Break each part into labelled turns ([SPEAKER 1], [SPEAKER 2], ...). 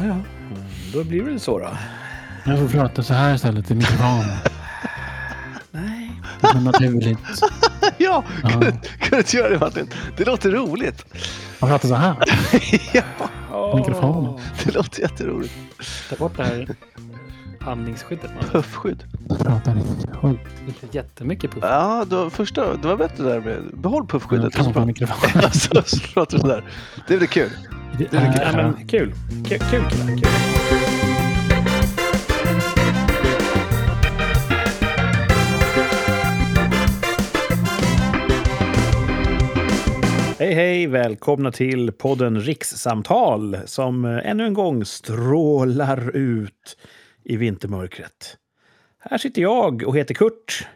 [SPEAKER 1] Mm, då blir det så då.
[SPEAKER 2] Jag får prata så här istället i mikrofonen.
[SPEAKER 1] Nej.
[SPEAKER 2] Det är naturligt.
[SPEAKER 3] Ja,
[SPEAKER 2] Ja.
[SPEAKER 3] kunde kunde inte göra det Martin. Det låter roligt.
[SPEAKER 2] Man pratar så här.
[SPEAKER 3] ja,
[SPEAKER 1] Oh.
[SPEAKER 2] Mikrofonen.
[SPEAKER 3] det låter jätteroligt.
[SPEAKER 4] Ta bort det här andningsskyddet. Man.
[SPEAKER 3] Puffskydd.
[SPEAKER 2] Pratar inte. Oj,
[SPEAKER 4] Inte jättemycket puff.
[SPEAKER 3] Ja, det var första, det var bättre där med behåll
[SPEAKER 2] jag
[SPEAKER 3] puffskyddet.
[SPEAKER 2] kan
[SPEAKER 3] Och så
[SPEAKER 2] på
[SPEAKER 3] pratar-
[SPEAKER 2] mikrofonen.
[SPEAKER 3] Alltså, så pratar du sådär. Det blir kul.
[SPEAKER 2] Det
[SPEAKER 3] är
[SPEAKER 1] Ja,
[SPEAKER 2] är
[SPEAKER 1] men kul. Kul, kul, killar, kul. Hej, hej! Välkomna till podden Rikssamtal som eh, ännu en gång strålar ut i vintermörkret. Här sitter jag och heter Kurt.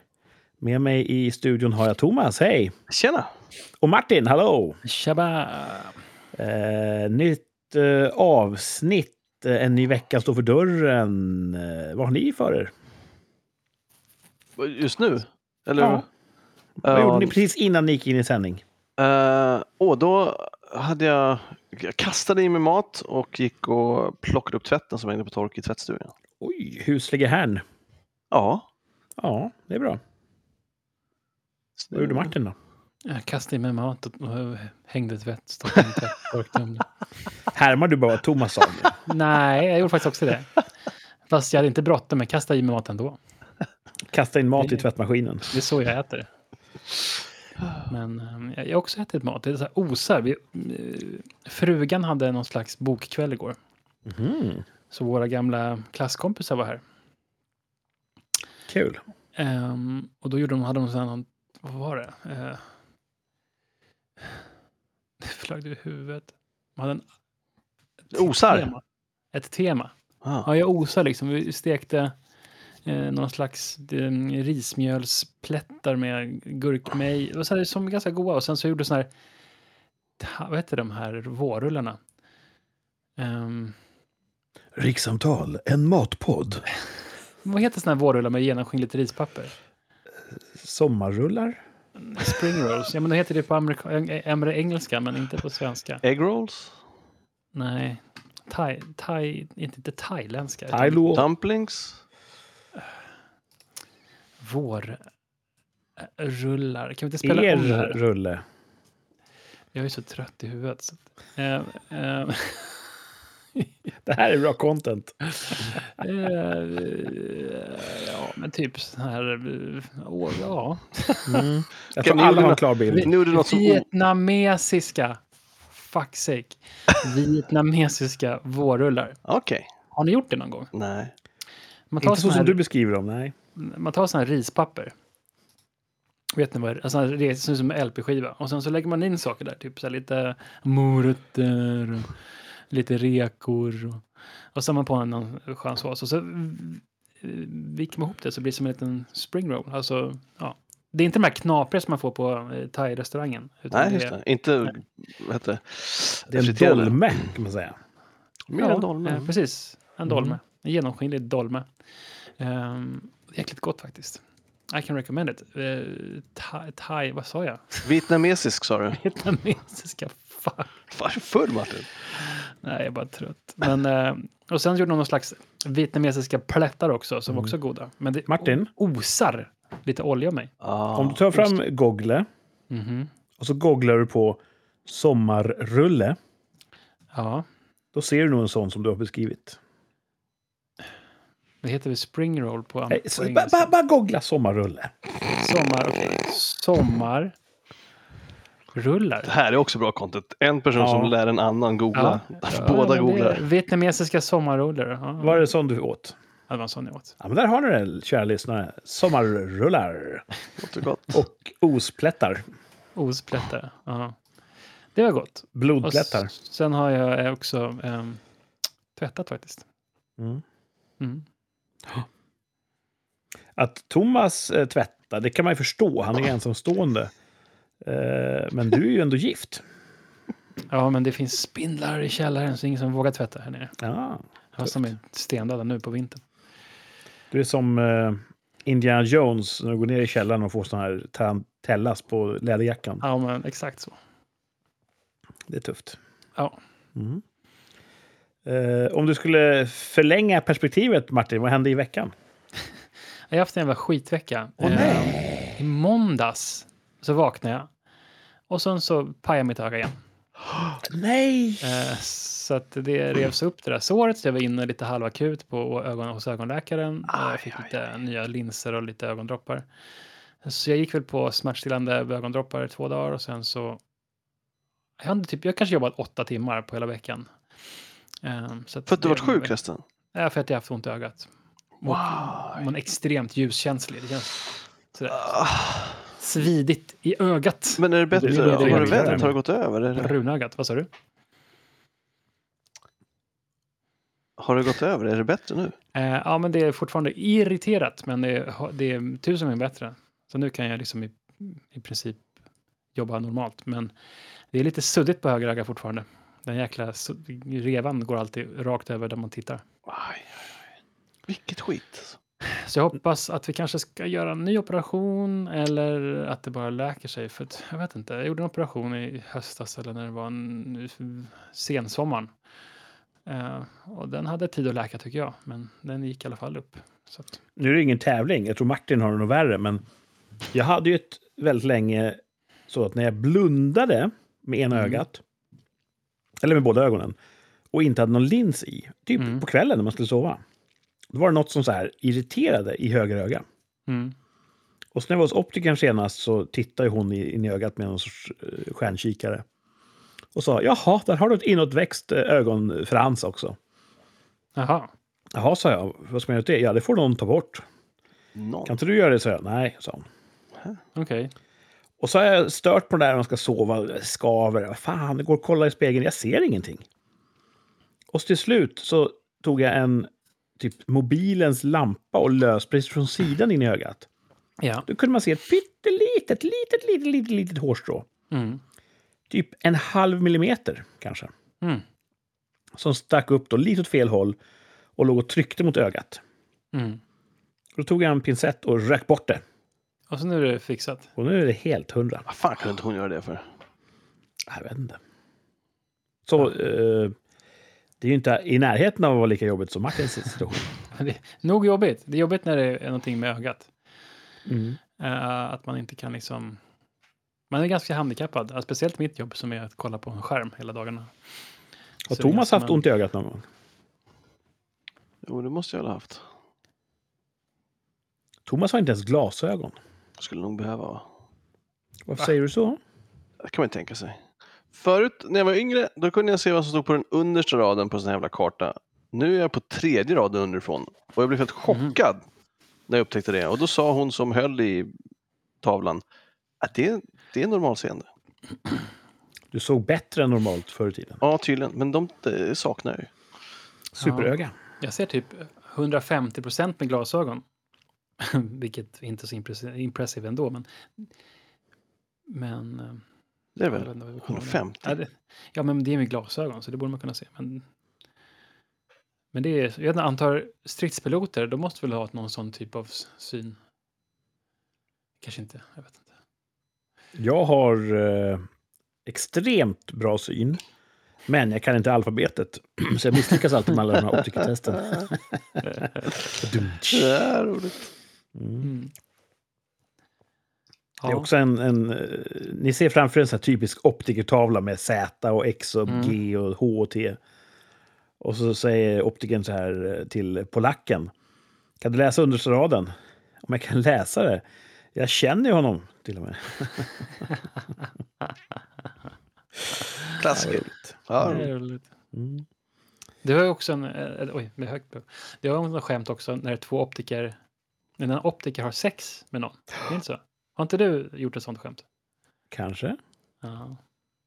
[SPEAKER 1] Med mig i studion har jag Thomas, hej!
[SPEAKER 3] Tjena!
[SPEAKER 1] Och Martin, hallå!
[SPEAKER 4] Tjaba!
[SPEAKER 1] Eh, nytt eh, avsnitt. Eh, En ny vecka står för dörren. Eh, vad har ni för er?
[SPEAKER 3] Just nu? Eller?
[SPEAKER 1] Ja. Vad gjorde ni precis innan ni gick in i sändning?
[SPEAKER 3] Eh, och då hade jag, jag kastade i mig mat och gick och plockade upp tvätten som hängde på tork i tvättstugan.
[SPEAKER 1] Oj, husliga herrn.
[SPEAKER 3] Ja.
[SPEAKER 1] Ja, det är bra. Vad gjorde Martin då?
[SPEAKER 4] Jag kastade i mig mat och och hängde tvätt. Stoppade in tvätttorktumlaren.
[SPEAKER 1] Härmar du bara vad Thomas sa? nu?
[SPEAKER 4] Nej, jag gjorde faktiskt också det. Fast jag hade inte bråttom, men kastade i mig mat ändå.
[SPEAKER 1] Kasta in mat i tvättmaskinen.
[SPEAKER 4] Det är så jag äter. Men eh, jag har också ätit mat. Det är så här osar. Vi, eh, frugan hade någon slags bokkväll igår.
[SPEAKER 1] Mhm,
[SPEAKER 4] Så våra gamla klasskompisar var här.
[SPEAKER 1] kul.
[SPEAKER 4] Ehm, och då gjorde de, hade de sån här, någon- vad var det? Uh, det flög ur huvudet. De hade en, ett
[SPEAKER 3] Osar.
[SPEAKER 4] Tema. Ett tema.
[SPEAKER 3] Ah.
[SPEAKER 4] Ja, jag osar liksom. Vi stekte eh, någon slags eh, rismjölsplättar med gurkmej. Det var så här, som ganska goda. Och sen så gjorde jag såna här, ta- vad heter de här vårrullarna? Ehm,
[SPEAKER 1] Rikssamtal, en matpodd.
[SPEAKER 4] vad heter såna här vårrullar med genomskinligt rispapper?
[SPEAKER 1] Sommarrullar?
[SPEAKER 4] Spring rolls. Ja, men det heter det på amerika- eng- eng- engelska, men inte på svenska.
[SPEAKER 3] Egg rolls,
[SPEAKER 4] Nej. Thai, thai, inte, inte thailändska. utan
[SPEAKER 1] Thailand.
[SPEAKER 3] dumplings.
[SPEAKER 4] Vårrullar. Kan vi inte spela om det
[SPEAKER 1] Er
[SPEAKER 4] här?
[SPEAKER 1] rulle.
[SPEAKER 4] Jag är så trött i huvudet. Så att, eh, eh,
[SPEAKER 1] Det här är bra content.
[SPEAKER 4] eh, ja, men typ så här... eh, Åh, ja. Mm.
[SPEAKER 1] Jag
[SPEAKER 3] Kan
[SPEAKER 1] tror
[SPEAKER 3] ni
[SPEAKER 1] alla har en
[SPEAKER 3] göra-
[SPEAKER 1] klar bild.
[SPEAKER 3] Nu är det något som...
[SPEAKER 4] Vietnamesiska. Fuck sake. Vietnamesiska vårrullar.
[SPEAKER 3] Okej.
[SPEAKER 4] Har ni gjort det någon gång?
[SPEAKER 3] Nej.
[SPEAKER 4] Man tar
[SPEAKER 1] Inte så
[SPEAKER 4] sån
[SPEAKER 1] som
[SPEAKER 4] här-
[SPEAKER 1] du beskriver dem, nej.
[SPEAKER 4] man tar sådana här rispapper. Vet ni vad det är? Alltså, det ser ut som en LP-skiva. Och sen så lägger man in saker där, typ så här lite morötter, och lite rekor. Och, och så har man på en någon skön sås. Och så mm, viker man ihop det så blir det som en liten spring roll. Alltså, ja. Det är inte de här knapriga som man får på eh, thai-restaurangen. utan
[SPEAKER 3] Nej, just det. Inte... Vad heter det?
[SPEAKER 1] Det är en
[SPEAKER 3] Friterade.
[SPEAKER 1] dolme, kan man säga.
[SPEAKER 3] Mer
[SPEAKER 4] ja,
[SPEAKER 3] än dolme. Mm.
[SPEAKER 4] Eh, precis. En dolme. En genomskinlig dolme. Um, jäkligt gott faktiskt. I can recommend it. Eh, thai, thai, vad sa jag?
[SPEAKER 3] Vietnamesisk sa du.
[SPEAKER 4] Vietnamesiska. Fan.
[SPEAKER 3] Varför Martin?
[SPEAKER 4] Nej, jag är bara trött. Men, eh, och sen gjorde de någon slags vietnamesiska plättar också som också är goda. Men det
[SPEAKER 1] Mm. Martin?
[SPEAKER 4] osar lite olja om mig.
[SPEAKER 3] Ah.
[SPEAKER 1] Om du tar fram Google
[SPEAKER 4] Mhm.
[SPEAKER 1] och så googlar du på sommarrulle,
[SPEAKER 4] Ja,
[SPEAKER 1] då ser du nog en sån som du har beskrivit.
[SPEAKER 4] det heter väl spring roll på,
[SPEAKER 1] Nej,
[SPEAKER 4] på
[SPEAKER 1] så, bara,
[SPEAKER 4] engelska.
[SPEAKER 1] bara, bara googla sommarrulle.
[SPEAKER 4] Sommar, okay. Sommar. Rullar.
[SPEAKER 3] Det här är också bra content. En person
[SPEAKER 1] Ja.
[SPEAKER 3] som lär en annan googla.
[SPEAKER 4] men
[SPEAKER 3] Båda
[SPEAKER 4] det-
[SPEAKER 3] googlar.
[SPEAKER 4] Vietnamesiska sommarrullar. Ja,
[SPEAKER 1] Var det sån du åt?
[SPEAKER 4] Ja, det var en sån jag åt.
[SPEAKER 1] Ja, men där har ni den, kära lyssnare. Sommarrullar
[SPEAKER 3] Låter gott.
[SPEAKER 1] och osplättar.
[SPEAKER 4] Osplättar. Ja. Det var gott. Och
[SPEAKER 1] Blodplättar.
[SPEAKER 4] s- sen har jag eh, också ehm, tvättat faktiskt.
[SPEAKER 1] Mm.
[SPEAKER 4] Mm.
[SPEAKER 1] Att Thomas eh, tvättar, det kan man ju förstå. Han är ensamstående. Eh, men du är ju ändå gift.
[SPEAKER 4] Ja, men det finns spindlar i källaren så ingen som vågar tvätta här nere.
[SPEAKER 1] Ja,
[SPEAKER 4] Fast de är stendöda nu på vintern.
[SPEAKER 1] du är som eh, Indiana Jones när du går ner i källaren och får sån här tarantellas på läderjackan.
[SPEAKER 4] Ja, men exakt så.
[SPEAKER 1] Det är tufft.
[SPEAKER 4] Ja.
[SPEAKER 1] Mm. Eh, om du skulle förlänga perspektivet, Martin, vad hände i veckan?
[SPEAKER 4] Jag har haft en jävla skitvecka.
[SPEAKER 1] Åh,
[SPEAKER 4] Eh, I måndags så vaknade jag och sen så pajade mitt öga igen.
[SPEAKER 1] Nej!
[SPEAKER 4] Eh, Så att det revs upp det där såret, så jag var inne lite halvakut på ögon, hos ögonläkaren. Eh,
[SPEAKER 3] Ah,
[SPEAKER 4] Jag fick lite nya linser och lite ögondroppar. Så jag gick väl på smärtstillande ögondroppar i två dagar och sen så... Jag, hade typ, jag kanske jobbat åtta timmar på hela veckan. Eh, Så
[SPEAKER 3] För att
[SPEAKER 4] det-
[SPEAKER 3] du varit sjuk resten?
[SPEAKER 4] Ja, för att jag haft ont i ögat.
[SPEAKER 3] Wow.
[SPEAKER 4] Man är extremt ljuskänslig. Det känns sådär
[SPEAKER 3] Ah,
[SPEAKER 4] svidigt i ögat.
[SPEAKER 3] Men är det bättre?
[SPEAKER 1] Det
[SPEAKER 4] är det
[SPEAKER 3] Har
[SPEAKER 4] jag
[SPEAKER 3] det
[SPEAKER 4] vill
[SPEAKER 3] vädret?
[SPEAKER 1] göra.
[SPEAKER 3] Har det gått över? Eller?
[SPEAKER 4] Brunögat, vad sa du?
[SPEAKER 3] Har det gått över? Är det bättre nu?
[SPEAKER 4] Eh, ja, men det är fortfarande irriterat, men det är, det är tusen gånger bättre. Så nu kan jag liksom i, i princip jobba normalt, men det är lite suddigt på höger öga fortfarande. Den jäkla su- revan går alltid rakt över där man tittar.
[SPEAKER 3] Aj, aj, aj. Vilket skit. alltså.
[SPEAKER 4] Så jag hoppas att vi kanske ska göra en ny operation eller att det bara läker sig. För att, jag vet inte, jag gjorde en operation i höstas eller när det var en, sensommaren. Eh, och den hade tid att läka tycker jag, men den gick i alla fall upp. Så att,
[SPEAKER 1] Nu är det ingen tävling. Jag tror Martin har det nog värre, men jag hade ju ett väldigt länge så att när jag blundade med ena
[SPEAKER 4] Mm.
[SPEAKER 1] ögat, eller med båda ögonen, och inte hade någon lins i, typ
[SPEAKER 4] Mm.
[SPEAKER 1] på kvällen när man skulle sova, då var det något som så här irriterade i höger öga.
[SPEAKER 4] mm.
[SPEAKER 1] Och sen när jag var hos optikern senast så tittade hon i- in i ögat med någon sorts eh, stjärnkikare. Och sa, jaha, där har du ett inåtväxt eh, ögonfrans också.
[SPEAKER 4] Jaha.
[SPEAKER 1] Jaha, sa jag, vad ska man göra åt det? Ja, det får någon ta bort.
[SPEAKER 3] Någon.
[SPEAKER 1] Kan inte du göra det, sa jag. Nej, sa hon.
[SPEAKER 4] Okej.
[SPEAKER 1] Och så har jag stört på det där när man ska sova, skaver. Vad Fan, det går att kolla i spegeln, jag ser ingenting. Och så till slut så tog jag en typ mobilens lampa och lös precis från sidan in i ögat.
[SPEAKER 4] Ja.
[SPEAKER 1] Då kunde man se ett pyttelitet, litet, litet, litet, litet hårstrå.
[SPEAKER 4] Mm.
[SPEAKER 1] Typ en halv millimeter kanske.
[SPEAKER 4] Mm.
[SPEAKER 1] Som stack upp då lite åt fel håll och låg och tryckte mot ögat.
[SPEAKER 4] Mm.
[SPEAKER 1] Då tog jag en pincett och rök bort det.
[SPEAKER 4] Och så nu är det fixat.
[SPEAKER 1] Och nu är det helt hundra.
[SPEAKER 3] Vad fan kunde inte hon göra det för?
[SPEAKER 1] Jag vet inte. Så eh, det är ju inte i närheten av att vara lika jobbigt som Martins situation.
[SPEAKER 4] Men det är nog jobbigt. Det är jobbigt när det är någonting med ögat.
[SPEAKER 1] Mm.
[SPEAKER 4] Eh, att man inte kan liksom... Man är ganska handikappad, Ja, speciellt mitt jobb som är att kolla på en skärm hela dagarna.
[SPEAKER 1] Har
[SPEAKER 4] Så
[SPEAKER 1] Thomas
[SPEAKER 4] det är
[SPEAKER 1] haft
[SPEAKER 4] som
[SPEAKER 1] ont i ögat någon gång?
[SPEAKER 3] Jo, det måste jag väl ha haft.
[SPEAKER 1] Thomas har inte ens glasögon.
[SPEAKER 3] Skulle nog behöva. va?
[SPEAKER 1] Varför säger du så?
[SPEAKER 3] Det kan man ju tänka sig. Förut när jag var yngre, då kunde jag se vad som stod på den understa raden på en sån här jävla karta. Nu är jag på tredje raden underifrån och jag blev helt
[SPEAKER 4] Mhm.
[SPEAKER 3] chockad när jag upptäckte det. Och då sa hon som höll i tavlan att det, det är normalseende.
[SPEAKER 1] Du såg bättre än normalt förr i tiden.
[SPEAKER 3] Ja, tydligen. Men de det saknar jag ju.
[SPEAKER 1] Superöga.
[SPEAKER 4] Jag ser typ 150 procent med glasögon. Vilket är inte är så impress- impressive ändå, men... Men... eh,
[SPEAKER 3] Det
[SPEAKER 4] jag
[SPEAKER 3] är väl.
[SPEAKER 4] vet inte vad vi kommer ihåg.
[SPEAKER 3] 150?
[SPEAKER 4] Ja, det, ja, men det är med glasögon, så det borde man kunna se. Men, men det är... Jag antar stridspiloter, de måste väl ha någon sån typ av s- syn? Kanske inte, jag vet inte.
[SPEAKER 1] Jag har eh, extremt bra syn. Men jag kan inte alfabetet, så jag misslyckas alltid med alla de här optikertesten.
[SPEAKER 3] Det är roligt.
[SPEAKER 1] Mm.
[SPEAKER 4] Mm.
[SPEAKER 1] Det är också en, en, eh, ni ser framför er en sån här typisk optikertavla med Z och X och G och H och T. Och så säger optikern så här eh, till polacken. Kan du läsa understa raden? Om jag kan läsa det? Jag känner ju honom till och med.
[SPEAKER 3] Klassiker. Ja,
[SPEAKER 4] Det
[SPEAKER 3] roligt.
[SPEAKER 4] är roligt.
[SPEAKER 1] Mm.
[SPEAKER 4] Det var ju också en, eh, oj, med högt blod. Det var också en skämt också när två optiker, när en optiker har sex med någon. Det är inte så? Har inte du gjort ett sånt skämt?
[SPEAKER 1] Kanske.
[SPEAKER 4] Ja.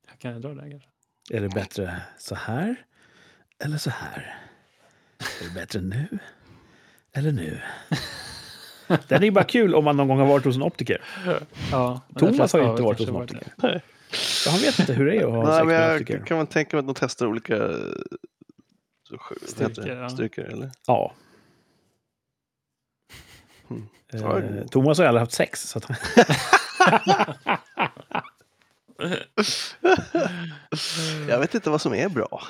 [SPEAKER 4] Jag kan dra det kanske.
[SPEAKER 1] Är det bättre så här? Eller så här? Är det bättre nu? Eller nu? Den är ju bara kul om man någon gång har varit hos en optiker.
[SPEAKER 4] Ja, men de
[SPEAKER 1] Thomas
[SPEAKER 4] flesta
[SPEAKER 1] har ju inte varit
[SPEAKER 4] kanske
[SPEAKER 1] hos en optiker.
[SPEAKER 3] Nej.
[SPEAKER 1] Så han vet inte hur det är att ha
[SPEAKER 3] Nej,
[SPEAKER 1] sex
[SPEAKER 3] men
[SPEAKER 1] med en optiker.
[SPEAKER 3] jag kan man tänka mig att de testar olika eh, så sj- vad heter det?
[SPEAKER 4] Styrkor, ja.
[SPEAKER 3] Styrkor eller?
[SPEAKER 1] Ja.
[SPEAKER 3] Mm.
[SPEAKER 1] Eh, Thomas har ju aldrig haft sex. Så att han...
[SPEAKER 4] Mm.
[SPEAKER 3] Jag vet inte vad som är bra.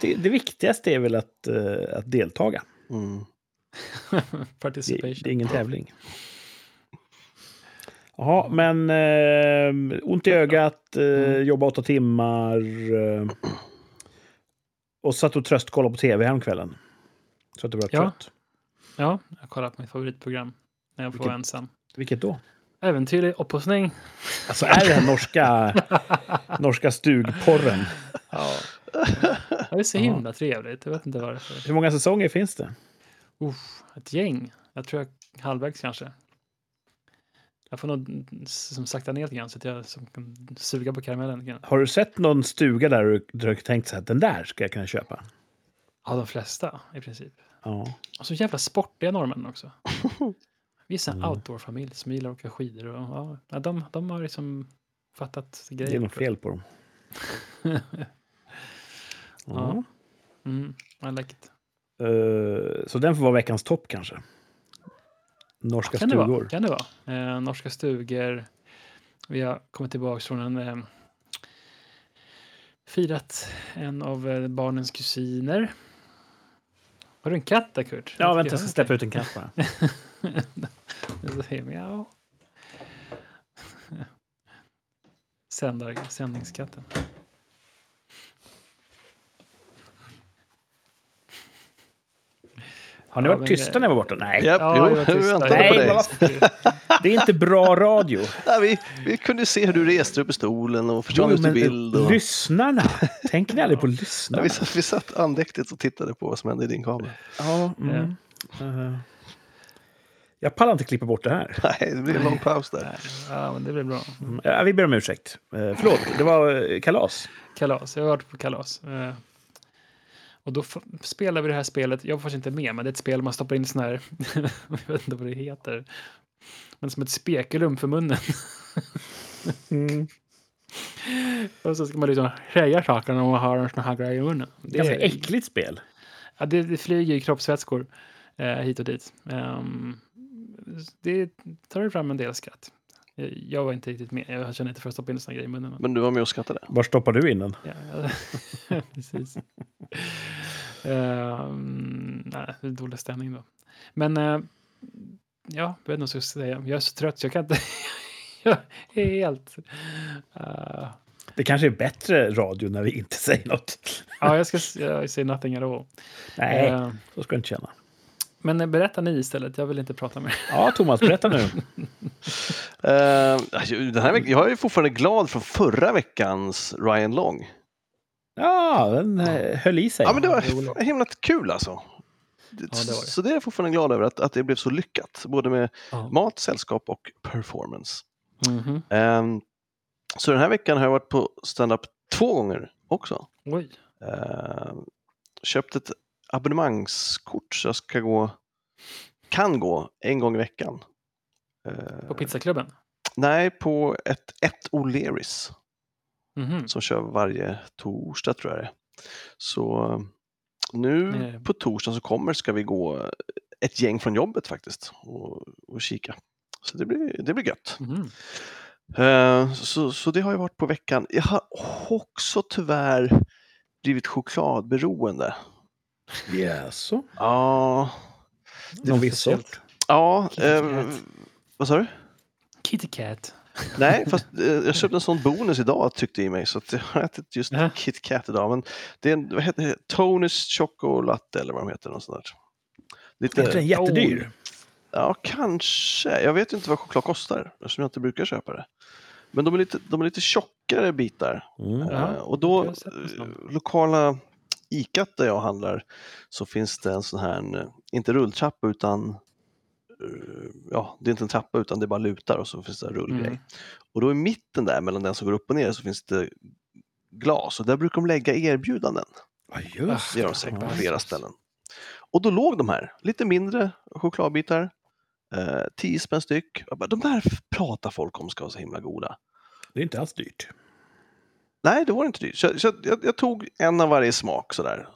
[SPEAKER 1] Det, det viktigaste är väl att, eh, att deltaga.
[SPEAKER 3] Mm.
[SPEAKER 1] Det, det är
[SPEAKER 4] Participation.
[SPEAKER 1] ingen tävling. Ja, men eh, ont i ögat, eh, jobba åtta timmar. Eh, och satt och tröstkollade på tv häromkvällen. Så att du blev
[SPEAKER 4] Ja.
[SPEAKER 1] trött.
[SPEAKER 4] Ja, jag kollar på mitt favoritprogram när jag får vara
[SPEAKER 1] Vilket-
[SPEAKER 4] ensam.
[SPEAKER 1] Vilket då?
[SPEAKER 4] Äventyrlig opposning.
[SPEAKER 1] Alltså är det den norska, norska stugporren?
[SPEAKER 4] Ja. Det är så himla trevligt. Jag vet inte varför.
[SPEAKER 1] Hur många säsonger finns det?
[SPEAKER 4] Uff, ett gäng. Jag tror jag halvvägs kanske. Jag får nog mm, som sakta ner lite grann så att jag som kan suga på karamellen. lite grann.
[SPEAKER 1] Har du sett någon stuga där du där du tänkt så här, den där ska jag kunna köpa?
[SPEAKER 4] Ja, de flesta i princip.
[SPEAKER 1] Ja.
[SPEAKER 4] Och så jävla sportiga norrmännen också. Vi är en
[SPEAKER 1] Mm.
[SPEAKER 4] outdoor-familj som gillar att åka skidor. Och, ja, ja, de, de har liksom fattat grejer.
[SPEAKER 1] Det är något fel på dem. Ja.
[SPEAKER 4] Mm, I like it.
[SPEAKER 1] Eh, så den får vara veckans topp kanske. Norska
[SPEAKER 4] Kan det vara.
[SPEAKER 1] stugor.
[SPEAKER 4] Kan det vara. Eh, norska stugor. Vi har kommit tillbaka från en... Eh, firat en av eh, barnens kusiner. Har du en katt där, Kurt?
[SPEAKER 1] Ja, vänta, jag ska släppa ut en katt bara.
[SPEAKER 4] Så säger jag, Miau. Sändar, sändningskatten.
[SPEAKER 1] Har ni
[SPEAKER 4] Ja,
[SPEAKER 1] varit
[SPEAKER 4] men-
[SPEAKER 1] tysta när jag var borta? Nej,
[SPEAKER 3] Japp, jo,
[SPEAKER 4] jag var
[SPEAKER 3] vi
[SPEAKER 4] tyst.
[SPEAKER 3] väntade
[SPEAKER 1] Nej,
[SPEAKER 3] på
[SPEAKER 1] men
[SPEAKER 3] dig.
[SPEAKER 1] vad- det är inte bra radio.
[SPEAKER 3] Ja, vi, vi kunde se hur du reste upp i stolen och försvann
[SPEAKER 4] eh,
[SPEAKER 3] ut i bild. Och...
[SPEAKER 1] lyssnarna! Tänker ni aldrig på
[SPEAKER 3] Ja,
[SPEAKER 1] lyssnarna?
[SPEAKER 3] vi, satt, vi satt andäktigt och tittade på vad som hände i din kamera.
[SPEAKER 1] Ja, mm. Eh, Jag pallar inte klippa bort det här.
[SPEAKER 3] Nej, det blev en lång paus där.
[SPEAKER 4] Ja, men det blir bra.
[SPEAKER 1] Mm. Ja, vi ber om ursäkt. Eh, Förlåt, det var eh, kalas.
[SPEAKER 4] Kalas. Jag har varit på kalas. Eh, Och då f- spelar vi det här spelet. Jag var faktiskt inte med, men det är ett spel man stoppar in sån här... jag vet inte vad det heter. Men som ett spekulum för munnen.
[SPEAKER 1] Mm.
[SPEAKER 4] Och så ska man liksom säga saker om man har en sån här grej i munnen. Det
[SPEAKER 1] Ganska
[SPEAKER 4] är,
[SPEAKER 1] äckligt spel.
[SPEAKER 4] ja, det, det flyger ju kroppsvätskor eh, hit och dit. Ehm, det tar ju fram en del skratt. Eh, Jag var inte riktigt med. Jag känner inte för att stoppa in såna grejer i munnen.
[SPEAKER 3] Men du var med och skrattade.
[SPEAKER 1] Var stoppar du in den?
[SPEAKER 4] Ja, ja. precis. Ehm, nej, det är dålig stämning då. Men eh, ja, jag vet inte vad jag ska säga. Jag är så trött så jag kan inte. jag är helt... eh,
[SPEAKER 1] Det kanske är bättre radio när vi inte säger något.
[SPEAKER 4] ja, jag ska s- jag säger nothing at all.
[SPEAKER 1] Nej,
[SPEAKER 4] Eh,
[SPEAKER 1] så ska du inte känna.
[SPEAKER 4] men eh, berätta ni istället. Jag vill inte prata mer.
[SPEAKER 1] Ja, Thomas, berätta nu.
[SPEAKER 3] Eh, den här veck- jag är fortfarande glad från förra veckans Ryan Long.
[SPEAKER 1] Ja, den eh, höll i sig.
[SPEAKER 3] Ja, men det
[SPEAKER 4] det är olagligt.
[SPEAKER 3] var himla kul alltså.
[SPEAKER 4] det var det.
[SPEAKER 3] Så det är jag fortfarande glad över, att, att det blev så lyckat. Både med
[SPEAKER 4] Ja.
[SPEAKER 3] mat, sällskap och performance.
[SPEAKER 4] Mhm.
[SPEAKER 3] Ehm, så den här veckan har jag varit på stand-up två gånger också.
[SPEAKER 4] Oj.
[SPEAKER 3] Ehm, köpt ett abonnemangskort så jag ska gå, kan gå en gång i veckan. Ehm,
[SPEAKER 4] På pizzaklubben?
[SPEAKER 3] nej, på ett, ett O'Learys
[SPEAKER 4] Mhm.
[SPEAKER 3] som kör varje torsdag tror jag det är. Så eh, nu
[SPEAKER 4] Nej.
[SPEAKER 3] på torsdagen som kommer ska vi gå eh, ett gäng från jobbet faktiskt och, och kika. Så det blir, det blir gött.
[SPEAKER 4] Mhm.
[SPEAKER 3] Eh, Så, så det har ju varit på veckan. Jag har också tyvärr blivit chokladberoende.
[SPEAKER 1] Jaså?
[SPEAKER 3] Ja,
[SPEAKER 1] Någon viss sort?
[SPEAKER 3] ja. eh,
[SPEAKER 4] Kitkat.
[SPEAKER 3] Vad sa du?
[SPEAKER 4] Kitty Cat.
[SPEAKER 3] Nej, fast eh, jag köpte en sån bonus idag tyckte i mig så att jag har ätit just
[SPEAKER 4] Nähä.
[SPEAKER 3] Kit Kat idag. Men det är en, vad heter det? Tonys Choco Latte eller vad de heter. Något sånt där.
[SPEAKER 1] Är inte
[SPEAKER 3] Lite,
[SPEAKER 1] den jättedyr?
[SPEAKER 3] ja, kanske. Jag vet ju inte vad choklad kostar eftersom jag inte brukar köpa det. Men de är lite, de är lite tjockare bitar.
[SPEAKER 1] Mm.
[SPEAKER 4] Ja,
[SPEAKER 3] Eh, och då,
[SPEAKER 4] jag har sett en sån.
[SPEAKER 3] eh, lokala ICAT där jag handlar, så finns det en sån här, en, eh, inte rulltrappa utan, eh, ja, det är inte en trappa utan det är bara lutar och så finns det en rullgrej.
[SPEAKER 4] Mm.
[SPEAKER 3] Och då i mitten där mellan den som går upp och ner så finns det glas och där brukar de lägga erbjudanden.
[SPEAKER 1] Ja, just
[SPEAKER 3] Det gör de säkert på
[SPEAKER 1] Ja.
[SPEAKER 3] flera ställen. Och då låg de här, lite mindre chokladbitar, eh, 10 spänn styck. Jag bara, De där pratar folk om ska vara så himla goda.
[SPEAKER 1] Det är inte alls dyrt.
[SPEAKER 3] Nej, det var inte dyrt. Så, så jag, jag tog en av varje smak sådär.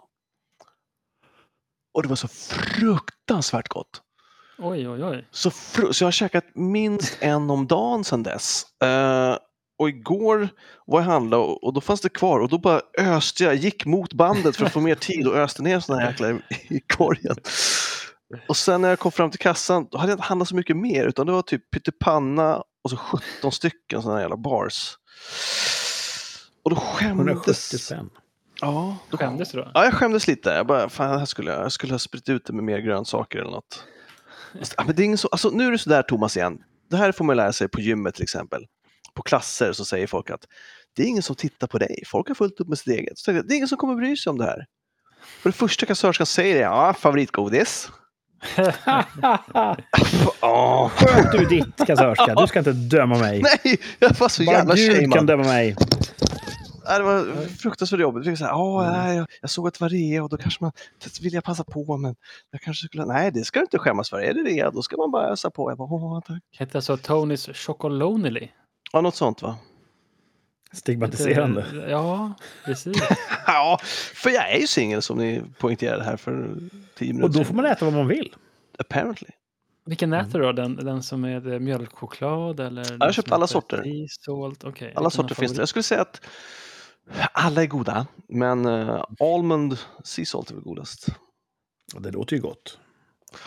[SPEAKER 3] Och det var så fruktansvärt gott.
[SPEAKER 4] Oj, oj, oj.
[SPEAKER 3] Så, fru- så jag har käkat minst en om dagen sedan dess. Eh, och igår var jag handla och, och då fanns det kvar och då bara öste jag, gick mot bandet för att få mer tid och öste ner såna här jäkla i, i korgen. Och sen när jag kom fram till kassan då hade jag inte handlat så mycket mer utan det var typ pyttipanna och så 17 stycken såna här jävla bars. Och då
[SPEAKER 1] 170
[SPEAKER 3] skämdes...
[SPEAKER 1] spänn.
[SPEAKER 3] Ja, då
[SPEAKER 4] Skämdes du då?
[SPEAKER 3] Ja, jag skämdes lite. Jag bara, fan, här skulle jag, jag skulle ha spritt ut det med mer grönsaker eller något. Fast, ja, men det är ingen så, alltså, nu är det sådär Thomas igen. Det här får man lära sig på gymmet till exempel. På klasser så säger folk att det är ingen som tittar på dig. Folk har fullt upp med sitt eget. Så tänkte jag, det är ingen som kommer bry sig om det här. Och det första kassörskan säger är ja, favoritgodis. Ja,
[SPEAKER 1] Sköt du ditt, kassörska. Du ska inte döma mig.
[SPEAKER 3] nej, jag var så
[SPEAKER 1] Bara
[SPEAKER 3] jävla
[SPEAKER 1] Gud kan
[SPEAKER 3] shamead.
[SPEAKER 1] döma mig.
[SPEAKER 3] Nej, Det var fruktansvärt jobbigt. Jag, så här, "Åh,
[SPEAKER 1] Mm.
[SPEAKER 3] nej, jag, jag såg att det var rea och då kanske man vill jag passa på men jag kanske skulle... Nej, det ska du inte skämmas för. Är det rea då ska man bara ösa på. Jag bara, Åh, tack.
[SPEAKER 4] Hette alltså Tonys Chocolonely.
[SPEAKER 3] Ja, något sånt va?
[SPEAKER 1] Stigmatiserande.
[SPEAKER 4] Ja, precis.
[SPEAKER 3] Ja, för jag är ju singel som ni poängterade här för tio minuter
[SPEAKER 1] Och då får man äta vad man vill.
[SPEAKER 3] Apparently.
[SPEAKER 4] Vilken
[SPEAKER 1] Mm.
[SPEAKER 4] äter du då? Den, den som är det mjölkchoklad? Eller den
[SPEAKER 3] har köpt
[SPEAKER 4] som
[SPEAKER 3] alla
[SPEAKER 4] heter
[SPEAKER 3] sorter.
[SPEAKER 4] tea salt? Okej, vilken
[SPEAKER 3] Alla
[SPEAKER 4] har
[SPEAKER 3] sorter finns det.
[SPEAKER 4] favorit?
[SPEAKER 3] Jag skulle säga att alla är goda, men eh, almond sea salt är väl godast.
[SPEAKER 1] Och Det låter ju gott.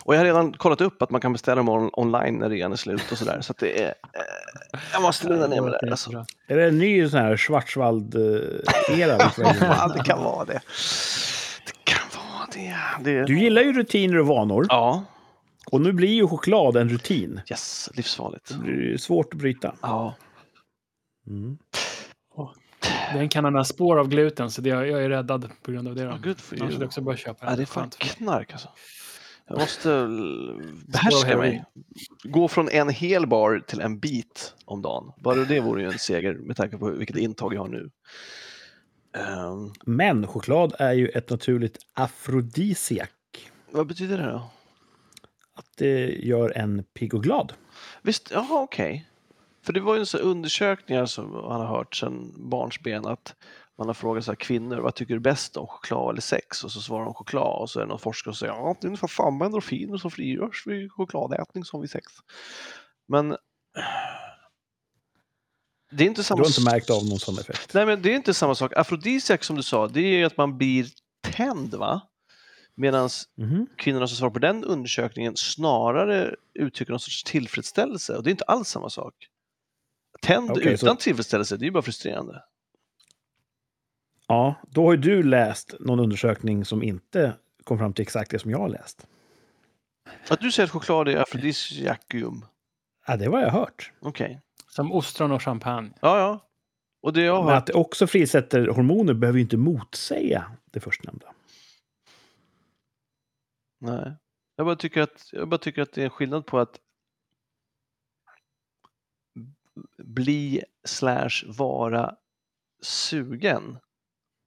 [SPEAKER 3] Och jag har redan kollat upp att man kan beställa dem on- online när rean är slut och sådär. Så att det är... Eh, jag måste lugna ner mig där. Alltså.
[SPEAKER 1] Är det en ny sån här eh, Schwarzwald-era?
[SPEAKER 3] Ja, det kan vara det. Det kan vara det. det...
[SPEAKER 1] Du gillar ju rutiner och vanor.
[SPEAKER 3] Ja,
[SPEAKER 1] Och nu blir ju choklad en rutin.
[SPEAKER 3] yes, livsfarligt.
[SPEAKER 1] Det är ju svårt att bryta.
[SPEAKER 3] Ja.
[SPEAKER 1] Mm.
[SPEAKER 4] Den kan ha spår av gluten, så det, jag, jag är räddad på grund av det. Då.
[SPEAKER 3] Ja, good for
[SPEAKER 4] Annars skulle
[SPEAKER 3] you.
[SPEAKER 4] jag också bara köpa
[SPEAKER 3] Ja,
[SPEAKER 4] en.
[SPEAKER 3] det är fan
[SPEAKER 4] Skönt för mig.
[SPEAKER 3] knark alltså. Jag måste l- behärska
[SPEAKER 4] heroin.
[SPEAKER 3] mig. Gå från en hel bar till en bit om dagen. Bara det vore ju en seger med tanke på vilket intag jag har nu. Ehm,
[SPEAKER 1] Men choklad är ju ett naturligt afrodisiak.
[SPEAKER 3] vad betyder det då?
[SPEAKER 1] Att det gör en pigg och glad.
[SPEAKER 3] Visst, jaha okej. För det var ju en sån här undersökningar som man har hört sedan barnsben att man har frågat så här, kvinnor vad tycker du bäst om, choklad eller sex? Och så svarar de choklad och så är det någon forskare som säger ja, det är ungefär samma endorfiner som frigörs vid chokladätning som vid sex. Men eh, det är inte
[SPEAKER 1] Du
[SPEAKER 3] samma
[SPEAKER 1] har inte märkt av någon sån effekt.
[SPEAKER 3] Nej, men det är inte samma sak. Afrodisiak som du sa, det är ju att man blir tänd va? Medan
[SPEAKER 1] Mhm.
[SPEAKER 3] kvinnorna som svarar på den undersökningen snarare uttrycker någon sorts tillfredsställelse. Och det är inte alls samma sak. Tänd
[SPEAKER 1] Okej,
[SPEAKER 3] utan
[SPEAKER 1] så-
[SPEAKER 3] tillfredsställelse, det är ju bara frustrerande.
[SPEAKER 1] Ja, då har ju du läst någon undersökning som inte kom fram till exakt det som jag har läst.
[SPEAKER 3] Att du säger att choklad är afrodisiakium.
[SPEAKER 1] Ja, det var jag hört.
[SPEAKER 3] Okej.
[SPEAKER 4] Som ostron och champagne.
[SPEAKER 3] Ja, ja. Och det jag har
[SPEAKER 1] Men att det också frisätter hormoner behöver ju inte motsäga det förstnämnda.
[SPEAKER 3] Nej. Jag bara, tycker att, jag bara tycker att det är en skillnad på att bli slash vara sugen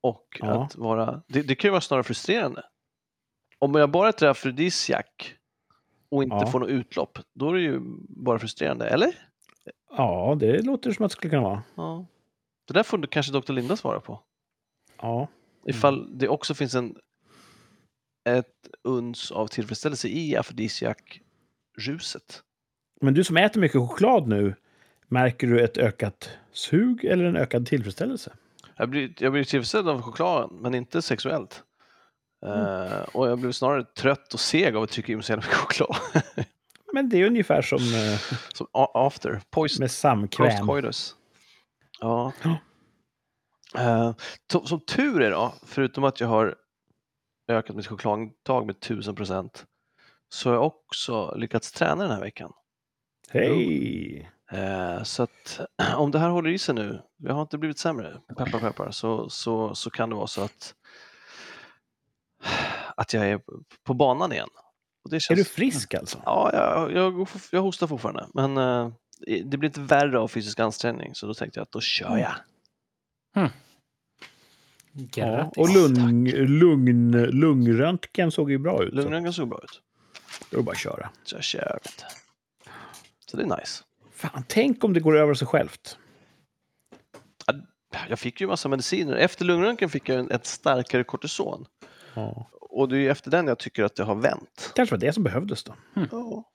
[SPEAKER 3] och
[SPEAKER 1] Ja.
[SPEAKER 3] att vara... Det, det kan ju vara snarare frustrerande. Om jag bara äter afrodisiak och inte
[SPEAKER 1] Ja.
[SPEAKER 3] får något utlopp, då är det ju bara frustrerande, eller?
[SPEAKER 1] Ja, det låter som att det skulle kunna vara.
[SPEAKER 3] Ja. Det där får du kanske Dr. Linda svara
[SPEAKER 1] Mm.
[SPEAKER 3] på.
[SPEAKER 1] Ja.
[SPEAKER 3] Ifall det också finns en ett uns av tillfredsställelse i afrodisiak-ruset.
[SPEAKER 1] Men du som äter mycket choklad nu, märker du ett ökat sug eller en ökad tillfredsställelse?
[SPEAKER 3] Jag blir, jag blir tillfredsställd av chokladen, men inte sexuellt.
[SPEAKER 1] Mm.
[SPEAKER 3] Eh, och jag blev snarare trött och seg av att trycka i mig så jävla mycket choklad.
[SPEAKER 1] Men det är ungefär som eh,
[SPEAKER 3] Som a- after, post,
[SPEAKER 1] med samkväm.
[SPEAKER 3] post-coitus. Ja.
[SPEAKER 1] Ja.
[SPEAKER 3] Eh, to- som tur är då, förutom att jag har ökat mitt chokladintag med 1000 procent, så har jag också lyckats träna den här veckan.
[SPEAKER 1] Hej!
[SPEAKER 3] Eh, så att om det här håller i sig nu, jag har inte blivit sämre, peppar peppar, så, så, så kan det vara så att, att jag är på banan igen. Och det
[SPEAKER 1] Är
[SPEAKER 3] känns,
[SPEAKER 1] du frisk alltså?
[SPEAKER 3] Ja, jag, jag, jag hostar fortfarande, men eh, det blir inte värre av fysisk ansträngning, så då tänkte jag att då kör
[SPEAKER 1] Mm,
[SPEAKER 3] jag.
[SPEAKER 1] Ja,
[SPEAKER 4] Grattis.
[SPEAKER 1] och lugn, lugn, lungröntgen såg ju bra ut. Så
[SPEAKER 3] Lugnen såg bra ut,
[SPEAKER 1] det var bara att köra.
[SPEAKER 3] så jag kör. vet du. Så det är nice.
[SPEAKER 1] Fan, tänk om det går över sig självt.
[SPEAKER 3] Jag fick ju massa mediciner. Efter lungröntgen fick jag en, ett starkare kortison.
[SPEAKER 1] Ja.
[SPEAKER 3] Och det är ju efter den jag tycker att det har vänt.
[SPEAKER 1] kanske var det som behövdes då. Mm.
[SPEAKER 3] Ja.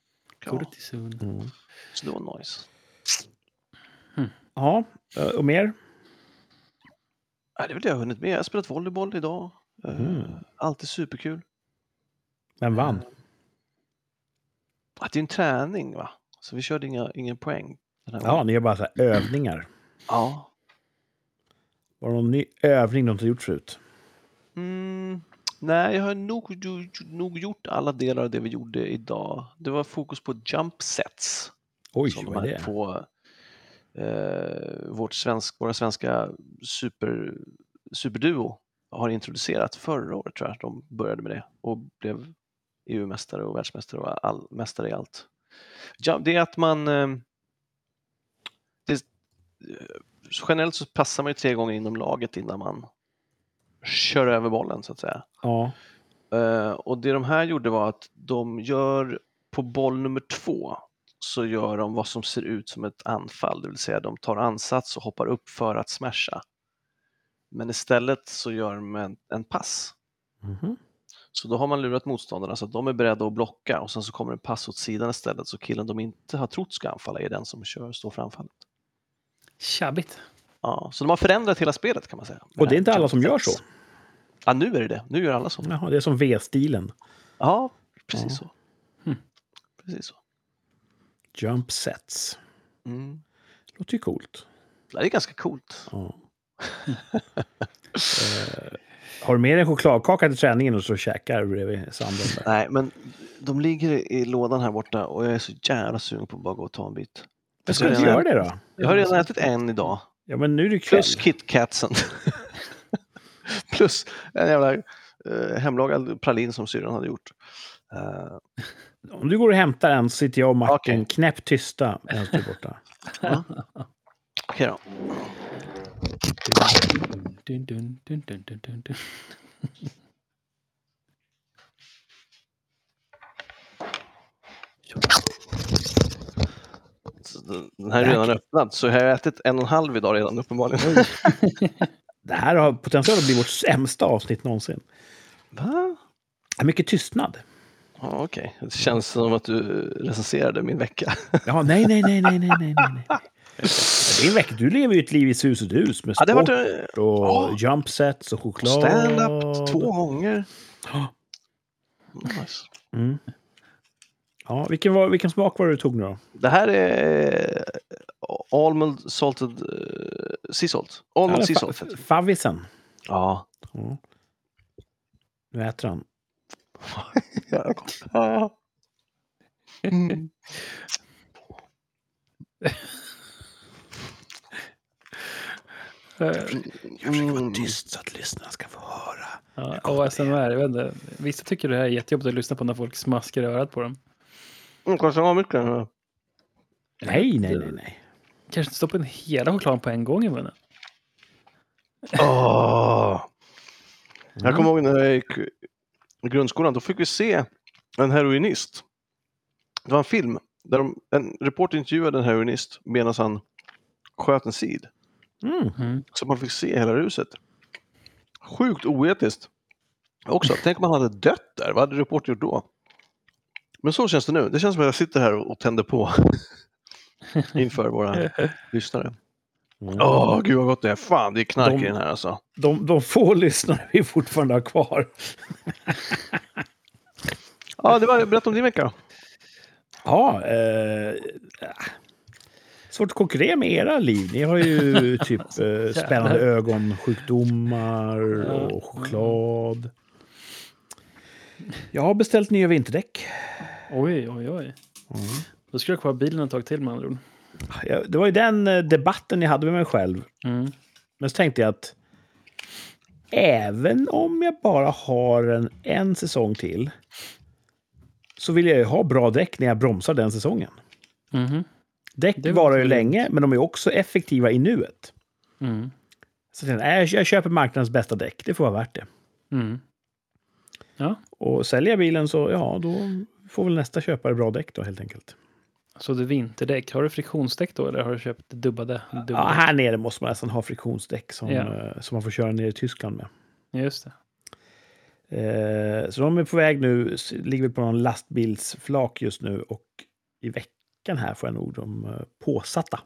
[SPEAKER 3] Ja.
[SPEAKER 4] Kortison.
[SPEAKER 3] Så det var nice.
[SPEAKER 1] Ja, eh, och mer?
[SPEAKER 3] Nej, det är väl det jag har hunnit med. Jag har spelat volleyboll idag. Eh,
[SPEAKER 1] Mm.
[SPEAKER 3] Alltid superkul.
[SPEAKER 1] Vem vann?
[SPEAKER 3] Ah, det är en träning va? Så vi körde inga, ingen poäng. Den här
[SPEAKER 1] Ja,
[SPEAKER 3] gången.
[SPEAKER 1] ni gör bara så här övningar.
[SPEAKER 3] ja.
[SPEAKER 1] Var det någon ny övning de inte gjort förut?
[SPEAKER 3] Mm, nej, jag har nog, gjo- nog gjort alla delar av det vi gjorde idag. Det var fokus på jump sets.
[SPEAKER 1] Oj,
[SPEAKER 3] som de
[SPEAKER 1] vad är
[SPEAKER 3] här
[SPEAKER 1] det?
[SPEAKER 3] två, eh, vårt svensk, våra svenska super, superduo har introducerat förra året tror jag. De började med det och blev EU-mästare och världsmästare och all, mästare i allt. Ja, det är att man eh, det, eh, generellt så passar man ju tre gånger inom laget innan man kör över bollen så att säga.
[SPEAKER 1] Ja.
[SPEAKER 3] Eh, och det de här gjorde var att de gör på boll nummer två så gör de vad som ser ut som ett anfall, det vill säga de tar ansats och hoppar upp för att smasha. Men istället så gör de en, en pass.
[SPEAKER 1] Mhm.
[SPEAKER 3] Så då har man lurat motståndarna så att de är beredda att blocka och sen så kommer en pass åt sidan istället så killen de inte har trott ska anfalla är den som kör, står för anfallet.
[SPEAKER 4] Tjabbigt.
[SPEAKER 3] Ja, så de har förändrat hela spelet kan man säga.
[SPEAKER 1] Och det är inte alla som gör så?
[SPEAKER 3] Ja, nu är det det. Nu gör alla så.
[SPEAKER 1] Jaha, det är som V-stilen.
[SPEAKER 3] Ja, precis så.
[SPEAKER 1] Hm.
[SPEAKER 4] Hmm.
[SPEAKER 3] Precis så.
[SPEAKER 1] Jump sets.
[SPEAKER 3] Mm.
[SPEAKER 1] Låter ju coolt.
[SPEAKER 3] Det är ganska coolt.
[SPEAKER 1] Ja. Eh, har du med dig en chokladkaka till träningen och så käkar du bredvid sanden? Där?
[SPEAKER 3] Nej, men de ligger i lådan här borta och jag är så jävla sugen på att bara gå och ta en bit.
[SPEAKER 1] Men ska du inte göra det då?
[SPEAKER 3] Jag har redan ätit en idag,
[SPEAKER 1] Ja, men nu är det kväll.
[SPEAKER 3] plus KitKatsen. plus en jävla eh, hemlagad pralin som syrran hade gjort. Eh,
[SPEAKER 1] Om du går och hämtar en så sitter jag och Martin
[SPEAKER 3] Okej.
[SPEAKER 1] knäpp tysta medan du är borta.
[SPEAKER 3] Okej då.
[SPEAKER 4] Dun, dun, dun, dun, dun, dun, dun.
[SPEAKER 3] Så den- Den här är redan öppnad, så jag har ätit en och en halv idag redan uppenbarligen.
[SPEAKER 1] Det här har potentiellt blivit vårt sämsta avsnitt någonsin.
[SPEAKER 3] Va?
[SPEAKER 1] Ja, Mycket tystnad.
[SPEAKER 3] Ja, Okej, det känns som att du recenserade min vecka.
[SPEAKER 1] Ja, nej, nej, nej, nej, nej, nej, nej. nej. Det är väck. Du lever ju ett liv i sus och dus med
[SPEAKER 3] Ja,
[SPEAKER 1] sport
[SPEAKER 3] det har varit eh,
[SPEAKER 1] och
[SPEAKER 3] ja.
[SPEAKER 1] jump sets och choklad.
[SPEAKER 3] stand-up två gånger.
[SPEAKER 1] Ja.
[SPEAKER 3] Nice.
[SPEAKER 1] Mm. Ja, vilken, var, vilken smak var det du tog nu då?
[SPEAKER 3] Det här är eh, Almond Salted eh, Sea Salt. Almond
[SPEAKER 1] Ja,
[SPEAKER 3] Sea
[SPEAKER 1] fa-
[SPEAKER 3] Salt.
[SPEAKER 1] f- favvisen.
[SPEAKER 3] Ja.
[SPEAKER 1] Ja. Nu äter han.
[SPEAKER 3] Ja.
[SPEAKER 4] Eh,
[SPEAKER 1] Jag försöker
[SPEAKER 3] Mm.
[SPEAKER 1] vara tyst så att lyssnarna ska få höra.
[SPEAKER 4] Ja, och ASMR, jag vet inte. Vissa tycker det här är jättejobbigt att lyssna på när folk smaskar i örat på dem.
[SPEAKER 3] Mm, kanske har mycket nu.
[SPEAKER 1] Nej, nej, nej, nej.
[SPEAKER 4] Kanske inte stoppa in hela chokladen på en gång i munnen.
[SPEAKER 3] Åh. Jag kommer ihåg när jag gick i grundskolan, då fick vi se en heroinist. Det var en film där de, en reporter intervjuade en heroinist medan han sköt en sid.
[SPEAKER 1] Mm.
[SPEAKER 3] Så man fick se hela ruset. Sjukt oetiskt. Också, tänk om han hade dött där. Vad hade Report gjort då? Men så känns det nu. Det känns som att jag sitter här och tänder på inför våra lyssnare.
[SPEAKER 1] Mm.
[SPEAKER 3] Åh, gud vad gott det är. Fan, det är knark
[SPEAKER 1] De-
[SPEAKER 3] i den här alltså.
[SPEAKER 1] De, de få lyssnare vi fortfarande har kvar.
[SPEAKER 3] Ja, det var, berätta om din vecka.
[SPEAKER 1] Ja, eh, äh. svårt att konkurrera med era liv. Ni har ju typ eh, spännande ögonsjukdomar och choklad. Jag har beställt nya vinterdäck.
[SPEAKER 4] Oj, oj,
[SPEAKER 3] Mm.
[SPEAKER 4] oj. Då skulle jag kvar bilen ett tag till med andra ord.
[SPEAKER 1] Jag, det var ju den eh, debatten jag hade med mig själv.
[SPEAKER 4] Mm.
[SPEAKER 1] Men så tänkte jag att även om jag bara har en, en säsong till så vill jag ju ha bra däck när jag bromsar den säsongen.
[SPEAKER 4] Mhm.
[SPEAKER 1] Däck
[SPEAKER 4] Det
[SPEAKER 1] varar ju
[SPEAKER 4] låter
[SPEAKER 1] länge, men de är också effektiva i nuet.
[SPEAKER 4] Mm.
[SPEAKER 1] Så jag, tänkte, nej, jag köper marknadens bästa däck, det får vara värt det.
[SPEAKER 4] Mm. Ja,
[SPEAKER 1] Och säljer jag bilen så, ja, då får väl nästa köpare bra däck då helt enkelt.
[SPEAKER 4] så du vinterdäck. Har du friktionsdäck då eller har du köpt dubbade?
[SPEAKER 1] Ja,
[SPEAKER 4] dubbade?
[SPEAKER 1] Ah, här nere måste man nästan ha friktionsdäck som,
[SPEAKER 4] Ja.
[SPEAKER 1] eh, som man får köra ner i Tyskland med.
[SPEAKER 4] Just det.
[SPEAKER 1] Eh, så de är på väg nu, s- ligger på någon lastbilsflak just nu och i veckan här får jag nog dem eh, påsatta.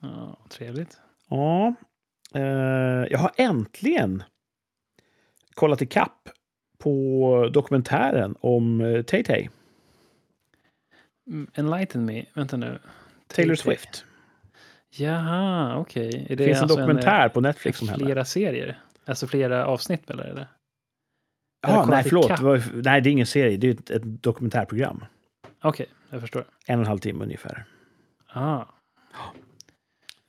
[SPEAKER 4] Ja, trevligt.
[SPEAKER 1] Ja. Eh, jag har äntligen kollat i kapp på dokumentären om eh, Tay-Tay,
[SPEAKER 4] Mm, Enlighten me. Vänta nu.
[SPEAKER 1] Taylor
[SPEAKER 4] Tay-Tay.
[SPEAKER 1] Swift.
[SPEAKER 4] Jaha, okej. Är
[SPEAKER 1] Det finns en
[SPEAKER 4] alltså
[SPEAKER 1] dokumentär på
[SPEAKER 4] eh,
[SPEAKER 1] Netflix som händer.
[SPEAKER 4] flera serier? Alltså flera avsnitt eller? eller? eller
[SPEAKER 1] Ja, nej,
[SPEAKER 4] kollat i
[SPEAKER 1] förlåt.
[SPEAKER 4] kapp.
[SPEAKER 1] Det var- Nej, det är ingen serie. Det är ett, ett dokumentärprogram.
[SPEAKER 4] Okej, jag förstår.
[SPEAKER 1] En och en halv timme ungefär.
[SPEAKER 4] Ah,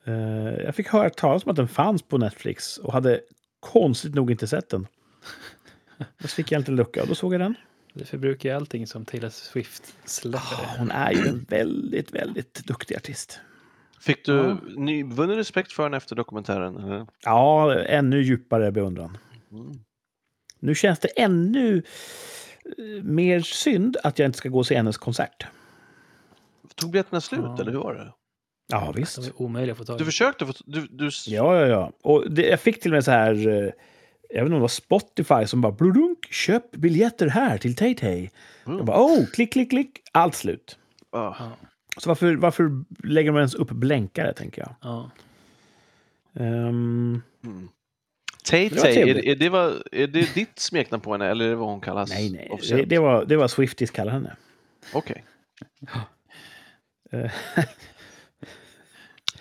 [SPEAKER 1] Eh, jag fick höra talas om att den fanns på Netflix och hade konstigt nog inte sett den. Då fick jag en liten lucka och då såg jag den.
[SPEAKER 4] det förbrukar ju allting som Taylor Swift släpper.
[SPEAKER 1] Ah, Hon är ju en väldigt, väldigt duktig artist.
[SPEAKER 3] Fick du
[SPEAKER 4] Ja.
[SPEAKER 3] nyvunnen respekt för henne efter dokumentären? eller?
[SPEAKER 1] Ja, ännu djupare beundran.
[SPEAKER 3] Mm.
[SPEAKER 1] Nu känns det ännu eh, mer synd att jag inte ska gå och se hennes konsert.
[SPEAKER 3] Tog biljetterna slut
[SPEAKER 4] Ja.
[SPEAKER 3] eller hur var det?
[SPEAKER 1] Ja,
[SPEAKER 4] De
[SPEAKER 1] visst.
[SPEAKER 4] är omöjliga att få tag i.
[SPEAKER 3] Du försökte få... Du, du,
[SPEAKER 1] Ja, ja, ja. Och det, jag fick till och med så här... eh, Jag vet inte om det var Spotify som bara bludunk, köp biljetter här till Tay-Tay.
[SPEAKER 3] Mm.
[SPEAKER 1] Jag bara oh, klick, klick, klick. Allt slut.
[SPEAKER 3] Ah.
[SPEAKER 1] Så varför, varför lägger man ens upp blänkare, tänker jag.
[SPEAKER 4] Ja.
[SPEAKER 1] Ehm,
[SPEAKER 3] Mm. Tay
[SPEAKER 1] Det var
[SPEAKER 3] Tay,
[SPEAKER 1] trevligt.
[SPEAKER 3] är, är, det vad, är det ditt smeknamn på henne eller är det vad hon kallas?
[SPEAKER 1] nej, nej. Det,
[SPEAKER 3] officiellt?
[SPEAKER 1] det, var, det var Swifties kallar henne.
[SPEAKER 3] Okej.
[SPEAKER 1] Eh,
[SPEAKER 3] Tufft.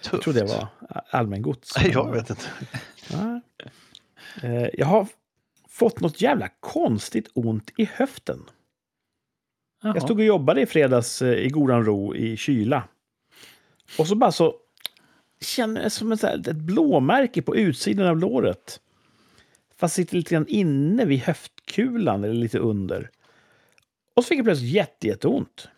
[SPEAKER 1] Jag tror det var allmängods.
[SPEAKER 3] Nej, Jag vet inte.
[SPEAKER 1] Ja. Eh, Jag har fått något jävla konstigt ont i höften.
[SPEAKER 4] Jaha.
[SPEAKER 1] Jag stod och jobbade i fredags eh, i godan ro i kyla. Och så bara så känner jag som ett, så här, ett blåmärke på utsidan av låret. Fast sitter lite grann inne vid höftkulan eller lite under. Och så fick jag plötsligt jätte, jätteont.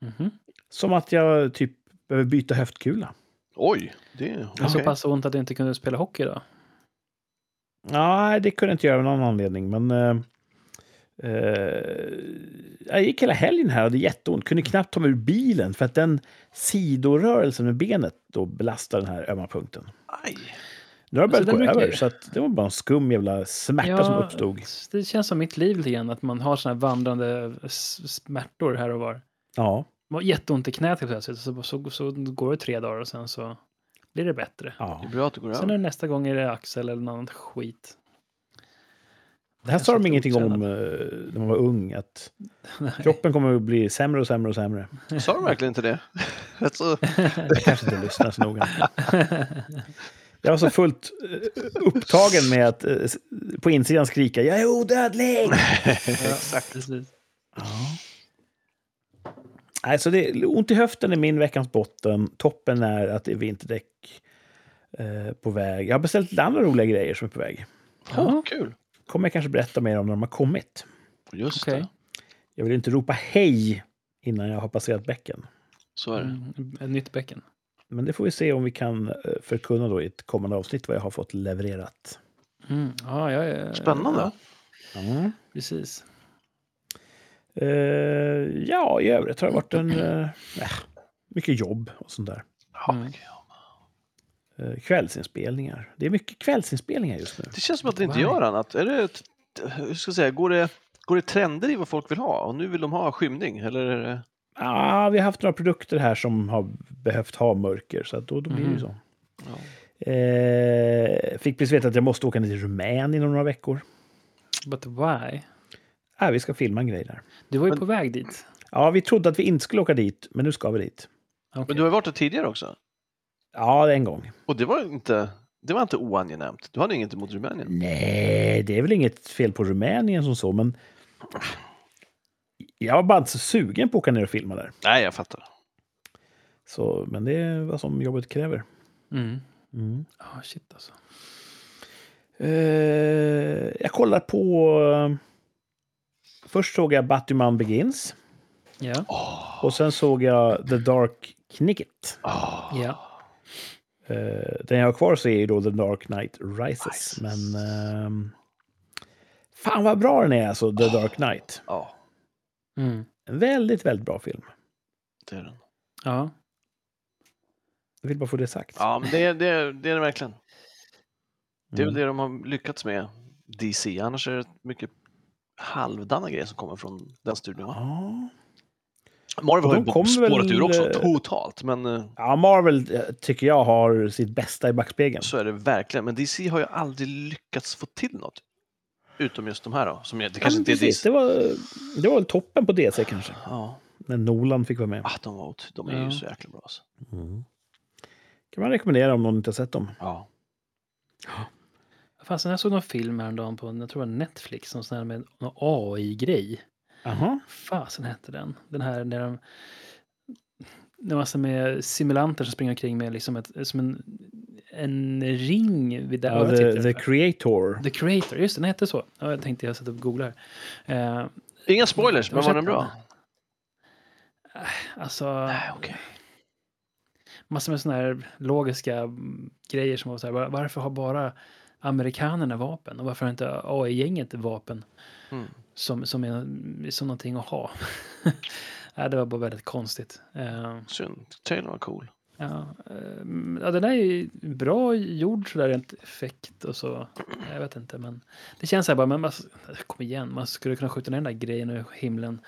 [SPEAKER 4] Mhm.
[SPEAKER 1] Som att jag typ behöver byta höftkula.
[SPEAKER 3] Oj, det...
[SPEAKER 4] Det var Så
[SPEAKER 3] okej.
[SPEAKER 4] pass ont att du inte kunde spela hockey då?
[SPEAKER 1] Nej, det kunde jag inte göra av någon anledning. Men eh, eh, jag gick hela helgen här och hade jätteont. Kunde knappt ta mig ur bilen för att den sidorörelsen med benet då belastar den här ömma punkten.
[SPEAKER 3] Aj.
[SPEAKER 1] Nu har det börjat
[SPEAKER 4] Alltså,
[SPEAKER 1] gå
[SPEAKER 4] den brukar
[SPEAKER 1] över,
[SPEAKER 4] ju-
[SPEAKER 1] så att det var bara en skum jävla smärta som uppstod.
[SPEAKER 4] Det känns som mitt liv lite grann, att man har såna här vandrande s- smärtor här och var.
[SPEAKER 1] Ja,
[SPEAKER 4] Man har jätteont i knät helt plötsligt, så, så, så går det tre dagar och sen så blir det bättre.
[SPEAKER 3] Det
[SPEAKER 1] ja.
[SPEAKER 3] är bra att du går
[SPEAKER 4] Sen är
[SPEAKER 3] över.
[SPEAKER 4] det nästa gång är det axel eller något annat skit.
[SPEAKER 1] Det här sa
[SPEAKER 4] Jag
[SPEAKER 1] de
[SPEAKER 4] satt
[SPEAKER 1] ingenting om
[SPEAKER 4] otränad.
[SPEAKER 1] eh, när man var ung, att kroppen kommer att bli sämre och sämre och sämre.
[SPEAKER 3] Sa du verkligen inte det? Alltså, Rätt så...
[SPEAKER 1] Jag kanske inte lyssnar så noga. Jag var så fullt eh, upptagen med att eh, s- på insidan skrika “Jag är odödlig!”
[SPEAKER 4] Exakt. Precis.
[SPEAKER 1] Nej, så det, ont i höften är min veckans botten. Toppen är att det är vinterdäck eh, på väg. Jag har beställt lite andra roliga grejer som är på väg.
[SPEAKER 3] Åh, kul!
[SPEAKER 1] Kommer jag kanske berätta mer om när de har kommit.
[SPEAKER 3] Just
[SPEAKER 4] Okej.
[SPEAKER 3] det,
[SPEAKER 1] Jag vill inte ropa hej innan jag har passerat bäcken.
[SPEAKER 3] så är det.
[SPEAKER 4] Mm, Ett nytt bäcken.
[SPEAKER 1] Men det får vi se om vi kan eh, förkunna då i ett kommande avsnitt vad jag har fått levererat.
[SPEAKER 4] Mm. Ja, jag är-
[SPEAKER 3] Spännande.
[SPEAKER 4] Ja,
[SPEAKER 1] Mm.
[SPEAKER 4] precis.
[SPEAKER 1] Eh, ja, i övrigt har det varit en... eh, eh, mycket jobb och sånt där.
[SPEAKER 4] Mm.
[SPEAKER 1] Eh, kvällsinspelningar. Det är mycket kvällsinspelningar just nu.
[SPEAKER 3] Det känns som att det inte
[SPEAKER 4] Why?
[SPEAKER 3] gör annat. Är det... ett- Hur ska jag säga? Går det, går det trender i vad folk vill ha? Och nu vill de ha skymning, eller? är det-
[SPEAKER 1] Ja, vi har haft några produkter här som har behövt ha mörker, så att då, då blir det ju så.
[SPEAKER 3] Ja.
[SPEAKER 1] Eh, fick precis veta att jag måste åka ner till Rumänien inom några veckor.
[SPEAKER 4] But why?
[SPEAKER 1] Ah, vi ska filma en grej där.
[SPEAKER 4] Du var ju
[SPEAKER 3] Men-
[SPEAKER 4] på väg dit.
[SPEAKER 1] Ja, vi trodde att vi inte skulle åka dit, men nu ska vi dit.
[SPEAKER 4] Okej.
[SPEAKER 3] Men du har ju varit där tidigare också.
[SPEAKER 1] Ja, en gång.
[SPEAKER 3] Och det var inte, det var inte oangenämt. Du hade inget emot Rumänien.
[SPEAKER 1] Nej, det är väl inget fel på Rumänien som så, men... Jag var bara inte så sugen på att åka ner och filma där.
[SPEAKER 3] Nej, jag fattar.
[SPEAKER 1] Så, men det är vad som jobbet kräver.
[SPEAKER 4] Mm.
[SPEAKER 1] Mm.
[SPEAKER 4] Ja, shit alltså.
[SPEAKER 1] Eh, jag kollar på... eh, Först såg jag Batman Begins.
[SPEAKER 4] Ja.
[SPEAKER 1] Och sen såg jag The Dark Knicket.
[SPEAKER 3] Ah,
[SPEAKER 4] ja.
[SPEAKER 1] Eh, den jag har kvar så är ju då The Dark Knight Rises.
[SPEAKER 3] Rises.
[SPEAKER 1] Men... ehm, fan vad bra den är alltså, The Dark Knight.
[SPEAKER 3] ja,
[SPEAKER 4] Mm.
[SPEAKER 1] En väldigt, väldigt bra film.
[SPEAKER 3] det är den.
[SPEAKER 4] Ja.
[SPEAKER 1] Jag vill bara få det sagt.
[SPEAKER 3] Ja, men det, är- det, är- det är det verkligen. Det är väl
[SPEAKER 1] Mm.
[SPEAKER 3] det de har lyckats med, DC. Annars är det mycket halvdana grejer som kommer från den studion. va?
[SPEAKER 1] Ja.
[SPEAKER 3] Marvel har
[SPEAKER 1] De
[SPEAKER 3] ju
[SPEAKER 1] kom
[SPEAKER 3] bo- spårat
[SPEAKER 1] väl,
[SPEAKER 3] ur också
[SPEAKER 1] eh,
[SPEAKER 3] totalt, men eh,
[SPEAKER 1] Ja, Marvel eh, tycker jag har sitt bästa i backspegeln.
[SPEAKER 3] så är det verkligen. Men DC har ju aldrig lyckats få till något. Utom just de här då, som jag, det kanske
[SPEAKER 1] Ja, men
[SPEAKER 3] inte är
[SPEAKER 1] precis.
[SPEAKER 3] DC.
[SPEAKER 1] det, var, det var väl toppen på DC kanske,
[SPEAKER 3] Ja,
[SPEAKER 1] när Nolan fick vara med.
[SPEAKER 3] ah, de, var, ot- de är
[SPEAKER 4] Ja.
[SPEAKER 3] ju så jäkla bra. Alltså.
[SPEAKER 1] Kan man rekommendera om någon inte har sett dem.
[SPEAKER 3] Ja.
[SPEAKER 4] Fast jag såg någon film häromdagen på jag tror det var Netflix som sån här med någon AI-grej.
[SPEAKER 1] Aha.
[SPEAKER 4] Fasen hette den? Den här när de... Det var alltså med simulanter som springer omkring med liksom ett, som en, en ring vid det
[SPEAKER 1] Ja,
[SPEAKER 4] örat.
[SPEAKER 1] the,
[SPEAKER 4] sitter.
[SPEAKER 1] the Creator.
[SPEAKER 4] The Creator, just det, den hette så. Ja, jag tänkte jag satt och googlade. här. Eh,
[SPEAKER 3] Inga spoilers, men
[SPEAKER 4] har
[SPEAKER 3] var den
[SPEAKER 4] sett
[SPEAKER 3] bra?
[SPEAKER 4] alltså,
[SPEAKER 3] Nej, okej.
[SPEAKER 4] massor med sådana här logiska mm, grejer som var så här, var- varför har bara amerikanerna vapen och varför har inte AI-gänget vapen
[SPEAKER 3] Mm.
[SPEAKER 4] som, som är som någonting att ha? Nej, det var bara väldigt konstigt. Eh,
[SPEAKER 3] Synd. Trailern var cool.
[SPEAKER 4] Ja, eh, ja, den är ju bra gjord sådär rent effekt och så. Jag vet inte, men det känns så här bara, men man, kom igen, man skulle kunna skjuta ner den där grejen ur himlen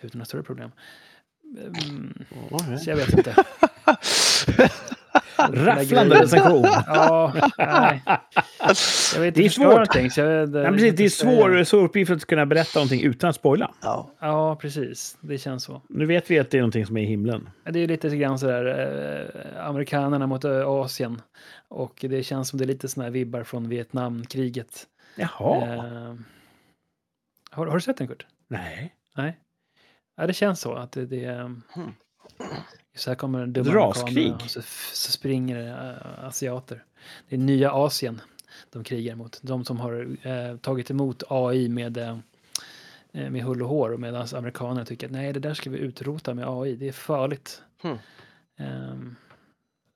[SPEAKER 4] utan några större problem. Mm,
[SPEAKER 3] Okej.
[SPEAKER 4] så jag vet inte.
[SPEAKER 1] Rafflande recension.
[SPEAKER 4] Ja, nej. Jag vet inte
[SPEAKER 1] Det är
[SPEAKER 4] förstöra
[SPEAKER 1] svårt.
[SPEAKER 4] någonting, så jag,
[SPEAKER 1] Ja, precis, det är svår, svår uppgift att kunna berätta någonting utan att spoila.
[SPEAKER 3] Ja.
[SPEAKER 4] Ja, precis. Det känns så.
[SPEAKER 1] Nu vet vi att det är någonting som är i himlen.
[SPEAKER 4] Det är lite grann sådär eh, amerikanerna mot eh, Asien och det känns som det är lite sådana här vibbar från Vietnamkriget.
[SPEAKER 1] Jaha.
[SPEAKER 4] Eh, har, har du sett den Kurt?
[SPEAKER 1] Nej.
[SPEAKER 4] Nej. Ja, det känns så att det, det är...
[SPEAKER 3] Hmm.
[SPEAKER 4] Så här kommer den dumma
[SPEAKER 1] Ett
[SPEAKER 4] amerikanerna
[SPEAKER 1] raskrig.
[SPEAKER 4] och så, f- så springer det eh, asiater. Det är nya Asien de krigar mot. De som har eh, tagit emot AI med, eh, med hull och hår medan amerikanerna tycker att nej, det där ska vi utrota med AI. Det är farligt.
[SPEAKER 3] Hmm.
[SPEAKER 4] Ehm,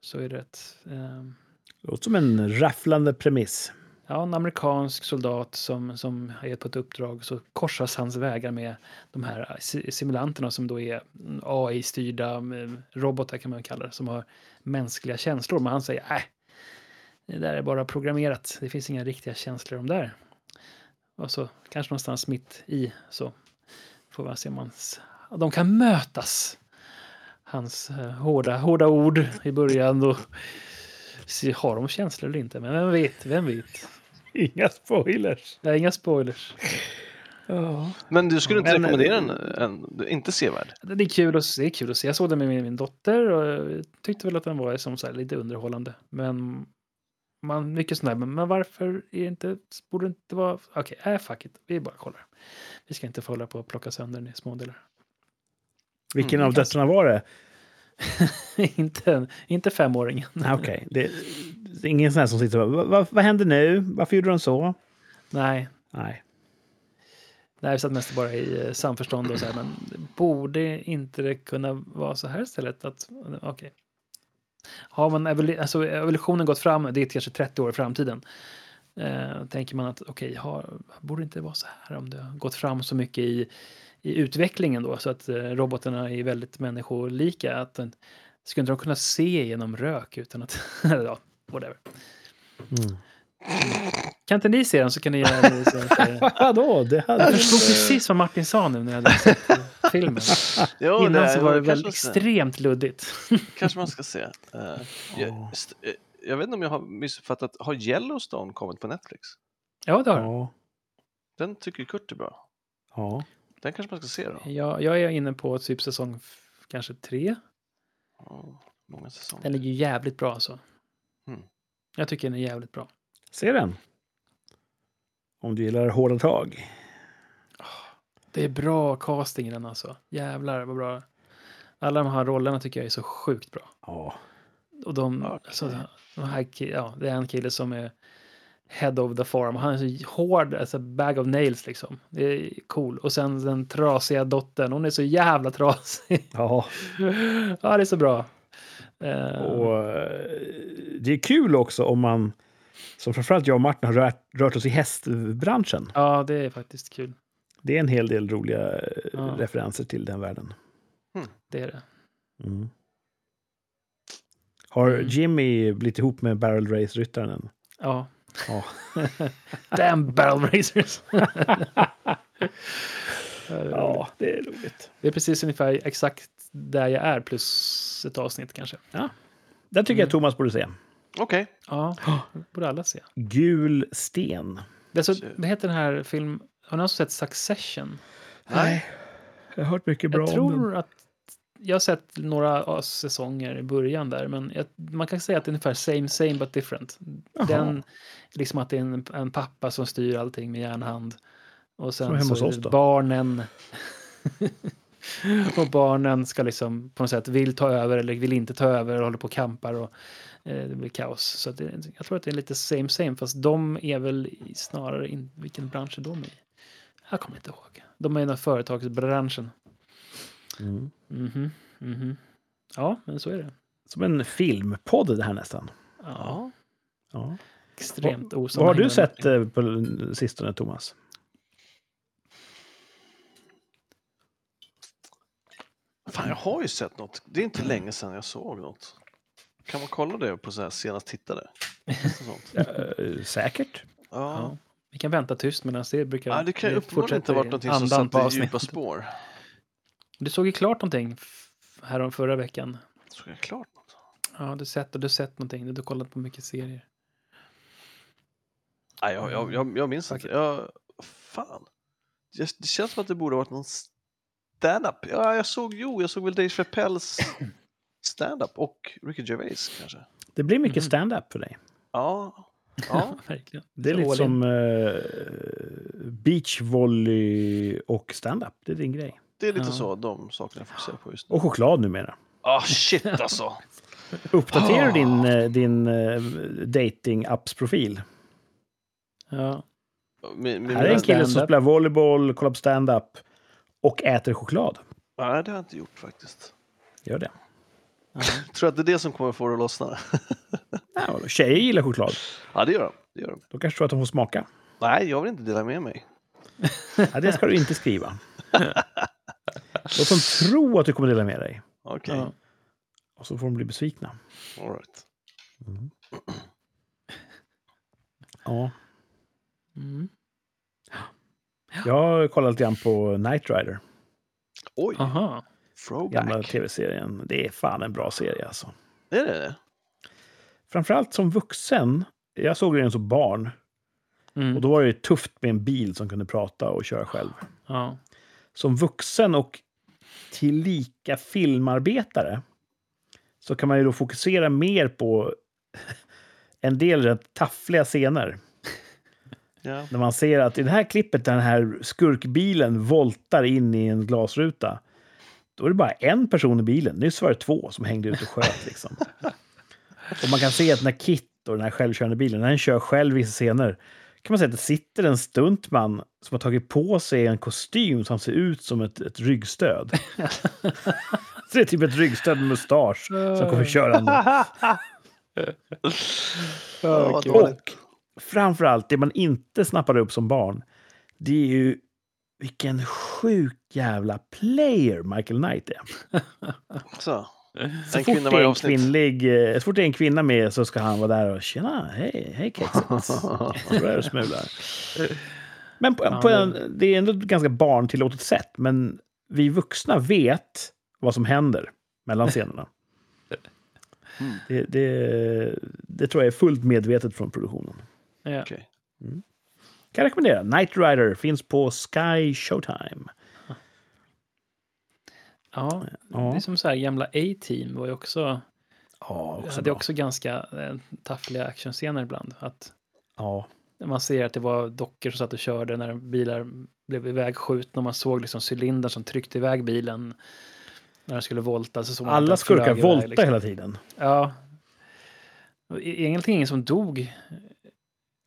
[SPEAKER 4] så är det rätt. ehm,
[SPEAKER 1] Låter som en rafflande premiss.
[SPEAKER 4] Ja, en amerikansk soldat som, som är på ett uppdrag så korsas hans vägar med de här si- simulanterna som då är AI-styrda eh, robotar kan man kalla det, som har mänskliga känslor. Men han säger nej, det där är bara programmerat. Det finns inga riktiga känslor om det där. Och så kanske någonstans mitt i så får man se om hans, de kan mötas. Hans eh, hårda, hårda ord i början och se, har de känslor eller inte. Men vem vet, vem vet.
[SPEAKER 1] Inga spoilers.
[SPEAKER 4] Det är inga spoilers.
[SPEAKER 3] Men du skulle inte
[SPEAKER 4] eh,
[SPEAKER 1] Men-
[SPEAKER 3] rekommendera den? än? Du är Inte sevärd?
[SPEAKER 4] Det är kul att se. Det är kul att se. Jag såg den med min, min dotter och jag tyckte väl att den var som så här, lite underhållande. Men man, mycket sån här, men, men varför är det inte, borde det inte vara, okej, nej fuck it, vi bara kollar. Vi ska inte få hålla på och plocka sönder den i smådelar.
[SPEAKER 1] Vilken av döttrarna var det?
[SPEAKER 4] inte, inte femåringen.
[SPEAKER 1] Nej, Okej. Det, det är ingen sån här som sitter och bara, "Va- va, vad händer nu? Varför gjorde de så?
[SPEAKER 4] Nej,
[SPEAKER 1] Nej.
[SPEAKER 4] nej, vi satt mest bara i eh, samförstånd och så här, men borde inte det kunna vara så här istället? Att, okej. Har man evol- alltså, evolutionen gått fram, det är kanske 30 år i framtiden, eh, tänker man att okej, har- borde det inte vara så här om det har gått fram så mycket i, i utvecklingen då, så att eh, robotarna är väldigt människolika, att den, skulle inte de kunna se genom rök utan att, eller ja, whatever.
[SPEAKER 1] Mm.
[SPEAKER 4] Kan inte ni se den så kan ni göra det. Så att, eh,
[SPEAKER 1] Vadå? Det
[SPEAKER 4] Jag
[SPEAKER 1] hade...
[SPEAKER 4] förstod precis vad Martin sa nu när jag hade sett eh, filmen.
[SPEAKER 3] Jo,
[SPEAKER 4] Innan så var det
[SPEAKER 3] kanske
[SPEAKER 4] väl
[SPEAKER 3] man ska-
[SPEAKER 4] extremt luddigt.
[SPEAKER 3] Kanske man ska se. Eh, jag, st- eh, jag vet inte om jag har missuppfattat. Har Yellowstone kommit på Netflix?
[SPEAKER 4] Ja, det har den.
[SPEAKER 1] Ja.
[SPEAKER 3] Den tycker Kurt är bra.
[SPEAKER 1] ja.
[SPEAKER 3] Den kanske man ska se då?
[SPEAKER 4] jag, jag är inne på typ säsong f- kanske tre.
[SPEAKER 3] Ja, Mm, många säsonger.
[SPEAKER 4] Den är ju jävligt bra alltså.
[SPEAKER 3] Mm.
[SPEAKER 4] Jag tycker den är jävligt bra.
[SPEAKER 1] Se den. Om du gillar hårda tag.
[SPEAKER 4] Det är bra casting i den alltså. Jävlar vad bra. Alla de här rollerna tycker jag är så sjukt bra.
[SPEAKER 1] Ja.
[SPEAKER 4] Och de,
[SPEAKER 3] Okej.
[SPEAKER 4] alltså, de här, ki- ja, det är en kille som är head of the farm. Han är så hård, alltså bag of nails liksom. Det är cool. Och sen den trasiga dottern, hon är så jävla trasig.
[SPEAKER 1] ja.
[SPEAKER 4] ja, det är så bra. Eh,
[SPEAKER 1] Och eh, det är kul också om man, som framförallt jag och Martin har rört, rört oss i hästbranschen.
[SPEAKER 4] Ja, det är faktiskt kul.
[SPEAKER 1] Det är en hel del roliga eh,
[SPEAKER 4] Ja.
[SPEAKER 1] referenser till den världen.
[SPEAKER 4] Det är det.
[SPEAKER 1] Mm. Har
[SPEAKER 4] Mm.
[SPEAKER 1] Jimmy blivit ihop med Barrel Race-ryttaren än?
[SPEAKER 4] Ja.
[SPEAKER 1] Ja.
[SPEAKER 4] Damn barrel racers! Ja, det är roligt.
[SPEAKER 1] Ja, det är roligt.
[SPEAKER 4] Det är precis ungefär exakt där jag är plus ett avsnitt kanske.
[SPEAKER 1] Den tycker jag Thomas borde se.
[SPEAKER 3] Okej.
[SPEAKER 4] Ja, det borde alla se.
[SPEAKER 1] Gul sten.
[SPEAKER 4] Det är så, vad heter den här film? Har någon sett Succession?
[SPEAKER 3] Nej.
[SPEAKER 1] Jag har hört mycket
[SPEAKER 4] Jag tror att jag har sett några ja, säsonger i början där, men jag, man kan säga att det är ungefär same same but different. Den, liksom att det är en, en pappa som styr allting med järnhand. Och
[SPEAKER 1] Som
[SPEAKER 4] sen
[SPEAKER 1] hemma hos
[SPEAKER 4] så är
[SPEAKER 1] oss
[SPEAKER 4] det
[SPEAKER 1] då.
[SPEAKER 4] barnen. och barnen ska liksom på något sätt vill ta över eller vill inte ta över och håller på och kampar och eh, det blir kaos. Så att det, jag tror att det är lite same same, fast de är väl i- snarare, in, vilken bransch är de i? Jag kommer inte ihåg. De är inom företagsbranschen.
[SPEAKER 1] Mm.
[SPEAKER 4] Mhm, mhm. Ja, men så är det.
[SPEAKER 1] Som en filmpodd det här nästan.
[SPEAKER 4] Ja,
[SPEAKER 1] Ja.
[SPEAKER 4] extremt
[SPEAKER 1] Vad har
[SPEAKER 4] osammanhängande.
[SPEAKER 1] du sett eh, på sistone, Thomas?
[SPEAKER 3] Fan, jag har ju sett något. Det är inte länge sedan jag såg något. Kan man kolla det på så här senast tittade? Sånt. Ja.
[SPEAKER 1] Eh, säkert.
[SPEAKER 4] Ja. Vi kan vänta tyst medan det brukar...
[SPEAKER 3] Ja, Ah, det kan ju uppenbarligen
[SPEAKER 4] fortsätter
[SPEAKER 3] inte ha varit någonting som
[SPEAKER 4] andan på
[SPEAKER 3] satte
[SPEAKER 4] avsnittet.
[SPEAKER 3] djupa spår.
[SPEAKER 4] Du såg ju klart någonting f- här om förra veckan.
[SPEAKER 3] Såg jag klart något?
[SPEAKER 4] Ja, du sett och du sett någonting. Du har kollat på mycket serier.
[SPEAKER 3] Nej, jag, jag, jag, jag minns inte. Jag, fan. Det, det känns som att det borde ha varit någon stand-up. Ja, jag såg, jo, jag såg väl Dave Chappelles stand-up och Ricky Gervais kanske.
[SPEAKER 1] Det blir mycket
[SPEAKER 4] Mhm.
[SPEAKER 1] stand-up för dig.
[SPEAKER 3] Ja. ja.
[SPEAKER 4] verkligen.
[SPEAKER 1] Det är
[SPEAKER 4] Så
[SPEAKER 1] lite
[SPEAKER 4] all in.
[SPEAKER 1] som eh, beachvolley och stand-up. Det är din grej.
[SPEAKER 3] Det är lite
[SPEAKER 4] Ja.
[SPEAKER 3] så de sakerna jag fokuserar på just nu.
[SPEAKER 1] Och choklad numera.
[SPEAKER 3] Ah, shit alltså!
[SPEAKER 1] Uppdaterar du
[SPEAKER 3] Ah.
[SPEAKER 1] din, eh, din eh, dating-apps-profil?
[SPEAKER 4] Ja.
[SPEAKER 3] Min, min,
[SPEAKER 1] Här är en kille som
[SPEAKER 4] Stand-up.
[SPEAKER 1] spelar volleyboll, kollar på stand-up och äter choklad.
[SPEAKER 3] Nej, det har jag inte gjort faktiskt.
[SPEAKER 1] Gör det.
[SPEAKER 3] Tror att det är det som kommer få det att lossna?
[SPEAKER 1] Ja, tjejer gillar choklad.
[SPEAKER 3] Ja, det gör de. Det gör de.
[SPEAKER 1] Då kanske tror att de får smaka.
[SPEAKER 3] Nej, jag vill inte dela med mig.
[SPEAKER 1] Ja, det ska du inte skriva. Låt dem tro att du kommer dela med dig.
[SPEAKER 3] Okej,
[SPEAKER 4] Ja.
[SPEAKER 1] Och så får de bli besvikna.
[SPEAKER 3] all right.
[SPEAKER 1] Ja.
[SPEAKER 4] Mm.
[SPEAKER 1] Jag har kollat lite grann på Knight Rider,
[SPEAKER 3] Oj,
[SPEAKER 4] Aha.
[SPEAKER 3] throwback.
[SPEAKER 1] gamla tv-serien. Det är fan en bra serie alltså.
[SPEAKER 3] Är det det?
[SPEAKER 1] Framförallt som vuxen. Jag såg den som barn. Och
[SPEAKER 4] Mm.
[SPEAKER 1] då var det ju tufft med en bil som kunde prata och köra själv.
[SPEAKER 4] Ja.
[SPEAKER 1] Som vuxen och tillika filmarbetare så kan man ju då fokusera mer på en del rätt taffliga scener.
[SPEAKER 3] Ja.
[SPEAKER 1] När man ser att i det här klippet där den här skurkbilen voltar in i en glasruta, då är det bara en person i bilen. Nyss var det två som hängde ut och sköt. Liksom. Och man kan se att när Kit och den här självkörande bilen, när den kör själv vissa scener, kan man se att det sitter en stuntman som har tagit på sig en kostym som ser ut som ett, ett ryggstöd. Så det är typ ett ryggstöd med mustasch som kommer körande.
[SPEAKER 3] Ja,
[SPEAKER 4] Ja,
[SPEAKER 3] vad
[SPEAKER 4] kul.
[SPEAKER 3] dåligt.
[SPEAKER 1] Och framför allt, det man inte snappade upp som barn, det är ju vilken sjuk jävla player Michael Knight är.
[SPEAKER 3] Så.
[SPEAKER 1] Så
[SPEAKER 3] Mm. en
[SPEAKER 1] fort,
[SPEAKER 3] kvinna
[SPEAKER 1] det
[SPEAKER 3] varje
[SPEAKER 1] är en
[SPEAKER 3] avsnitt.
[SPEAKER 1] kvinnlig, eh, så fort det är en kvinna med så ska han vara där och tjena, hej, hej kexet. Så där smular. Men på,
[SPEAKER 4] Ja,
[SPEAKER 1] på
[SPEAKER 4] men-
[SPEAKER 1] en, det är ändå ett ganska barntillåtet sätt, men vi vuxna vet vad som händer mellan scenerna.
[SPEAKER 3] Mm.
[SPEAKER 1] Det, det, det tror jag är fullt medvetet från produktionen.
[SPEAKER 4] Ja.
[SPEAKER 3] Okej.
[SPEAKER 1] Kan jag rekommendera. Knight Rider finns på Sky Showtime.
[SPEAKER 4] Ja.
[SPEAKER 1] Ja,
[SPEAKER 4] Det är som så här gamla A-team var ju också...
[SPEAKER 1] ja också
[SPEAKER 4] hade
[SPEAKER 1] bra.
[SPEAKER 4] också ganska eh, taffliga actionscener ibland. Att
[SPEAKER 1] Ja.
[SPEAKER 4] man ser att det var dockor som satt och körde när bilar blev ivägskjutna och man såg liksom cylindern som tryckte iväg bilen när den skulle volta. Så såg man att
[SPEAKER 1] Alla
[SPEAKER 4] den flög
[SPEAKER 1] skurkar
[SPEAKER 4] iväg,
[SPEAKER 1] voltar
[SPEAKER 4] liksom.
[SPEAKER 1] hela tiden.
[SPEAKER 4] Ja. Och e- Egentligen ingen som dog.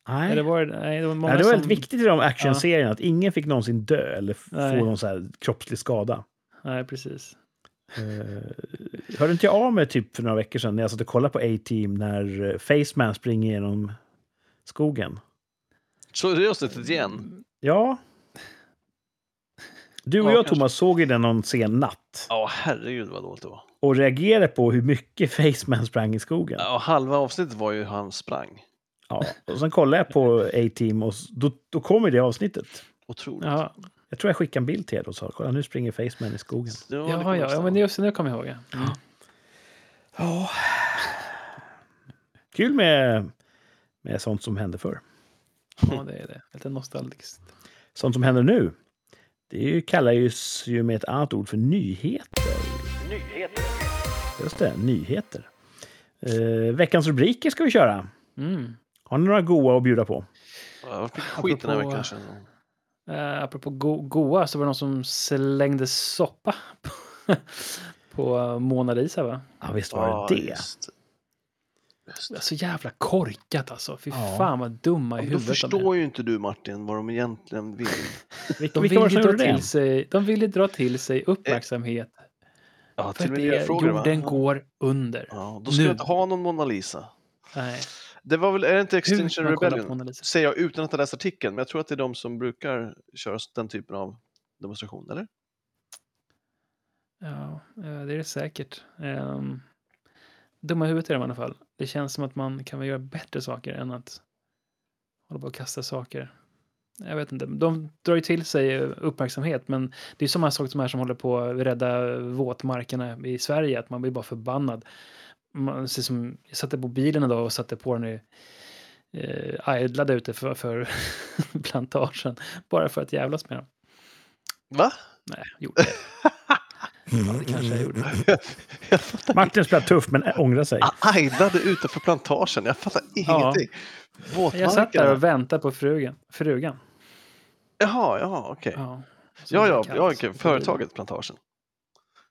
[SPEAKER 1] Nej.
[SPEAKER 4] Eller var det, nej, det var många
[SPEAKER 1] Nej, det var
[SPEAKER 4] som...
[SPEAKER 1] väldigt viktigt i de actionserierna att ingen fick någonsin dö eller f-
[SPEAKER 4] Nej.
[SPEAKER 1] få någon så här kroppslig skada.
[SPEAKER 4] Nej, precis.
[SPEAKER 1] Uh, hörde inte jag av mig typ för några veckor sedan när jag satt och kollade på A-Team när eh, Faceman springer genom skogen?
[SPEAKER 3] Så det är avsnittet igen?
[SPEAKER 1] Ja. Du och
[SPEAKER 3] Ja,
[SPEAKER 1] jag,
[SPEAKER 3] kanske.
[SPEAKER 1] Thomas, såg ju den någon sen natt
[SPEAKER 3] Ja, herregud vad dåligt det var.
[SPEAKER 1] och reagerade på hur mycket Faceman sprang i skogen.
[SPEAKER 3] Ja, halva avsnittet var ju hur han sprang.
[SPEAKER 1] Ja, och sen kollade jag på A-Team och s- då, då kom ju det avsnittet.
[SPEAKER 3] Otroligt.
[SPEAKER 4] Ja,
[SPEAKER 1] Jag tror jag skickade en bild till er och sa kolla nu springer Faceman i skogen.
[SPEAKER 3] Så det var lite
[SPEAKER 4] Ja, ja, ja,
[SPEAKER 3] konstigt.
[SPEAKER 4] men just det, nu kommer jag ihåg. Ja. Mm.
[SPEAKER 1] Ja. Kul med, med sånt som hände förr.
[SPEAKER 4] ja, det är det. Lite nostalgiskt.
[SPEAKER 1] Sånt som händer nu. Det är ju, kallas ju med ett annat ord för nyheter. Just det, nyheter. Eh, veckans rubriker ska vi köra.
[SPEAKER 4] Mm.
[SPEAKER 1] Har ni några goa att bjuda på?
[SPEAKER 3] Ja, Det har varit mycket skit den här
[SPEAKER 4] Apropå-
[SPEAKER 3] veckan. känner jag.
[SPEAKER 4] Uh, apropå go- goa så var det någon som slängde soppa på- på Mona Lisa, va?
[SPEAKER 1] Ja, visst var det
[SPEAKER 3] Ja,
[SPEAKER 1] det.
[SPEAKER 3] just det. Just det.
[SPEAKER 4] Så jävla korkat alltså. Fy
[SPEAKER 1] Ja.
[SPEAKER 4] fan vad dumma i
[SPEAKER 3] Men Då
[SPEAKER 4] huvudet de är.
[SPEAKER 3] förstår ju inte du Martin vad de egentligen vill.
[SPEAKER 1] Vilka,
[SPEAKER 4] De
[SPEAKER 1] vilka var
[SPEAKER 4] vill,
[SPEAKER 1] det som
[SPEAKER 4] ju
[SPEAKER 1] gjorde
[SPEAKER 4] dra
[SPEAKER 1] det? Eh,
[SPEAKER 4] till sig, de vill ju dra till sig uppmärksamhet för
[SPEAKER 3] Ja, till
[SPEAKER 4] att
[SPEAKER 3] och med
[SPEAKER 4] det,
[SPEAKER 3] miljöfrågor va?
[SPEAKER 4] jorden går under.
[SPEAKER 3] Ja, då skulle
[SPEAKER 4] Nu.
[SPEAKER 3] jag inte ha någon Mona Lisa.
[SPEAKER 4] Nej.
[SPEAKER 3] Det var väl, är det inte
[SPEAKER 4] Hur kan
[SPEAKER 3] Extinction
[SPEAKER 4] man kolla på
[SPEAKER 3] Rebellion?
[SPEAKER 4] Mona Lisa?
[SPEAKER 3] Säger jag utan att ha läst artikeln, men jag tror att det är de som brukar köra den typen av demonstration, eller?
[SPEAKER 4] Ja, eh, det är det säkert. Ehm, dumma i huvudet är de i alla fall. Det känns som att man kan väl göra bättre saker än att hålla på och kasta saker. Jag vet inte. De drar ju till sig uppmärksamhet, men det är samma sak som här som håller på att rädda våtmarkerna i Sverige, att man blir bara förbannad. Man ser som, jag satte på bilen idag och satte på den i eh, idlade ute för, för plantagen, bara för att jävlas med dem.
[SPEAKER 3] Va?
[SPEAKER 4] Nej, jag gjorde det. Ja, det kanske jag gjorde.
[SPEAKER 1] Martin spelar tuff men ångrar sig.
[SPEAKER 3] Jag idlade utanför plantagen, jag fattar ingenting. Våtmarkerna?
[SPEAKER 4] Jag satt där och väntade på frugan. frugan.
[SPEAKER 3] Jaha, jaha, okej.
[SPEAKER 4] Ja, Som
[SPEAKER 3] Ja,
[SPEAKER 4] det
[SPEAKER 3] ja,
[SPEAKER 4] kallas.
[SPEAKER 3] ja okej. företaget plantagen.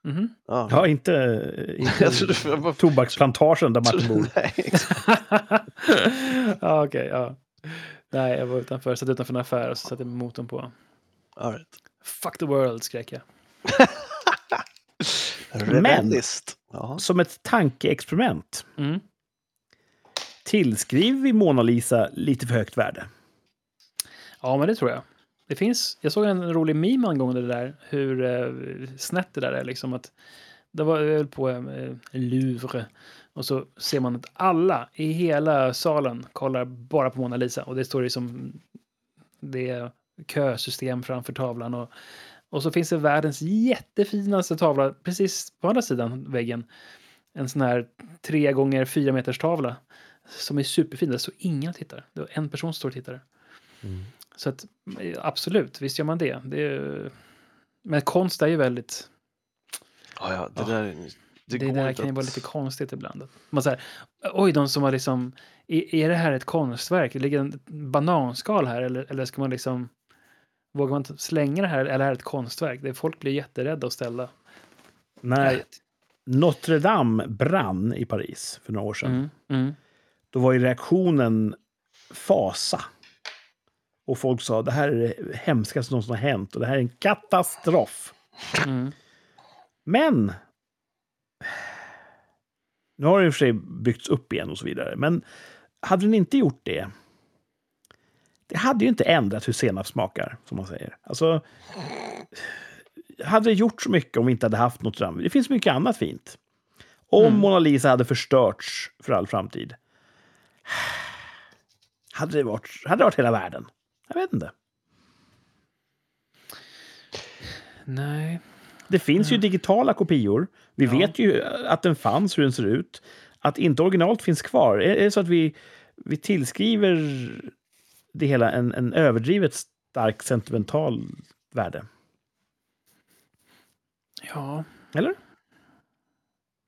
[SPEAKER 4] Mhm.
[SPEAKER 3] Ja.
[SPEAKER 1] Ja, inte,
[SPEAKER 3] Jag
[SPEAKER 1] inte
[SPEAKER 3] trodde för- jag bara-
[SPEAKER 1] tobaksplantagen där Martin bor.
[SPEAKER 3] Nej, exakt.
[SPEAKER 4] ja, okej. ja. Nej, jag var utanför. Satt utanför en affär och så satte jag motorn på.
[SPEAKER 3] All right.
[SPEAKER 4] Fuck the world, skrek jag.
[SPEAKER 3] Rebellist. Ja.
[SPEAKER 1] Som ett tankeexperiment
[SPEAKER 4] Mm.
[SPEAKER 1] tillskriver vi Mona Lisa lite för högt värde.
[SPEAKER 4] Ja, men det tror jag. Det finns, jag såg en rolig meme angående det där, hur eh, snett det där är. Liksom att, det var jag höll på eh, Louvre och så ser man att alla i hela salen kollar bara på Mona Lisa och det står liksom det är kösystem framför tavlan och, och så finns det världens jättefinaste tavla precis på andra sidan väggen. En sån här tre gånger fyra meters tavla som är superfin. Där står ingen tittar. Det var en person som står och tittar. Så att, eh, absolut, visst gör man det. det är, men konst är ju väldigt...
[SPEAKER 3] Ja, ja, det
[SPEAKER 4] Ja.
[SPEAKER 3] där är...
[SPEAKER 4] Det,
[SPEAKER 3] Det, går
[SPEAKER 4] där
[SPEAKER 3] inte
[SPEAKER 4] kan ju
[SPEAKER 3] att-
[SPEAKER 4] vara lite konstigt ibland. Att Man säger, oj, de som har liksom... Är, är det här ett konstverk? Det ligger en bananskal här? Eller, eller ska man liksom... Vågar man inte slänga det här? Eller är det ett konstverk? Det, folk blir jätterädda och ställda.
[SPEAKER 1] När Notre Dame brann i Paris för några år sedan,
[SPEAKER 4] Mm, mm.
[SPEAKER 1] då var ju reaktionen fasa. Och folk sa det här är det hemskaste någonsin har hänt och det här är en katastrof.
[SPEAKER 4] Mm.
[SPEAKER 1] Men... Nu har den i och för sig byggts upp igen och så vidare. Men hade den inte gjort det... Det hade ju inte ändrat hur senap smakar, som man säger. Alltså... Hade det gjort så mycket om vi inte hade haft något Dame? Det finns mycket annat fint. Om Mona Lisa hade förstörts för all framtid. Hade det varit, hade det varit hela världen? Jag vet inte.
[SPEAKER 4] Nej.
[SPEAKER 1] Det finns ju digitala kopior. Vi vet ju eh, att den fanns, hur den ser ut. Att inte originalt finns kvar. Är är det så att vi, vi tillskriver det hela en, en överdrivet stark sentimental värde?
[SPEAKER 4] Ja.
[SPEAKER 1] Eller?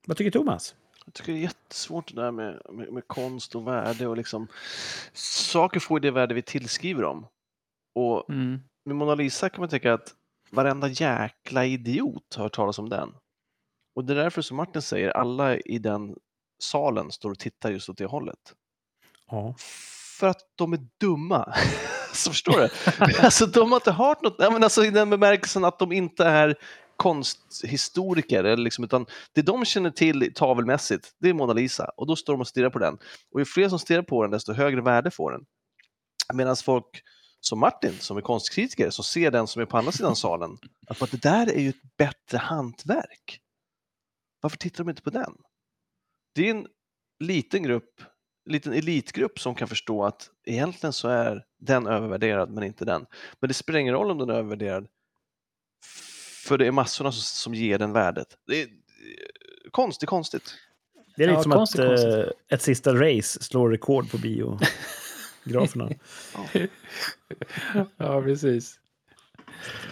[SPEAKER 1] Vad tycker Thomas?
[SPEAKER 3] Jag tycker det är jättesvårt det där med, med, med konst och värde och liksom saker får ju det värde vi tillskriver dem. Och
[SPEAKER 4] Mm.
[SPEAKER 3] med Mona Lisa kan man tänka att varenda jäkla idiot har hört talas om den. Och det är därför som Martin säger, alla i den salen står och tittar just åt det hållet.
[SPEAKER 1] Ja.
[SPEAKER 3] För att de är dumma. Så förstår du? Alltså de har inte hört något, Nej, men alltså, i den bemärkelsen att de inte är konsthistoriker, eller liksom, utan det de känner till tavelmässigt, det är Mona Lisa. Och då står de och stirrar på den. Och ju fler som stirrar på den, desto högre värde får den. Medan folk som Martin, som är konstkritiker, som ser den som är på andra sidan salen, att bara, det där är ju ett bättre hantverk. Varför tittar de inte på den? Det är en liten grupp, liten elitgrupp som kan förstå att egentligen så är den övervärderad, men inte den. Men det spelar ingen roll om den är övervärderad, För det är massorna som, som ger den värdet. Det är eh, konstigt, konstigt.
[SPEAKER 1] Det är lite
[SPEAKER 4] Ja,
[SPEAKER 1] som
[SPEAKER 4] konstigt,
[SPEAKER 1] att eh,
[SPEAKER 4] konstigt.
[SPEAKER 1] ett sista race slår rekord på biograferna.
[SPEAKER 4] Ja, precis.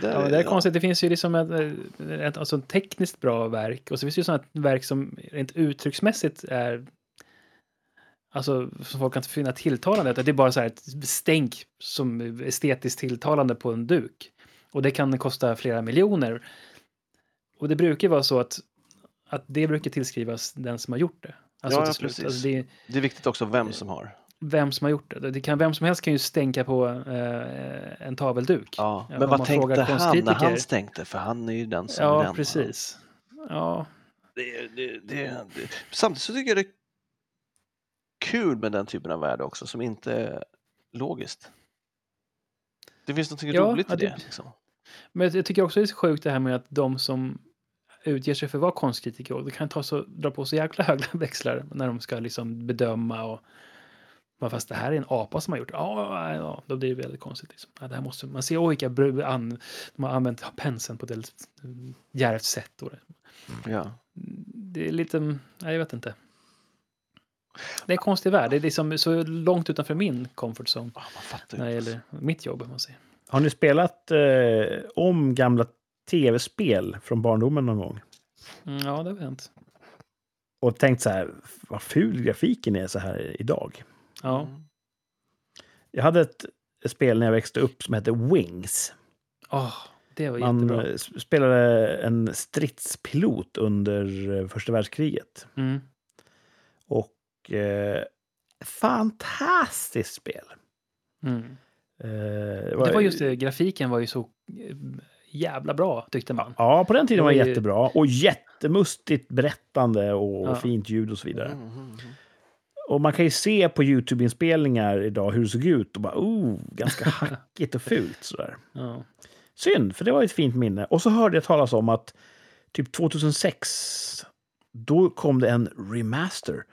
[SPEAKER 3] Det,
[SPEAKER 4] Ja, men det är konstigt. Det finns ju liksom ett, ett alltså ett tekniskt bra verk och så finns det ju sådana verk som rent uttrycksmässigt är Alltså som folk kan finna tilltalande. Att Det är bara så här ett stänk som är estetiskt tilltalande på en duk. Och det kan kosta flera miljoner. Och det brukar ju vara så att, att det brukar tillskrivas den som har gjort det. Alltså
[SPEAKER 3] Ja,
[SPEAKER 4] till
[SPEAKER 3] ja,
[SPEAKER 4] slut.
[SPEAKER 3] precis.
[SPEAKER 4] Alltså, det är,
[SPEAKER 3] det är viktigt också vem som har.
[SPEAKER 4] vem som har gjort det. det kan, vem som helst kan ju stänka på eh, en tavelduk.
[SPEAKER 3] Ja, men
[SPEAKER 4] om
[SPEAKER 3] vad
[SPEAKER 4] man
[SPEAKER 3] tänkte
[SPEAKER 4] frågar
[SPEAKER 3] han när han
[SPEAKER 4] konstkritiker.
[SPEAKER 3] stänkte? För han är ju den som är
[SPEAKER 4] Ja,
[SPEAKER 3] den.
[SPEAKER 4] precis. Ja,
[SPEAKER 3] Det, det, det, det. Samtidigt så tycker jag det är kul med den typen av värde också som inte är logiskt. Det finns något
[SPEAKER 4] Ja,
[SPEAKER 3] roligt i
[SPEAKER 4] ja,
[SPEAKER 3] det.
[SPEAKER 4] det-
[SPEAKER 3] liksom.
[SPEAKER 4] men jag tycker också det är så sjukt det här med att de som utger sig för att vara konstkritiker, de kan ta så, dra på så jäkla höga växlar när de ska liksom bedöma och bara, fast det här är en apa som har gjort det. Ja, ja, ja, då blir det väldigt konstigt. Liksom. Ja, det här måste, man ser, oj, vilka bru- an, de har använt penseln på ett väldigt djärvt sätt. Och det,
[SPEAKER 3] Ja.
[SPEAKER 4] det är lite, nej, jag vet inte. Det är en konstig värld, det är liksom så långt utanför min comfort zone
[SPEAKER 3] Ah, Man fattar
[SPEAKER 4] när det
[SPEAKER 3] ju. inte.
[SPEAKER 4] gäller mitt jobb, om man säger.
[SPEAKER 1] Har ni spelat eh, om gamla tv-spel från barndomen någon gång?
[SPEAKER 4] Mm, ja, det har hänt.
[SPEAKER 1] Och tänkt så här, vad ful grafiken är så här idag.
[SPEAKER 4] Ja.
[SPEAKER 3] Mm.
[SPEAKER 1] Jag hade ett spel när jag växte upp som hette Wings.
[SPEAKER 4] Åh, det var
[SPEAKER 1] Man
[SPEAKER 4] jättebra.
[SPEAKER 1] eh, s- spelade en stridspilot under eh, första världskriget.
[SPEAKER 4] Mm.
[SPEAKER 1] Och eh, fantastiskt spel.
[SPEAKER 4] Mm.
[SPEAKER 1] Eh,
[SPEAKER 4] Det var just det, grafiken var ju så eh, jävla bra tyckte man.
[SPEAKER 1] Ja, på den
[SPEAKER 4] Det
[SPEAKER 1] tiden
[SPEAKER 4] var
[SPEAKER 1] var det
[SPEAKER 4] ju-
[SPEAKER 1] jättebra. Och jättemustigt berättande och
[SPEAKER 4] Ja.
[SPEAKER 1] fint ljud och så vidare.
[SPEAKER 3] Mm, mm, mm.
[SPEAKER 1] Och man kan ju se på YouTube-inspelningar idag hur det såg ut och bara oh, ganska hackigt och fult sådär.
[SPEAKER 4] Ja.
[SPEAKER 1] Synd, för det var ju ett fint minne. Och så hörde jag talas om att typ 2006, då kom det en remaster.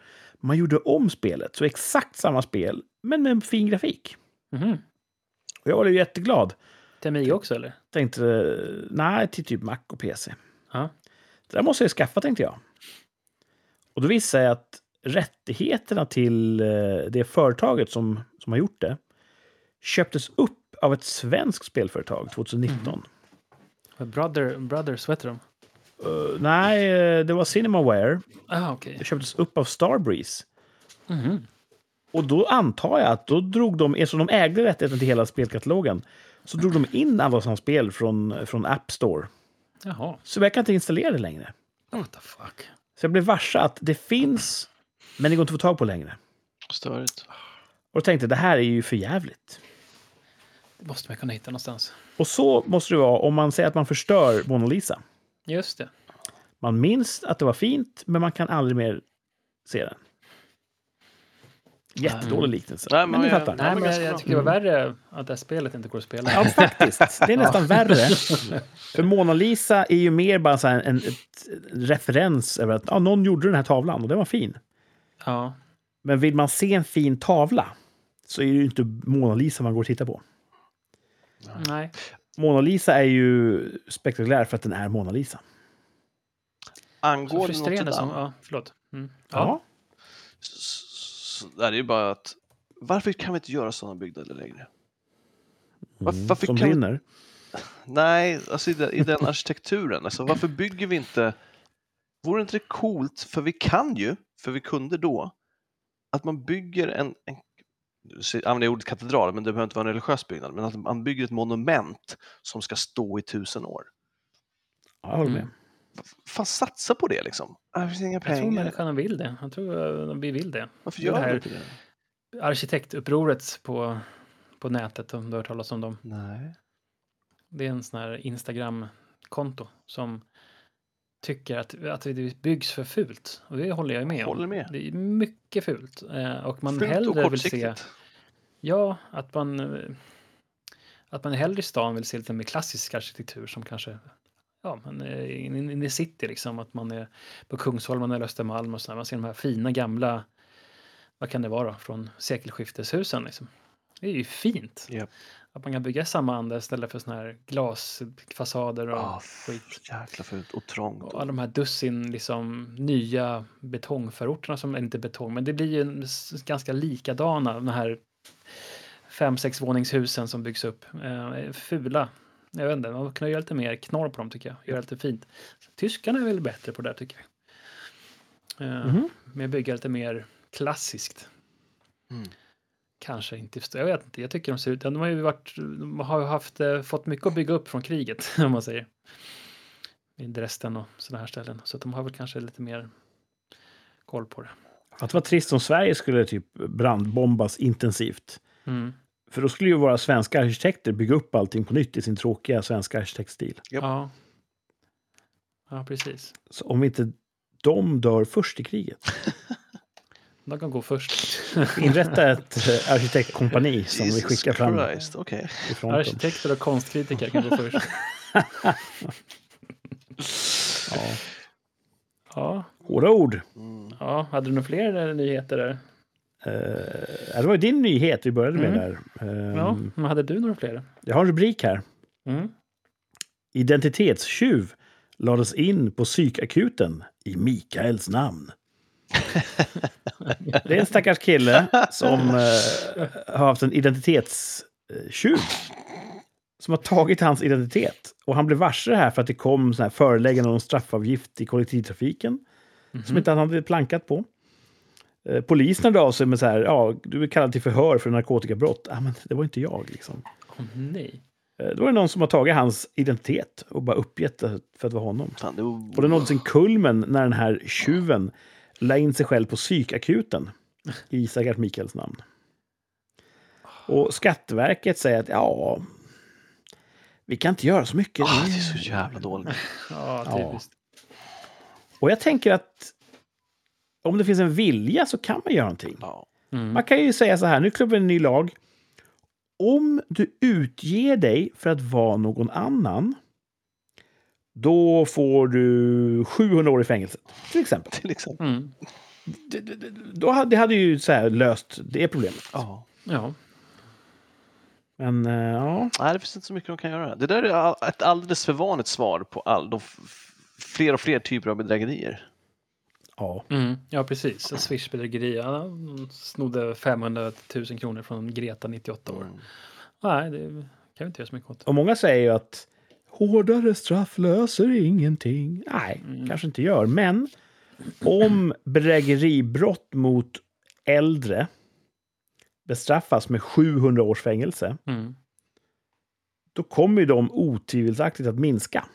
[SPEAKER 1] Man gjorde om spelet, så exakt samma spel, men med en fin grafik.
[SPEAKER 4] Mhm.
[SPEAKER 1] Och jag var ju jätteglad.
[SPEAKER 4] Till Amiga också eller?
[SPEAKER 1] Tänkte, eh, nej, till typ Mac och PC.
[SPEAKER 4] Ja.
[SPEAKER 1] Det där måste jag ju skaffa, tänkte jag. Och då visade jag att rättigheterna till eh, det företaget som, som har gjort det köptes upp av ett svenskt spelföretag 2019.
[SPEAKER 4] Brother, Brothers, vad heter de?
[SPEAKER 1] Eh, nej, eh, det var Cinemaware.
[SPEAKER 4] Ah, okej.
[SPEAKER 1] Det köptes upp av Starbreeze.
[SPEAKER 4] Mhm.
[SPEAKER 1] Och då antar jag att då drog de, eftersom de ägde rättigheten till hela spelkatalogen, så drog de in alla sådana spel från, från App Store.
[SPEAKER 4] Jaha.
[SPEAKER 1] Så jag kan inte installera det längre.
[SPEAKER 4] What the fuck?
[SPEAKER 1] Så jag blev varse att det finns, men det går inte att få tag på längre.
[SPEAKER 3] Störigt.
[SPEAKER 1] Och tänkte det här är ju för jävligt.
[SPEAKER 4] Det måste man kunna hitta någonstans.
[SPEAKER 1] Och så måste det vara om man säger att man förstör Mona Lisa.
[SPEAKER 4] Just det.
[SPEAKER 1] Man minns att det var fint, men man kan aldrig mer se den. Jättedålig liknelse.
[SPEAKER 3] Nej, men
[SPEAKER 1] men ni
[SPEAKER 3] jag-
[SPEAKER 1] fattar.
[SPEAKER 4] Nej,
[SPEAKER 3] men
[SPEAKER 4] men
[SPEAKER 3] ganska
[SPEAKER 4] jag, jag
[SPEAKER 3] bra.
[SPEAKER 4] tycker det var värre att det här spelet inte går att spela.
[SPEAKER 1] Ja, faktiskt. Det är nästan värre. För Mona Lisa är ju mer bara så här en, ett, en referens över att ja, någon gjorde den här tavlan och den var fin.
[SPEAKER 4] Ja.
[SPEAKER 1] Men vill man se en fin tavla så är det ju inte Mona Lisa man går och tittar på.
[SPEAKER 4] Nej.
[SPEAKER 1] Mona Lisa är ju spektakulär för att den är Mona Lisa.
[SPEAKER 4] Så
[SPEAKER 3] Angår det något
[SPEAKER 4] frustrerande
[SPEAKER 3] sådant?
[SPEAKER 4] som... Ja, förlåt. Mm. Ja.
[SPEAKER 3] Så- så- så- Det är ju bara att varför kan vi inte göra sådana byggnader längre? Var-
[SPEAKER 1] Mm,
[SPEAKER 3] varför
[SPEAKER 1] som
[SPEAKER 3] kan vi-
[SPEAKER 1] brinner.
[SPEAKER 3] Nej, alltså i den, i den arkitekturen. Alltså, varför bygger vi inte... Vore inte det coolt, för vi kan ju, för vi kunde då, att man bygger en... en jag använder ordet katedral, men det behöver inte vara en religiös byggnad, men att man bygger ett monument som ska stå i tusen år.
[SPEAKER 1] Ja, jag håller med.
[SPEAKER 4] Mm.
[SPEAKER 3] Fan, satsa på det liksom. Det finns inga
[SPEAKER 4] Jag tror
[SPEAKER 3] pengar.
[SPEAKER 4] människan vill det. Jag tror eh, vi vill det.
[SPEAKER 3] Varför
[SPEAKER 4] det här-
[SPEAKER 3] gör vi inte det?
[SPEAKER 4] Arkitektupproret på, på nätet, om du har hört talas om dem.
[SPEAKER 3] Nej.
[SPEAKER 4] Det är en sån här Instagram-konto som tycker att, att det byggs för fult. Och det håller jag med om.
[SPEAKER 3] Håller med.
[SPEAKER 4] Det är mycket fult. Eh, Och man
[SPEAKER 3] Fult och
[SPEAKER 4] hellre vill se...
[SPEAKER 3] kortsiktigt.
[SPEAKER 4] Ja, att man, eh, att man hellre i stan vill se lite mer klassisk arkitektur som kanske Ja, men eh, in, in, in i city liksom, att man är på Kungsholmen eller Östermalm och sådär. Man ser de här fina gamla, vad kan det vara då, från sekelskifteshusen liksom. Det är ju fint.
[SPEAKER 3] Japp.
[SPEAKER 4] Att Att man kan bygga i samma anda istället för såna här glasfasader och
[SPEAKER 3] Ah,
[SPEAKER 4] skit.
[SPEAKER 3] Jäkla fult och trångt.
[SPEAKER 4] Och alla de här dussin liksom, nya betongförorterna som eller inte betong, men det blir ju en s- ganska likadana. De här fem, sex våningshusen som byggs upp. Eh, fula. Jag vet inte, man kunde göra lite mer knorr på dem tycker jag. Göra lite fint. Tyskarna är väl bättre på det där tycker jag. Eh,
[SPEAKER 1] Mhm.
[SPEAKER 4] Men jag bygger lite mer klassiskt.
[SPEAKER 3] Mm.
[SPEAKER 4] Kanske inte, jag vet inte, jag tycker de ser ut, de har ju varit, de har ju haft, eh, fått mycket att bygga upp från kriget om man säger. I Dresden och sådana här ställen. Så att de har väl kanske lite mer koll på det.
[SPEAKER 1] Att vara trist om Sverige skulle typ brandbombas intensivt.
[SPEAKER 4] Mm.
[SPEAKER 1] För då skulle ju våra svenska arkitekter bygga upp allting på nytt i sin tråkiga svenska arkitektstil.
[SPEAKER 3] Japp.
[SPEAKER 4] Ja. ja, precis.
[SPEAKER 1] Så om inte de dör först i kriget.
[SPEAKER 4] De kan gå först.
[SPEAKER 1] Inrätta ett eh, arkitektkompani som vi
[SPEAKER 3] Jesus
[SPEAKER 1] skickar fram
[SPEAKER 3] Christ, okej.
[SPEAKER 1] i fronten.
[SPEAKER 4] Arkitekter och konstkritiker kan gå först.
[SPEAKER 1] Ja.
[SPEAKER 4] Ja,
[SPEAKER 1] Hårda ord.
[SPEAKER 3] Mm.
[SPEAKER 4] ja. hade du några fler eh, nyheter där?
[SPEAKER 1] Eh, ja, det var ju din nyhet vi började med
[SPEAKER 4] Mm.
[SPEAKER 1] där. Ehm,
[SPEAKER 4] Ja, men hade du några fler?
[SPEAKER 1] Jag har en rubrik här.
[SPEAKER 4] Mm.
[SPEAKER 1] Identitetstjuv lades in på psykakuten i Mikaels namn. Det är en stackars kille som eh, har haft en identitetstjuv som har tagit hans identitet. Och han blev varse det här för att det kom såna här förelägganden om straffavgift i kollektivtrafiken
[SPEAKER 4] Mm.
[SPEAKER 1] som inte han hade plankat på. Eh, Polisen hörde av sig med så här, ja, du är kallad till förhör för narkotikabrott. Ah, men det var inte jag liksom.
[SPEAKER 4] Åh, nej.
[SPEAKER 1] Eh, Då är det någon som har tagit hans identitet och bara uppgett det för att vara honom.
[SPEAKER 3] Fan, det
[SPEAKER 1] Och det nådde sin kulmen när den här tjuven la in sig själv på psykakuten i Sagat Mikaels namn. Och Skatteverket säger att ja, vi kan inte göra så mycket.
[SPEAKER 3] Ah, det är så jävla dåligt.
[SPEAKER 4] Ja,
[SPEAKER 1] Ja.
[SPEAKER 4] typiskt.
[SPEAKER 1] Och jag tänker att om det finns en vilja så kan man göra någonting.
[SPEAKER 3] Ja.
[SPEAKER 4] Mm.
[SPEAKER 1] Man kan ju säga så här, nu klubbar vi en ny lag. Om du utger dig för att vara någon annan, då får du 700 år i fängelse, till exempel.
[SPEAKER 3] Till exempel.
[SPEAKER 4] Mm.
[SPEAKER 1] Det, det, det, då hade, det hade ju så här löst det problemet.
[SPEAKER 3] Ja.
[SPEAKER 4] Ja.
[SPEAKER 1] Men eh, ja,
[SPEAKER 3] Nej, det finns inte så mycket de kan göra. Det där är all, ett alldeles för vanligt svar på all, de f- f- fler och fler typer av bedrägerier.
[SPEAKER 1] ja.
[SPEAKER 4] Mm. ja, precis. Ett Swish-bedrägeri. Ja, de snodde 500 000 kronor från Greta, 98 år.
[SPEAKER 3] Mm.
[SPEAKER 4] Nej, det kan vi inte göra så mycket åt.
[SPEAKER 1] Och många säger ju att hårdare straff löser ingenting. Nej, kanske inte gör. Men om bedrägeribrott mot äldre bestraffas med 700 års fängelse,
[SPEAKER 4] Mm.
[SPEAKER 1] då kommer ju de otvivelaktigt att minska.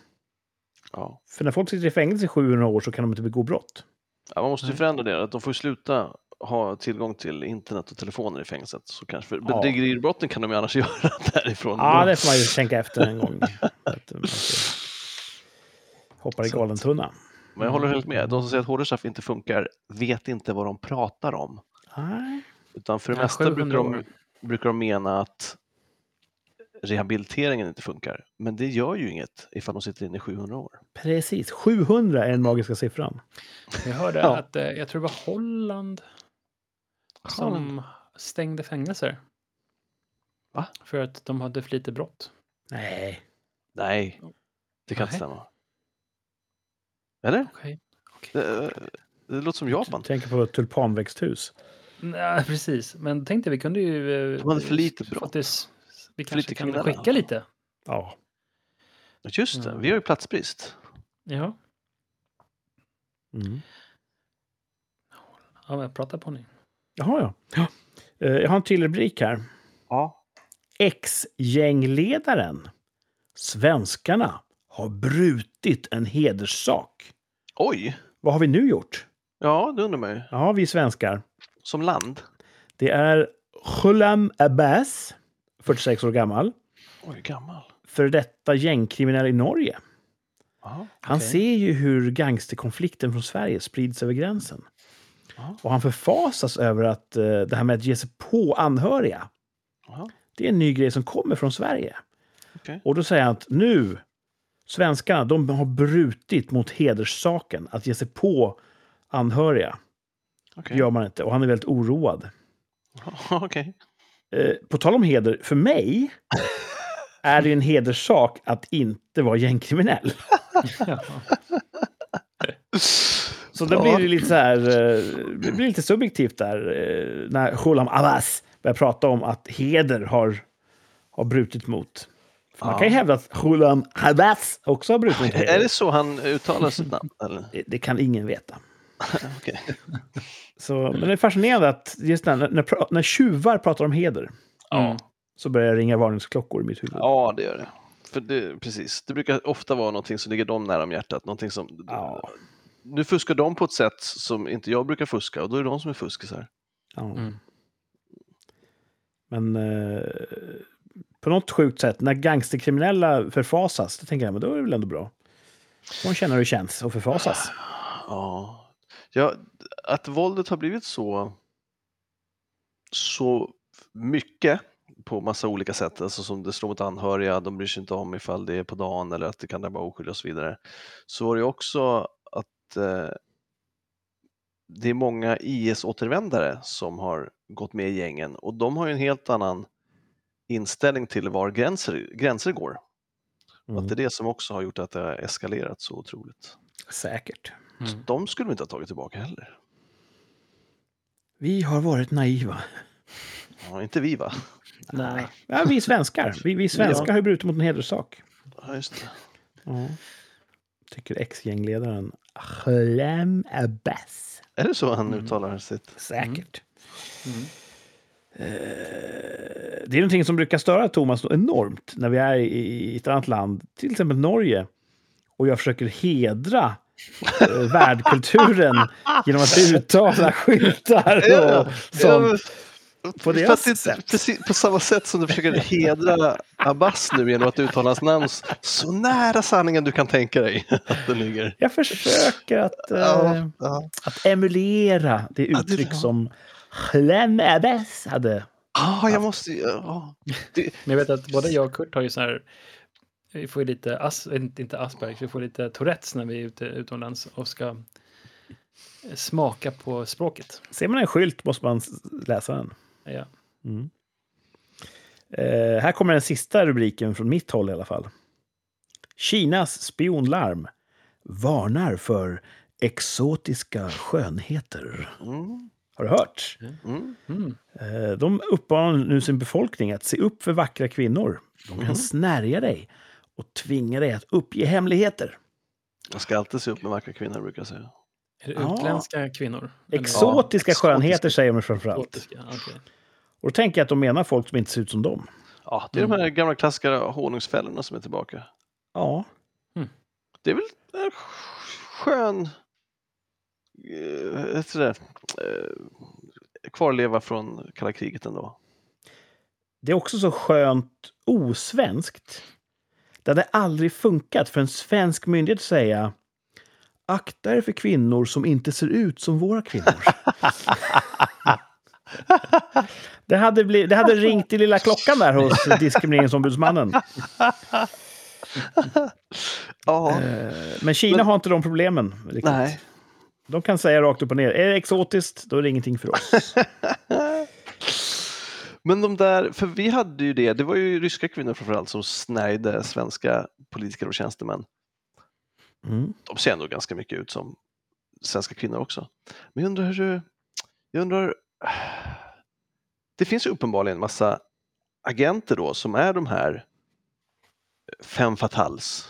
[SPEAKER 3] Ja.
[SPEAKER 1] För när folk sitter i fängelse i 700 år så kan de inte begå brott.
[SPEAKER 3] Ja, man
[SPEAKER 1] Mm.
[SPEAKER 3] måste ju förändra det. Att de får ju sluta ha tillgång till internet och telefoner i fängelset. Så kanske, för
[SPEAKER 1] Ja.
[SPEAKER 3] bedrägeribrotten kan de ju annars göra därifrån.
[SPEAKER 1] Ja,
[SPEAKER 3] ändå.
[SPEAKER 1] det får man ju tänka efter en gång. Att eh, man ska Hoppa i
[SPEAKER 3] Så att-
[SPEAKER 1] galen tunna.
[SPEAKER 3] Men jag håller helt
[SPEAKER 1] Mm.
[SPEAKER 3] med. De som säger att hårdare straff inte funkar vet inte vad de pratar om.
[SPEAKER 1] Nej.
[SPEAKER 3] Utan för det
[SPEAKER 4] Ja,
[SPEAKER 3] mesta brukar
[SPEAKER 4] 700
[SPEAKER 3] de,
[SPEAKER 4] år.
[SPEAKER 3] brukar de mena att rehabiliteringen inte funkar. Men det gör ju inget ifall de sitter inne i 700 år.
[SPEAKER 1] Precis, 700 är den magiska siffran.
[SPEAKER 4] Jag hörde
[SPEAKER 3] Ja.
[SPEAKER 4] att eh, jag tror det var Holland som stängde fängelser.
[SPEAKER 3] Va?
[SPEAKER 4] För att de hade för lite brott.
[SPEAKER 1] Nej.
[SPEAKER 3] Nej, det kan inte
[SPEAKER 4] Nej.
[SPEAKER 3] stämma. Eller?
[SPEAKER 4] Okej.
[SPEAKER 3] Det, det låter som Japan. typ.
[SPEAKER 1] Tänker på tulpanväxthus.
[SPEAKER 4] Nej, precis. Men tänkte vi kunde ju... eh,
[SPEAKER 3] De hade för lite brott.
[SPEAKER 4] att det s- Vi kanske
[SPEAKER 3] lite
[SPEAKER 4] kan
[SPEAKER 3] kriminella.
[SPEAKER 4] skicka lite.
[SPEAKER 1] Ja.
[SPEAKER 3] Just det,
[SPEAKER 4] Mm.
[SPEAKER 3] vi har ju platsbrist.
[SPEAKER 4] Ja,
[SPEAKER 1] Mm.
[SPEAKER 4] ja men prata på ni.
[SPEAKER 1] Jaha, ja. ja. Eh, Jag har en till rubrik här.
[SPEAKER 3] Ja.
[SPEAKER 1] Ex-gängledaren. Svenskarna har brutit en hederssak.
[SPEAKER 3] Oj!
[SPEAKER 1] Vad har vi nu gjort?
[SPEAKER 3] Ja, det undrar man ju.
[SPEAKER 1] Ja, vi svenskar.
[SPEAKER 3] Som land.
[SPEAKER 1] Det är Ghulam Abbas, 46 år gammal,
[SPEAKER 3] Oj, gammal.
[SPEAKER 1] före detta gängkriminell i Norge.
[SPEAKER 3] Ja.
[SPEAKER 1] Han
[SPEAKER 4] Okej.
[SPEAKER 1] ser ju hur gangsterkonflikten från Sverige sprids över gränsen.
[SPEAKER 3] Ja.
[SPEAKER 1] Och han förfasas över att eh, det här med att ge sig på anhöriga,
[SPEAKER 3] Ja.
[SPEAKER 1] det är en ny grej som kommer från Sverige.
[SPEAKER 3] Okej.
[SPEAKER 1] Och då säger han att nu, svenskarna, de har brutit mot hederssaken. Att ge sig på anhöriga, det
[SPEAKER 3] Okej.
[SPEAKER 1] gör man inte. Och han är väldigt oroad.
[SPEAKER 3] Ja, Okej.
[SPEAKER 1] Eh, på tal om heder, för mig är det ju en hederssak att inte vara gängkriminell.
[SPEAKER 4] Mm.
[SPEAKER 1] Så då
[SPEAKER 3] Ja.
[SPEAKER 1] blir det lite så här, eh, det blir lite subjektivt där eh, när Shulam Abbas börjar prata om att heder har, har brutit mot. För man
[SPEAKER 3] Ja.
[SPEAKER 1] kan ju hävda att Shulam Abbas också har brutit mot
[SPEAKER 3] Är
[SPEAKER 1] heder.
[SPEAKER 3] det så han uttalar sitt namn? Eller?
[SPEAKER 1] Det- Det kan ingen veta.
[SPEAKER 3] Okej.
[SPEAKER 1] Så, men det är fascinerande att just när, när, pra- när tjuvar pratar om heder
[SPEAKER 4] Ja.
[SPEAKER 1] så börjar det ringa varningsklockor i mitt huvud.
[SPEAKER 3] Ja, det gör det. För det, precis. det brukar ofta vara någonting som ligger dem nära om hjärtat. Någonting som,
[SPEAKER 1] Ja.
[SPEAKER 3] Nu fuskar de på ett sätt som inte jag brukar fuska och då är det de som är fuskisar.
[SPEAKER 1] Ja.
[SPEAKER 4] Mm.
[SPEAKER 1] Men eh, på något sjukt sätt, när gangsterkriminella förfasas, då tänker jag men då är det väl ändå bra. De känner hur det känns att förfasas.
[SPEAKER 3] Ja. Ja, att våldet har blivit så, så mycket på massa olika sätt, alltså som det slår mot anhöriga, de bryr sig inte om ifall det är på dagen eller att det kan drabba oskyldiga och så vidare. Så var det ju också att eh, det är många IS-återvändare som har gått med i gängen och de har ju en helt annan inställning till var gränser, gränser går. Och
[SPEAKER 1] Mm.
[SPEAKER 3] att det är det som också har gjort att det har eskalerat så otroligt.
[SPEAKER 1] Säkert.
[SPEAKER 3] Så
[SPEAKER 4] Mm.
[SPEAKER 3] de skulle vi inte ha tagit tillbaka heller.
[SPEAKER 1] Vi har varit naiva.
[SPEAKER 3] Ja, inte vi va?
[SPEAKER 4] Nej.
[SPEAKER 1] Ja, vi svenskar. Vi, vi svenskar
[SPEAKER 3] Ja.
[SPEAKER 1] har ju brutit mot en hederssak.
[SPEAKER 3] Ja, just det.
[SPEAKER 1] Ja. Tycker ex-gängledaren Chlem Abbas.
[SPEAKER 3] Är det så han
[SPEAKER 4] Mm.
[SPEAKER 3] uttalar sitt?
[SPEAKER 1] Säkert.
[SPEAKER 4] Mm.
[SPEAKER 1] Eh, Det är någonting som brukar störa Thomas så enormt när vi är i- i ett annat land, till exempel Norge, och jag försöker hedra eh, värdkulturen genom att uttala skyltar och sånt.
[SPEAKER 3] på,
[SPEAKER 1] deras sätt.
[SPEAKER 3] Precis, på samma sätt som du försöker hedra Abbas nu genom att uttala hans namn s- så nära sanningen du kan tänka dig att den ligger.
[SPEAKER 1] Jag försöker att, eh,
[SPEAKER 3] Ja, ja.
[SPEAKER 1] att emulera det
[SPEAKER 3] Ja, det-
[SPEAKER 1] uttryck som Chlem Abbas hade.
[SPEAKER 3] Ah, jag måste ju... Ja.
[SPEAKER 4] Men jag vet att både jag och Kurt har ju sån här, vi får ju lite, as, inte inte Asperger, vi får lite Tourettes när vi är ute utomlands och ska smaka på språket.
[SPEAKER 1] Ser man en skylt måste man s- läsa den.
[SPEAKER 4] Ja.
[SPEAKER 1] Mm. Eh, här kommer den sista rubriken från mitt håll i alla fall. Kinas spionlarm varnar för exotiska skönheter.
[SPEAKER 3] Mm,
[SPEAKER 1] Har du hört?
[SPEAKER 3] mm.
[SPEAKER 4] Mm.
[SPEAKER 1] Eh, de uppmanar nu sin befolkning att se upp för vackra kvinnor. De kan snärja dig och tvinga dig att uppge hemligheter.
[SPEAKER 3] Man ska alltid se upp med vackra kvinnor brukar jag säga.
[SPEAKER 4] Är det
[SPEAKER 1] Ja.
[SPEAKER 4] utländska kvinnor? Eller-
[SPEAKER 1] Exotiska
[SPEAKER 3] exotiska.
[SPEAKER 1] skönheter säger de framförallt.
[SPEAKER 4] Exotiska, okej.
[SPEAKER 1] Och då tänker jag att de menar folk som inte ser ut som dem.
[SPEAKER 3] Ja, det är de här gamla klassiska honungsfällorna som är tillbaka.
[SPEAKER 1] Ja,
[SPEAKER 3] Det är väl en skön eh, heter det, eh, kvarleva från kalla kriget ändå.
[SPEAKER 1] Det är också så skönt osvenskt. Det hade aldrig funkat för en svensk myndighet att säga akta er för kvinnor som inte ser ut som våra kvinnor. det, hade bli, det hade ringt i lilla klockan där hos diskrimineringsombudsmannen.
[SPEAKER 3] Ja,
[SPEAKER 1] Eh, Men Kina har inte de problemen. riktigt.
[SPEAKER 3] nej.
[SPEAKER 1] De kan säga rakt upp och ner. Är det exotiskt, då är det ingenting för oss.
[SPEAKER 3] Men de där, för vi hade ju det, det var ju ryska kvinnor framförallt som snärjde svenska politiker och tjänstemän.
[SPEAKER 1] Mm.
[SPEAKER 3] De ser ändå ganska mycket ut som svenska kvinnor också. Men jag undrar hur du, jag undrar, det finns ju uppenbarligen en massa agenter då som är de här fem fatals.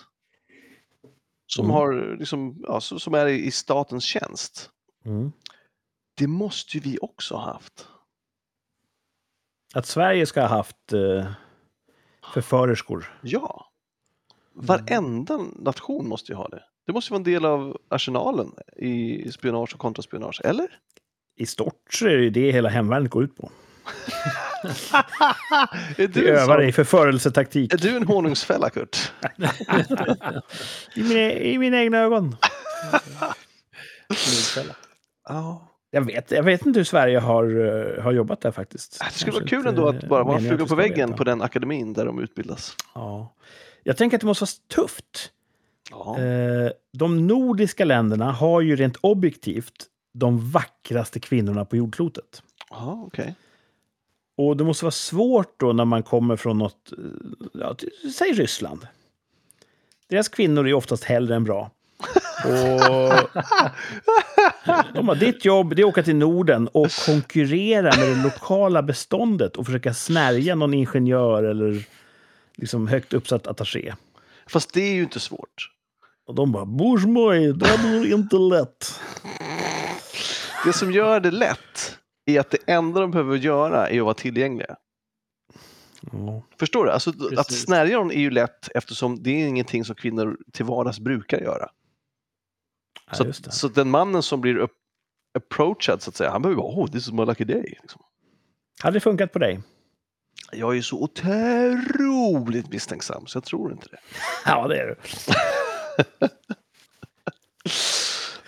[SPEAKER 3] Som,
[SPEAKER 1] Mm.
[SPEAKER 3] har, liksom, ja, så- som är i i statens tjänst.
[SPEAKER 1] Mm.
[SPEAKER 3] Det måste ju vi också ha haft.
[SPEAKER 1] Att Sverige ska ha haft eh, förförerskor.
[SPEAKER 3] Ja. Varenda nation måste ju ha det. Det måste ju vara en del av arsenalen i spionage och kontraspionage, eller?
[SPEAKER 1] I stort så är det ju det hela hemvärnet går ut på.
[SPEAKER 3] Är
[SPEAKER 1] Vi
[SPEAKER 3] du, en,
[SPEAKER 1] övar
[SPEAKER 3] sån,
[SPEAKER 1] i förförelsetaktik.
[SPEAKER 3] är du en honungsfälla, Kurt?
[SPEAKER 1] I mina, I mina egna ögon.
[SPEAKER 4] Nordfälla.
[SPEAKER 3] Ja.
[SPEAKER 1] Jag vet, jag vet inte hur Sverige har, eh, har jobbat där faktiskt.
[SPEAKER 3] Ah, Det skulle vara
[SPEAKER 1] Kanske
[SPEAKER 3] kul
[SPEAKER 1] inte
[SPEAKER 3] ändå att bara vara
[SPEAKER 1] meningen att
[SPEAKER 3] fluga
[SPEAKER 1] vi
[SPEAKER 3] på
[SPEAKER 1] ska
[SPEAKER 3] väggen
[SPEAKER 1] veta.
[SPEAKER 3] på den akademin där de utbildas.
[SPEAKER 1] Ja. Jag tänker att det måste vara tufft.
[SPEAKER 3] Ja.
[SPEAKER 1] Eh, De nordiska länderna har ju rent objektivt de vackraste kvinnorna på jordklotet.
[SPEAKER 3] Ja, okej.
[SPEAKER 1] Och det måste vara svårt då när man kommer från något, eh, ja, t- säg Ryssland. Deras kvinnor är ju oftast hellre än bra. Och de har, ditt jobb det är att åka till Norden och konkurrera med det lokala beståndet och försöka snärja någon ingenjör eller liksom högt uppsatt attaché.
[SPEAKER 3] Fast det är ju inte svårt.
[SPEAKER 1] Och de bara “Bors moj, det blir inte lätt”.
[SPEAKER 3] Det som gör det lätt är att det enda de behöver göra är att vara tillgängliga.
[SPEAKER 1] Ja.
[SPEAKER 3] Förstår du? Alltså, att
[SPEAKER 4] Precis.
[SPEAKER 3] snärja någon är ju lätt eftersom det är ingenting som kvinnor till vardags brukar göra.
[SPEAKER 1] Ja,
[SPEAKER 3] så,
[SPEAKER 1] just det.
[SPEAKER 3] så den mannen som blir upp, approachad så att säga, han behöver bara “Oh, this is my lucky day”. Liksom.
[SPEAKER 1] Hade det funkat på dig?
[SPEAKER 3] Jag är så otroligt misstänksam så jag tror inte det.
[SPEAKER 1] Ja, det är du.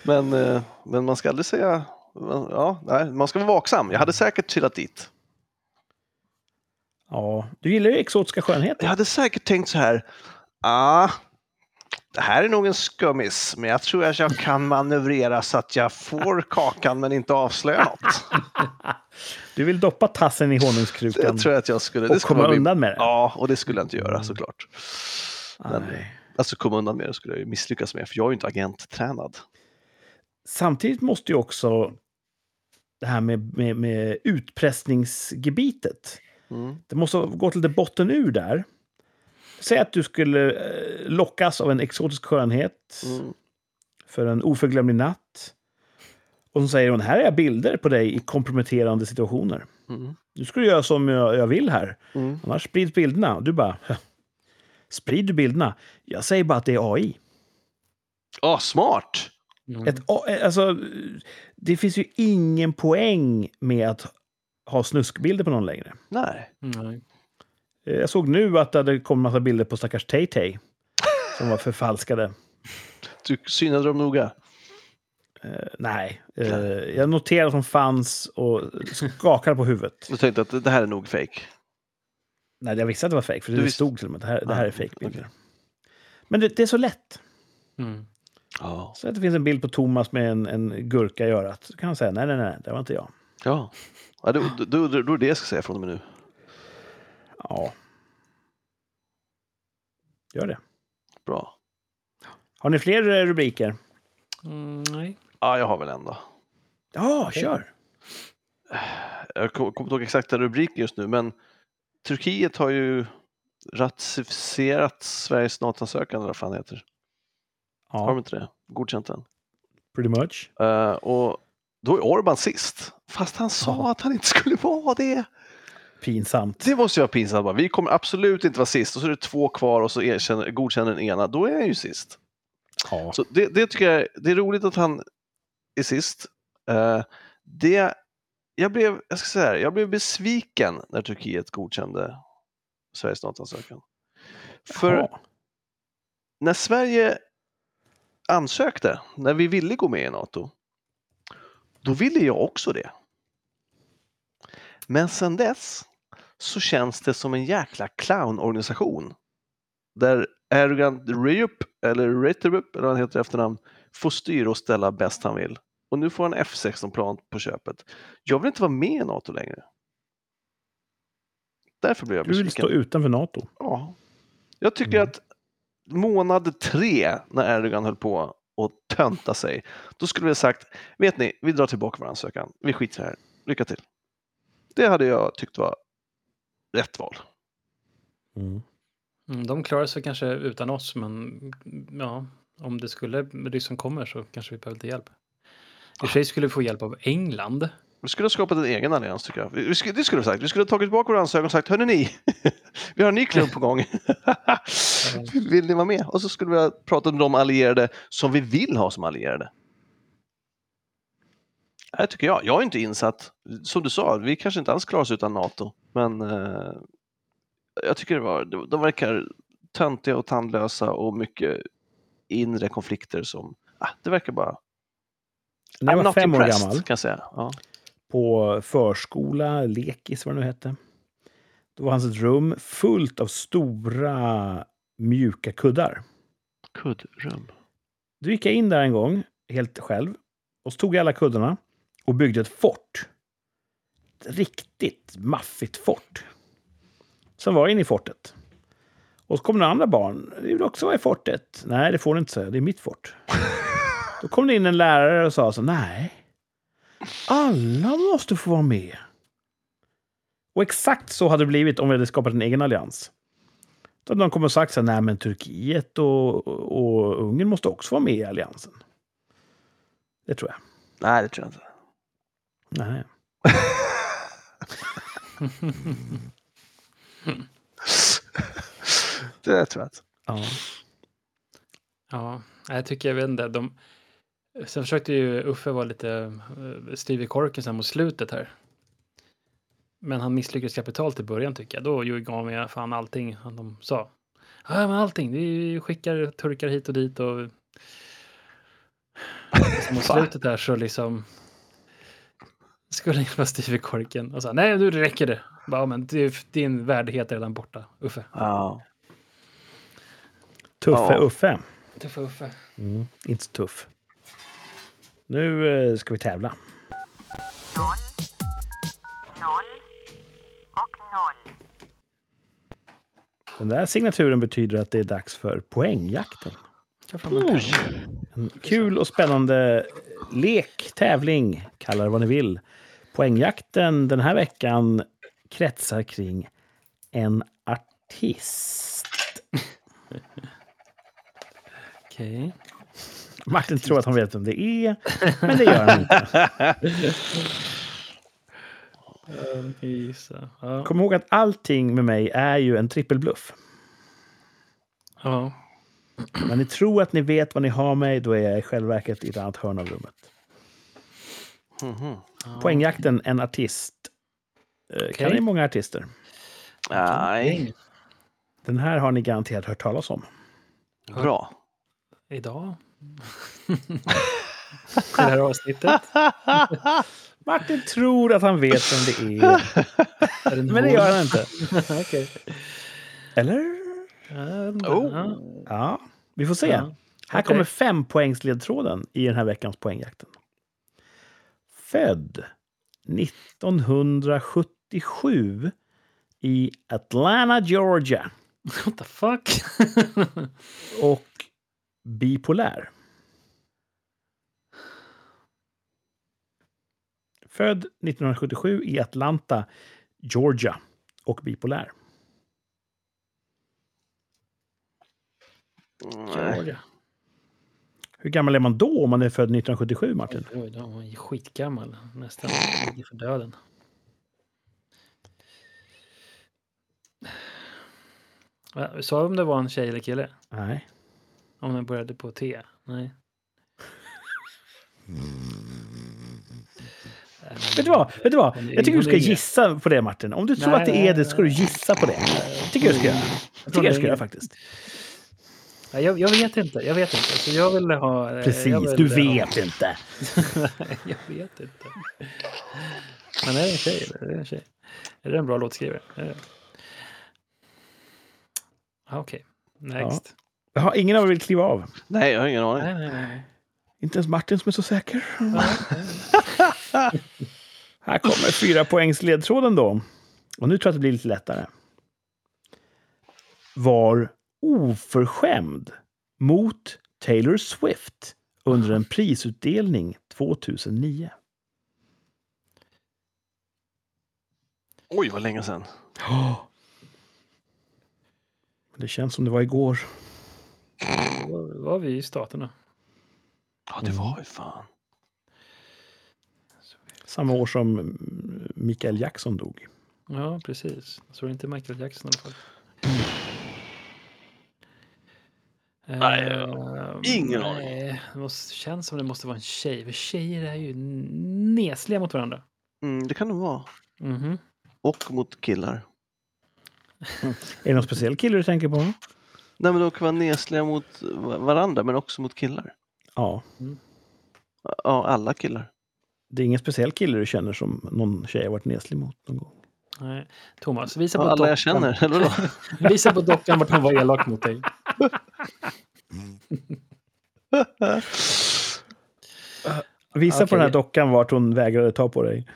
[SPEAKER 3] Men, eh, men man ska aldrig säga... Ja, nej, man ska vara vaksam. Jag hade säkert chillat dit.
[SPEAKER 1] Ja, du gillar ju exotiska skönheter.
[SPEAKER 3] Jag hade säkert tänkt så här. Ah, det här är nog en skummis, men jag tror att jag kan manövrera så att jag får kakan men inte avslöja något.
[SPEAKER 1] Du vill doppa tassen i
[SPEAKER 3] Det
[SPEAKER 1] honungskrukan
[SPEAKER 3] tror jag att jag skulle.
[SPEAKER 1] och
[SPEAKER 3] skulle
[SPEAKER 1] komma
[SPEAKER 3] vara min-
[SPEAKER 1] undan med det. Mm.
[SPEAKER 3] Ja, och det skulle jag inte göra såklart. Men,
[SPEAKER 1] Nej.
[SPEAKER 3] alltså komma undan med det skulle jag ju misslyckas med, för jag är ju inte agenttränad.
[SPEAKER 1] Samtidigt måste ju också det här med, med, med utpressningsgebitet.
[SPEAKER 3] Mm.
[SPEAKER 1] Det måste gå till det botten ur där. Säg att du skulle eh, lockas av en exotisk skönhet
[SPEAKER 3] Mm.
[SPEAKER 1] för en oförglömlig natt. Och så säger hon, här är jag bilder på dig i komprometterande situationer.
[SPEAKER 3] Mm.
[SPEAKER 1] Nu ska du göra som jag, jag vill här.
[SPEAKER 3] Mm.
[SPEAKER 1] Annars sprids bilderna. Och du bara... "Hä, Sprid du bilderna? Jag säger bara att det är AI.
[SPEAKER 3] Ah, smart!
[SPEAKER 4] Mm.
[SPEAKER 1] Ett, A- alltså, det finns ju ingen poäng med att ha snuskbilder på någon längre.
[SPEAKER 3] Nej.
[SPEAKER 4] Nej.
[SPEAKER 1] Eh, Jag såg nu att det hade kommit massa bilder på stackars Tay-Tay som var förfalskade.
[SPEAKER 3] Du synade dem noga.
[SPEAKER 1] Eh, nej, eh, jag noterade att de fanns och skakade på huvudet.
[SPEAKER 3] Du tänkte att det här är nog fake.
[SPEAKER 1] Nej, jag visste att det var fejk, för
[SPEAKER 3] Du
[SPEAKER 1] det
[SPEAKER 3] visste-
[SPEAKER 1] stod till och med att det här, det här är
[SPEAKER 3] Ah,
[SPEAKER 1] fejkbilder. Men det, det är så lätt.
[SPEAKER 4] Mm.
[SPEAKER 3] Ja.
[SPEAKER 1] Så att det finns en bild på Thomas med en, en gurka i örat. Så kan han säga nej, nej, nej, det var inte jag.
[SPEAKER 3] Ja. ja då, då, då, då är det jag ska säga från och med nu.
[SPEAKER 1] Ja. Gör det.
[SPEAKER 3] Bra.
[SPEAKER 1] Har ni fler eh, rubriker?
[SPEAKER 4] Mm, nej.
[SPEAKER 3] Ja, jag har väl en då.
[SPEAKER 1] Ja, kör!
[SPEAKER 3] Jag kom- kommer inte ihåg exakta rubriken just nu, men Turkiet har ju ratificerat Sveriges NATO-ansökan, eller vad fan det heter. Har de
[SPEAKER 1] Ja,
[SPEAKER 3] inte det? Godkänt den.
[SPEAKER 1] pretty much.
[SPEAKER 3] Eh, och då är Orban sist, fast han sa
[SPEAKER 1] Ja.
[SPEAKER 3] att han inte skulle vara det.
[SPEAKER 1] Pinsamt.
[SPEAKER 3] Det måste ju vara pinsamt. bara, Vi kommer absolut inte vara sist och så är det två kvar och så erkänner, godkänner den ena. Då är han ju sist.
[SPEAKER 1] Ja.
[SPEAKER 3] Så det, det tycker jag det är roligt att han är sist. Eh, det, jag, blev, jag, ska säga, här, jag blev besviken när Turkiet godkände Sveriges NATO-ansökan. För
[SPEAKER 1] Ja.
[SPEAKER 3] när Sverige ansökte, när vi ville gå med i NATO, då ville jag också det. Men sen dess så känns det som en jäkla clownorganisation. Där Erdogan Reyup, eller Reiterup, eller vad han heter i efternamn, får styra och ställa bäst han vill. Och nu får han F16-plan på köpet. Jag vill inte vara med i NATO längre. Därför blir jag
[SPEAKER 1] Du
[SPEAKER 3] besviken.
[SPEAKER 1] vill stå utanför Nato.
[SPEAKER 3] Ja. Jag tycker
[SPEAKER 1] Mm.
[SPEAKER 3] att månad tre när Erdogan höll på och tönta sig, då skulle vi ha sagt, vet ni, vi drar tillbaka vår ansökan. Vi skiter i det här. Lycka till. Det hade jag tyckt var rätt val.
[SPEAKER 4] Mm, de klarar sig kanske utan oss, men mm, ja, om det skulle ryssen kommer så kanske vi behöver lite hjälp. I och för sig skulle vi få hjälp av England.
[SPEAKER 3] Vi skulle ha skapat en egen allians tycker jag. Vi vi skulle, det skulle vi ha sagt. Vi skulle ha tagit tillbaka vår ansökan och sagt, hörni ni, vi har en ny klubb på gång. vill ni vara med? Och så skulle vi ha pratat med de allierade som vi vill ha som allierade. Det här tycker jag. Jag är inte insatt. Som du sa, vi kanske inte alls klarar oss utan NATO. Men eh, jag tycker det var, de- de verkar töntiga och tandlösa och mycket inre konflikter som, ah, det verkar bara,
[SPEAKER 1] När jag var fem år gammal,
[SPEAKER 3] kan jag säga. Ja.
[SPEAKER 1] på förskola, lekis, vad det nu hette. Då var hans rum fullt av stora mjuka kuddar.
[SPEAKER 3] Kuddrum.
[SPEAKER 1] Då gick jag in där en gång, helt själv. Och så tog jag alla kuddarna och byggde ett fort. riktigt maffigt fort. Sen var jag inne i fortet. Och så kom det andra barn. Vi vill också vara i fortet. Nej, det får ni inte säga. Det är mitt fort. Då kom det in en lärare och sa så nej. Alla måste få vara med. Och exakt så hade det blivit om vi hade skapat en egen allians. Då hade de kommit och sagt så här, nej men Turkiet och, och Ungern måste också vara med i alliansen. Det tror jag.
[SPEAKER 3] Nej, det tror jag inte.
[SPEAKER 1] Nej.
[SPEAKER 3] Det tror jag inte.
[SPEAKER 1] Ja.
[SPEAKER 4] Ja, jag tycker jag vet inte. De... Sen försökte ju Uffe vara lite eh, styv i korken sen mot slutet här. Men han misslyckades kapitalt i början tycker jag. Då gav jag fan allting han de sa. Ja, men allting. Vi skickar turkar hit och dit och... Sen mot slutet där så liksom... Skulle jag vara styv i korken och sa nej, nu räcker det. Bara, "Ja, men du- din värdighet är redan borta, Uffe.
[SPEAKER 3] Ja.
[SPEAKER 1] Tuffe
[SPEAKER 3] Ja.
[SPEAKER 1] Uffe.
[SPEAKER 4] Tuffa Uffe.
[SPEAKER 1] Inte så tuff. Nu eh, ska vi tävla.
[SPEAKER 5] noll, noll och noll.
[SPEAKER 1] Den där signaturen betyder att det är dags för poängjakten.
[SPEAKER 4] Ta fram en penna.
[SPEAKER 1] Kul och spännande lek, tävling, kalla det vad ni vill. Poängjakten den här veckan kretsar kring en artist.
[SPEAKER 4] Okej.
[SPEAKER 1] Martin tror att han vet vem det är, men det gör han inte.
[SPEAKER 4] Gissa. Ja.
[SPEAKER 1] Kom ihåg att allting med mig är ju en trippelbluff.
[SPEAKER 4] ja.
[SPEAKER 1] När ni tror att ni vet vad ni har mig, då är jag i själva verket i ett annat hörn av rummet. Poängjakten, en artist. Eh, Kan ni många artister?
[SPEAKER 3] Nej,
[SPEAKER 1] Den här har ni garanterat hört talas om.
[SPEAKER 3] bra.
[SPEAKER 4] Idag. I det här avsnittet.
[SPEAKER 1] Martin tror att han vet vem det är,
[SPEAKER 4] Är det en
[SPEAKER 1] men det gör han inte.
[SPEAKER 4] hon? Okej.
[SPEAKER 1] Eller?
[SPEAKER 4] Ja, jag vet inte.
[SPEAKER 3] Oh.
[SPEAKER 4] Ja.
[SPEAKER 1] Ja, vi får se.
[SPEAKER 4] Ja.
[SPEAKER 1] Här
[SPEAKER 4] Okej.
[SPEAKER 1] kommer fem poängsledtråden i den här veckans poängjakten. Född 1977 i Atlanta, Georgia
[SPEAKER 4] What the fuck?
[SPEAKER 1] och bipolär. Född 1977 i Atlanta, Georgia och bipolär.
[SPEAKER 3] Nej.
[SPEAKER 4] Georgia.
[SPEAKER 1] Hur gammal är man då om man är född 1977, Martin?
[SPEAKER 4] Oj, då, hon är skitgammal. Nästan ligger för döden. Va, Sa vi om det var en tjej eller kille?
[SPEAKER 1] Nej.
[SPEAKER 4] Om den började på T? Nej.
[SPEAKER 1] Vet du vad? Vet du vad?
[SPEAKER 4] Men det är
[SPEAKER 1] Jag tycker du ska
[SPEAKER 4] ingen idé.
[SPEAKER 1] gissa på det, Martin. Om du tror
[SPEAKER 4] Nej,
[SPEAKER 1] att det
[SPEAKER 4] nej,
[SPEAKER 1] är det ska du gissa på det. tycker jag du ska göra. Jag tycker jag ska göra faktiskt.
[SPEAKER 4] Ja, Jag, jag vet inte. Jag vet inte. Så jag vill ha... eh, jag
[SPEAKER 1] Precis, du
[SPEAKER 4] vill ha-
[SPEAKER 1] vet inte.
[SPEAKER 4] Nej, jag vet inte. Men är det en tjej? Eller? Är det en tjej? Är det en bra låtskrivare? Är det- Ah, Okej, next.
[SPEAKER 1] Jaha, ingen av er vill kliva av.
[SPEAKER 3] Nej, jag har ingen aning.
[SPEAKER 4] Nej, nej, nej.
[SPEAKER 1] Inte ens Martin som är så säker. Här kommer fyra poängs ledtråden då. Och nu tror jag att det blir lite lättare. Var oförskämd mot Taylor Swift under en prisutdelning 2009.
[SPEAKER 3] Oj, vad länge sedan.
[SPEAKER 1] Det känns som det var igår.
[SPEAKER 4] Då var- var vi i Staterna.
[SPEAKER 3] Ja,
[SPEAKER 4] Mm.
[SPEAKER 3] det var ju fan.
[SPEAKER 1] Samma år som mm, Mikael Jackson dog.
[SPEAKER 4] Ja, precis. Så det är inte Michael Jackson i alla fall.
[SPEAKER 3] Nej, jag
[SPEAKER 4] Ehm,
[SPEAKER 3] ingen
[SPEAKER 4] nej. Det måste, känns som det måste vara en tjej. För tjejer är ju nesliga mot varandra.
[SPEAKER 3] Mm, det kan det vara.
[SPEAKER 4] Mhm.
[SPEAKER 3] Och mot killar.
[SPEAKER 1] Är det någon speciell kille du tänker på?
[SPEAKER 3] Nej, men de kan vara nesliga mot va- varandra, men också mot killar.
[SPEAKER 1] Ja.
[SPEAKER 3] Ja, alla killar.
[SPEAKER 1] Det är ingen speciell kille du känner som någon tjej har varit neslig mot någon gång?
[SPEAKER 4] Nej. Thomas, visa på
[SPEAKER 3] Ja, alla jag
[SPEAKER 4] dockan.
[SPEAKER 3] känner. Eller vadå?
[SPEAKER 4] Visa på dockan vart hon var elak mot dig.
[SPEAKER 1] Visa på
[SPEAKER 4] Okej.
[SPEAKER 1] den här dockan vart hon vägrade ta på dig.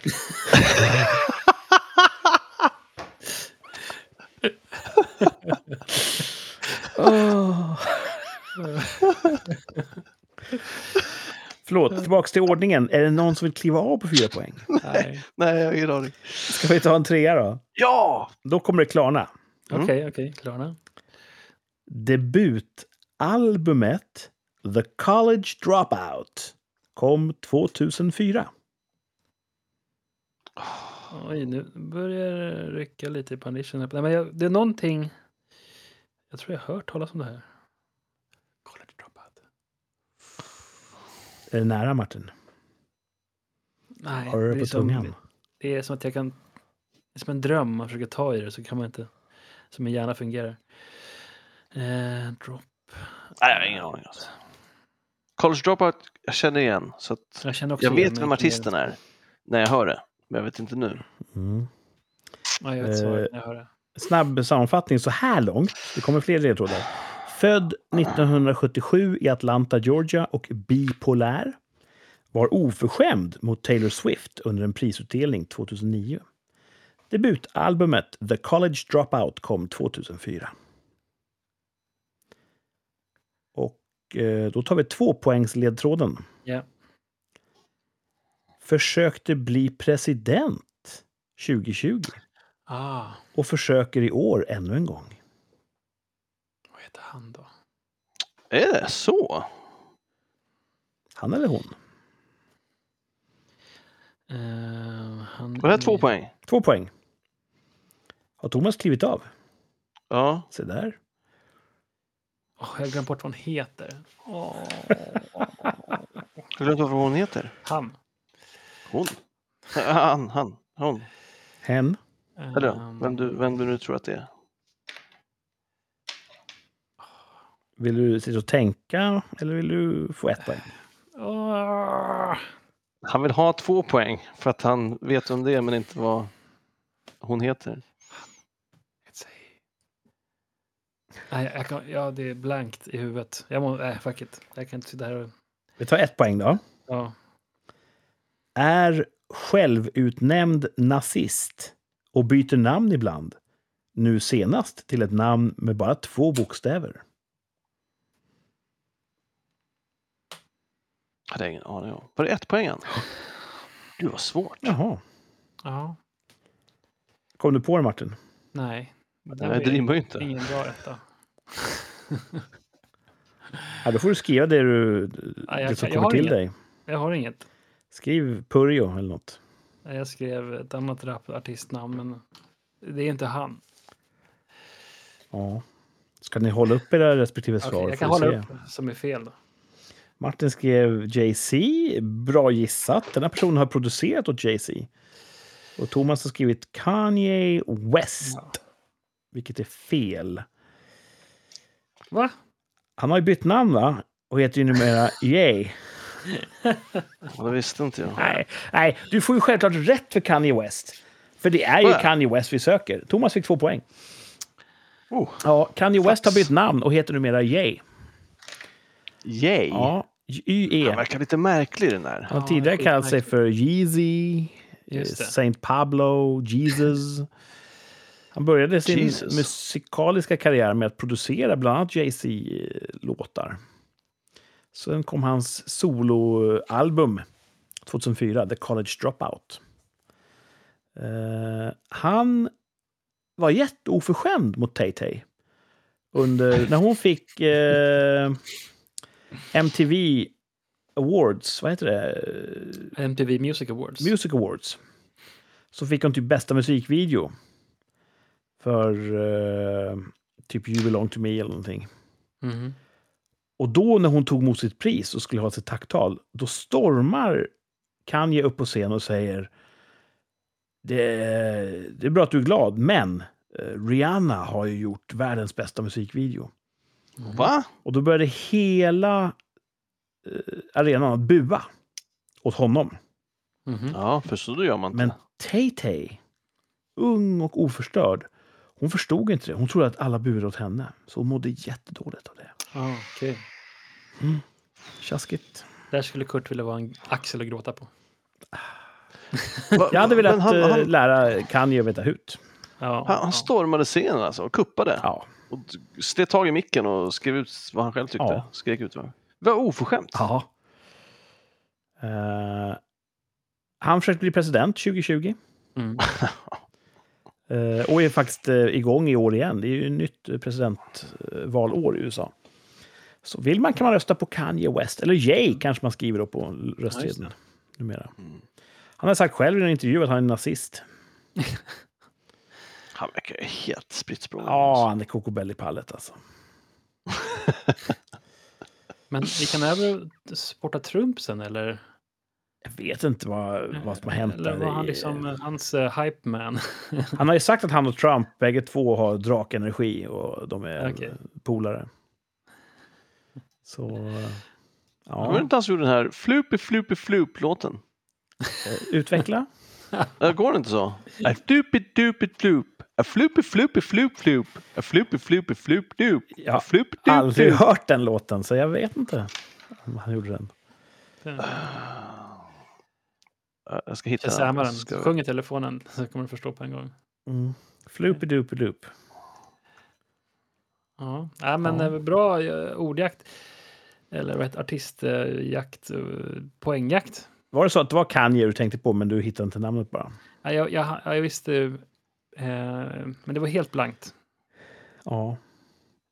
[SPEAKER 1] Förlåt, tillbaks till ordningen. Är det någon som vill kliva av på fyra poäng?
[SPEAKER 4] Nej.
[SPEAKER 3] Nej, jag har ingen aning.
[SPEAKER 1] Ska vi ta en trea då?
[SPEAKER 3] Ja!
[SPEAKER 1] Då kommer det klarna.
[SPEAKER 3] Mm.
[SPEAKER 4] Okej, okej. Klarna.
[SPEAKER 1] Debutalbumet The College Dropout kom 2004.
[SPEAKER 4] Oj, nu börjar det rycka lite i panditionen. Nej, men jag, det är någonting... Jag tror jag har hört talas om det här. College dropout.
[SPEAKER 1] Är det nära, Martin?
[SPEAKER 4] Nej,
[SPEAKER 1] Har du det på
[SPEAKER 4] som,
[SPEAKER 1] tungan?
[SPEAKER 4] Det är som att jag kan... Det är som en dröm, man försöker ta i det så kan man inte... Som min hjärna fungerar. Eh, drop.
[SPEAKER 3] Nej, jag har ingen aning. Alltså. College Dropout, jag känner igen. Så att
[SPEAKER 4] Jag känner också
[SPEAKER 3] jag
[SPEAKER 4] igen,
[SPEAKER 3] vet
[SPEAKER 4] men
[SPEAKER 3] vem
[SPEAKER 4] jag kan inte-
[SPEAKER 3] artisten är när jag hör det. Men jag vet inte nu.
[SPEAKER 1] Mm.
[SPEAKER 4] Ja, jag vet svaret
[SPEAKER 1] Eh.
[SPEAKER 4] när jag hör det.
[SPEAKER 1] Snabb sammanfattning så här långt. Det kommer fler ledtrådar. Född 1977 i Atlanta, Georgia och bipolär. Var oförskämd mot Taylor Swift under en prisutdelning 2009. Debutalbumet The College Dropout kom 2004. Och eh, då tar vi två poängs ledtråden.
[SPEAKER 4] Ja.
[SPEAKER 1] Försökte bli president 2020
[SPEAKER 4] Ah,
[SPEAKER 1] och försöker i år ännu en gång.
[SPEAKER 4] vad heter han då?
[SPEAKER 3] Är det så?
[SPEAKER 1] Han eller hon.
[SPEAKER 4] Eh, han
[SPEAKER 3] Var det
[SPEAKER 4] är-
[SPEAKER 3] här två poäng?
[SPEAKER 1] Två poäng. Har Thomas klivit av?
[SPEAKER 3] Ja.
[SPEAKER 1] Se där.
[SPEAKER 4] Åh, jag har glömt bort vad han heter. Åh,
[SPEAKER 3] Jag har glömt vad hon heter.
[SPEAKER 4] han.
[SPEAKER 3] Hon. Han, han, hon.
[SPEAKER 1] Hen.
[SPEAKER 3] Eller
[SPEAKER 1] Um,
[SPEAKER 4] Ehm,
[SPEAKER 3] vem du, vem du nu tror att det är.
[SPEAKER 1] Vill du sitta och tänka eller vill du få ett poäng?
[SPEAKER 4] åh.
[SPEAKER 3] Han vill ha två poäng för att han vet om det är, men inte vad hon heter.
[SPEAKER 4] Let's see. Nej, jag kan, ja, det är blankt i huvudet. Jag må, nej, fuck it. Jag kan inte sitta här och...
[SPEAKER 1] Vi tar ett poäng då.
[SPEAKER 4] Ja.
[SPEAKER 1] Är självutnämnd nazist och byter namn ibland. Nu senast till ett namn med bara två bokstäver.
[SPEAKER 3] Jag hade ingen aning om. Var det ett poäng? han? Gud vad svårt.
[SPEAKER 1] Jaha.
[SPEAKER 4] ja.
[SPEAKER 1] Kom du på det, Martin?
[SPEAKER 4] Nej. Det där
[SPEAKER 3] Nej,
[SPEAKER 4] var
[SPEAKER 3] det rimmar ju inte.
[SPEAKER 4] Ingen bra etta.
[SPEAKER 1] Ja, då får du skriva det, du,
[SPEAKER 4] Nej, jag
[SPEAKER 1] det som
[SPEAKER 4] kan- jag
[SPEAKER 1] kommer
[SPEAKER 4] har
[SPEAKER 1] till
[SPEAKER 4] inget.
[SPEAKER 1] dig.
[SPEAKER 4] Jag har inget.
[SPEAKER 1] Skriv Purjo eller något.
[SPEAKER 4] Nej, Jag skrev ett annat rapartistnamn, men det är inte han.
[SPEAKER 1] Ja. Ska ni hålla upp era respektive
[SPEAKER 4] Okej,
[SPEAKER 1] svar?
[SPEAKER 4] jag
[SPEAKER 1] får
[SPEAKER 4] kan
[SPEAKER 1] vi
[SPEAKER 4] hålla
[SPEAKER 1] se.
[SPEAKER 4] upp som är fel. Då.
[SPEAKER 1] Martin skrev Jay-Z. Bra gissat. Den här personen har producerat åt Jay-Z. Och Thomas har skrivit Kanye West,
[SPEAKER 4] Ja.
[SPEAKER 1] vilket är fel.
[SPEAKER 4] Va?
[SPEAKER 1] Han har ju bytt namn, va? Och heter ju numera Ye.
[SPEAKER 3] Ja, Det visste inte jag.
[SPEAKER 1] Nej, nej, du får ju självklart rätt för Kanye West. För det är ju
[SPEAKER 3] Va?
[SPEAKER 1] Kanye West vi söker. Thomas fick två poäng.
[SPEAKER 3] Oh.
[SPEAKER 1] Ja, Kanye West har bytt namn och heter numera Ye.
[SPEAKER 3] Yay!
[SPEAKER 1] Ja,
[SPEAKER 3] Han
[SPEAKER 1] Y-E.
[SPEAKER 3] verkar lite märklig den där.
[SPEAKER 1] Han har
[SPEAKER 4] Ja,
[SPEAKER 1] tidigare
[SPEAKER 4] skitmärkligt.
[SPEAKER 1] kallat sig för Yeezy, eh,
[SPEAKER 4] Just det.
[SPEAKER 1] Saint Pablo, Jesus. Han började sin
[SPEAKER 3] Jesus.
[SPEAKER 1] musikaliska karriär med att producera bland annat Jay-Z-låtar. Sen kom hans soloalbum 2004, The College Dropout. Eh, han var jätteoförskämd mot Tay-Tay. Under, när hon fick eh, MTV Awards, vad heter det?
[SPEAKER 4] MTV Music Awards.
[SPEAKER 1] Music Awards. Så fick hon typ bästa musikvideo. För eh, typ You belong to me eller någonting.
[SPEAKER 4] Mhm.
[SPEAKER 1] Och då när hon tog emot sitt pris och skulle ha sitt tacktal, då stormar Kanye upp på scen och säger det är, det är bra att du är glad, men eh, Rihanna har ju gjort världens bästa musikvideo.
[SPEAKER 3] Va?
[SPEAKER 1] Och då började hela eh, arenan att bua åt honom.
[SPEAKER 4] Mhm.
[SPEAKER 3] Ja, för så gör man inte.
[SPEAKER 1] Men Tay-Tay, ung och oförstörd, hon förstod inte det. Hon trodde att alla buade åt henne. Så hon mådde jättedåligt av det.
[SPEAKER 4] Ja, okej.
[SPEAKER 1] Tjaskigt.
[SPEAKER 4] Där skulle Kurt vilja vara en axel att gråta på.
[SPEAKER 3] Va-
[SPEAKER 1] Jag hade
[SPEAKER 3] men
[SPEAKER 1] velat
[SPEAKER 3] han,
[SPEAKER 1] eh,
[SPEAKER 3] han,
[SPEAKER 1] lära Kanye veta hut.
[SPEAKER 4] Ja,
[SPEAKER 3] han, han stormade scenen alltså och kuppade.
[SPEAKER 1] Ja.
[SPEAKER 3] Och slet tag i micken och skrev ut vad han själv tyckte.
[SPEAKER 1] Ja.
[SPEAKER 3] Skrek ut vad Vad oförskämt.
[SPEAKER 1] ja. Eh, han försökte bli president 2020.
[SPEAKER 4] Mm.
[SPEAKER 1] Eh, och är faktiskt eh, igång i år igen. Det är ju ett nytt eh, presidentvalår i USA. Så vill man kan man rösta på Kanye West, eller
[SPEAKER 4] Mm.
[SPEAKER 1] Jay kanske man skriver då på röstsedeln numera. Han har sagt själv i en intervju att han är nazist.
[SPEAKER 3] Han verkar ju helt spritt språngande,
[SPEAKER 1] Ja,
[SPEAKER 3] alltså.
[SPEAKER 1] han är kokobellipallet alltså.
[SPEAKER 4] Men vi kan över och sporta Trump sen eller?
[SPEAKER 1] Jag vet inte vad, vad som har hänt.
[SPEAKER 4] Eller
[SPEAKER 1] där
[SPEAKER 4] var han
[SPEAKER 1] i-
[SPEAKER 4] liksom eh, hans eh, hype man?
[SPEAKER 1] Han har ju sagt att han och Trump, bägge två, har drakenergi och de är
[SPEAKER 4] Okej.
[SPEAKER 1] polare. Så... eh,
[SPEAKER 3] Det var
[SPEAKER 1] Ja,
[SPEAKER 3] inte han som gjorde den här Floopy Floopy Floop-låten.
[SPEAKER 1] eh, utveckla.
[SPEAKER 3] Äh, Går det inte så? A floopy doopy floop. A floopy floopy floop floop. A floopy floopy floop doop.
[SPEAKER 1] Jag
[SPEAKER 3] A
[SPEAKER 1] har
[SPEAKER 3] floopy doop
[SPEAKER 1] aldrig
[SPEAKER 3] doop.
[SPEAKER 1] hört den låten, så jag vet inte om han gjorde den.
[SPEAKER 3] Äh, Jag ska hitta den.
[SPEAKER 4] Shazammar
[SPEAKER 3] Jag
[SPEAKER 4] den.
[SPEAKER 3] ska-
[SPEAKER 4] Sjung i telefonen så kommer du förstå på en gång.
[SPEAKER 1] Mm. Floopy-doopy-doop.
[SPEAKER 4] Ja, ja men
[SPEAKER 1] Ja.
[SPEAKER 4] eh, bra eh, ordjakt. Eller vad heter artistjakt? eh, Poängjakt.
[SPEAKER 1] Var det så att det var Kanye du tänkte på, men du hittade inte namnet bara?
[SPEAKER 4] Ja, jag, jag, jag visste, eh, men det var helt blankt.
[SPEAKER 1] Ja.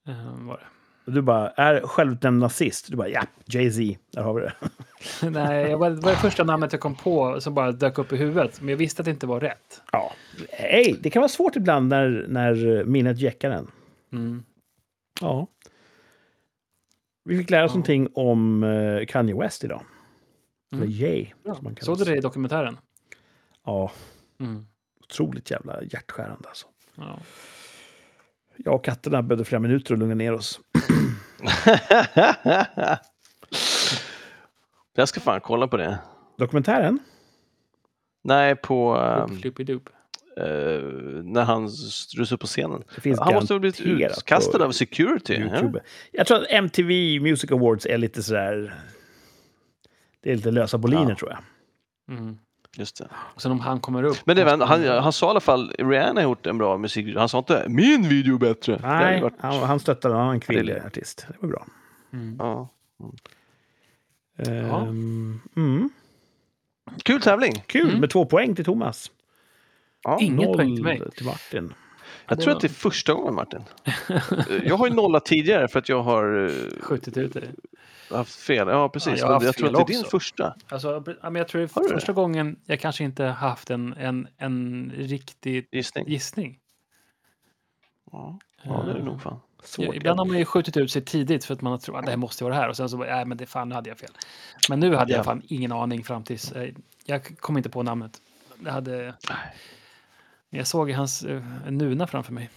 [SPEAKER 4] Eh, var det.
[SPEAKER 1] Du bara, är självutnämnd nazist? Du bara, ja, Jay-Z, där har vi det.
[SPEAKER 4] Nej, jag var, det var det första namnet jag kom på som bara dök upp i huvudet. Men jag visste att det inte var rätt.
[SPEAKER 1] Ja. Hej, det kan vara svårt ibland när, när eh, minnet jäckar en.
[SPEAKER 4] Mm.
[SPEAKER 1] Ja. Vi fick lära oss
[SPEAKER 4] Ja.
[SPEAKER 1] någonting om eh, Kanye West idag. Eller Jay, som man
[SPEAKER 4] Såg
[SPEAKER 1] kallas.
[SPEAKER 4] du det i dokumentären?
[SPEAKER 1] Ja,
[SPEAKER 4] Mm.
[SPEAKER 1] otroligt jävla hjärtskärande alltså.
[SPEAKER 4] Ja.
[SPEAKER 1] Jag och katterna behövde flera minuter att lugna ner oss.
[SPEAKER 3] Jag ska fan kolla på det.
[SPEAKER 1] Dokumentären?
[SPEAKER 3] Nej, på ehm,
[SPEAKER 4] Flippidup.
[SPEAKER 3] eh, när han rusar upp på scenen.
[SPEAKER 1] Det finns
[SPEAKER 3] Han måste ha blivit
[SPEAKER 1] garanterat på
[SPEAKER 3] utkastad av security. Ja.
[SPEAKER 1] YouTube. Jag tror att MTV Music Awards är lite sådär... Det är lite lösa boliner
[SPEAKER 3] Ja.
[SPEAKER 1] tror jag.
[SPEAKER 4] Mm.
[SPEAKER 3] Just det.
[SPEAKER 4] Och sen om han kommer upp.
[SPEAKER 3] Men det, var- han, han sa i alla fall Rihanna har gjort en bra musik. Han sa inte min video är bättre. Det hade
[SPEAKER 1] Nej,
[SPEAKER 3] varit-
[SPEAKER 1] han, han stöttade en annan kvinnlig
[SPEAKER 3] lite-
[SPEAKER 1] artist. Det var bra.
[SPEAKER 4] Mm.
[SPEAKER 3] Ja.
[SPEAKER 1] Ehm, mm.
[SPEAKER 3] Kul tävling.
[SPEAKER 1] Kul
[SPEAKER 4] Mm.
[SPEAKER 1] med två poäng till Thomas.
[SPEAKER 3] Ja.
[SPEAKER 4] Alltså, Inget
[SPEAKER 1] Noll
[SPEAKER 4] poäng till mig.
[SPEAKER 1] till Martin.
[SPEAKER 3] Jag tror att det är första gången Martin. Eh, jag har ju nollat tidigare för att jag har eh,
[SPEAKER 4] Skjutit ut dig.
[SPEAKER 3] haft fel. Ja, precis.
[SPEAKER 4] Ja, jag
[SPEAKER 3] jag
[SPEAKER 4] har haft
[SPEAKER 3] jag tror att det är
[SPEAKER 4] fel
[SPEAKER 3] din
[SPEAKER 4] också.
[SPEAKER 3] första.
[SPEAKER 4] Alltså, ja, men jag tror det
[SPEAKER 3] Har du
[SPEAKER 4] är första gången jag kanske inte haft en, en, en riktig
[SPEAKER 3] Gissning.
[SPEAKER 4] gissning.
[SPEAKER 3] Ja, ja det är det nog fan.
[SPEAKER 1] Svårt.
[SPEAKER 4] Ibland har man ju skjutit ut sig tidigt för att man tror att det här måste vara det här och sen så bara, nej men det fan nu hade jag fel. Men nu hade
[SPEAKER 3] Ja.
[SPEAKER 4] jag fan ingen aning fram tills, eh, jag kom inte på namnet. Jag hade, jag såg hans eh, nuna framför mig.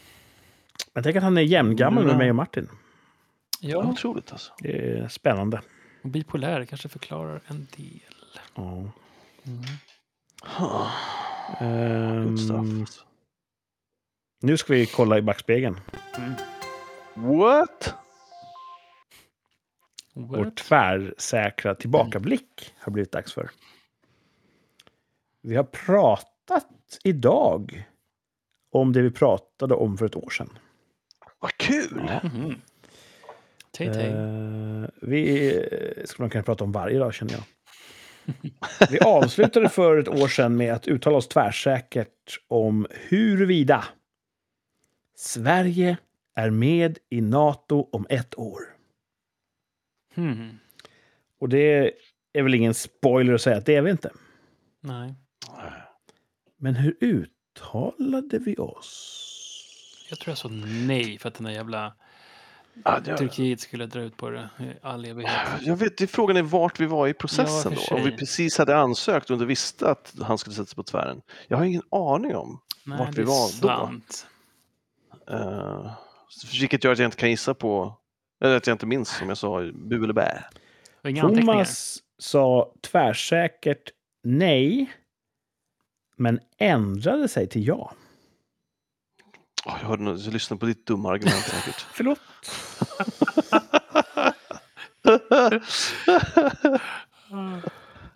[SPEAKER 1] Men tänk att han är
[SPEAKER 3] Mm.
[SPEAKER 1] jämngammal med mig och Martin.
[SPEAKER 3] Ja.
[SPEAKER 4] Ja,
[SPEAKER 3] Otroligt alltså.
[SPEAKER 1] Det är spännande.
[SPEAKER 4] och bipolär kanske förklarar en del.
[SPEAKER 1] Ja.
[SPEAKER 3] Ha,
[SPEAKER 1] Ehm,
[SPEAKER 3] Gott straff. alltså.
[SPEAKER 1] nu ska vi kolla i backspegeln.
[SPEAKER 3] What?
[SPEAKER 1] Vår
[SPEAKER 4] What?
[SPEAKER 1] tvärsäkra tillbakablick har blivit dags för. Vi har pratat idag om det vi pratade om för ett år sedan.
[SPEAKER 3] Vad kul!
[SPEAKER 4] Mhm. Tay Tay.
[SPEAKER 1] Eh, vi eh, skulle man kunna prata om varje dag, känner jag. Vi avslutade för ett år sedan med att uttala oss tvärsäkert om huruvida Sverige är med i Nato om ett år.
[SPEAKER 4] Mhm.
[SPEAKER 1] Och det är väl ingen spoiler att säga att det är vi inte.
[SPEAKER 4] Nej,
[SPEAKER 1] Men hur uttalade vi oss?
[SPEAKER 4] jag tror jag sa nej för att den där jävla
[SPEAKER 3] Ja, Äh, det,
[SPEAKER 4] Turkiet skulle dra ut på det i all evighet.
[SPEAKER 3] jag vet, det, frågan är vart vi var i processen
[SPEAKER 4] Ja, för
[SPEAKER 3] då. Om vi
[SPEAKER 4] sig.
[SPEAKER 3] precis hade ansökt och inte visste att han skulle sätta sig på tvären. Jag har ingen aning om.
[SPEAKER 4] Nej,
[SPEAKER 3] Vart vi
[SPEAKER 4] det är
[SPEAKER 3] var då?
[SPEAKER 4] sant.
[SPEAKER 3] Uh, vilket gör att jag inte kan gissa på, eller att jag inte minns som jag sa, bu eller bä.
[SPEAKER 4] Och inga anteckningar.
[SPEAKER 1] Thomas sa tvärsäkert nej, men ändrade sig till ja.
[SPEAKER 3] Åh, jag hörde nog, jag lyssnade på ditt dumma argument säkert.
[SPEAKER 1] Förlåt.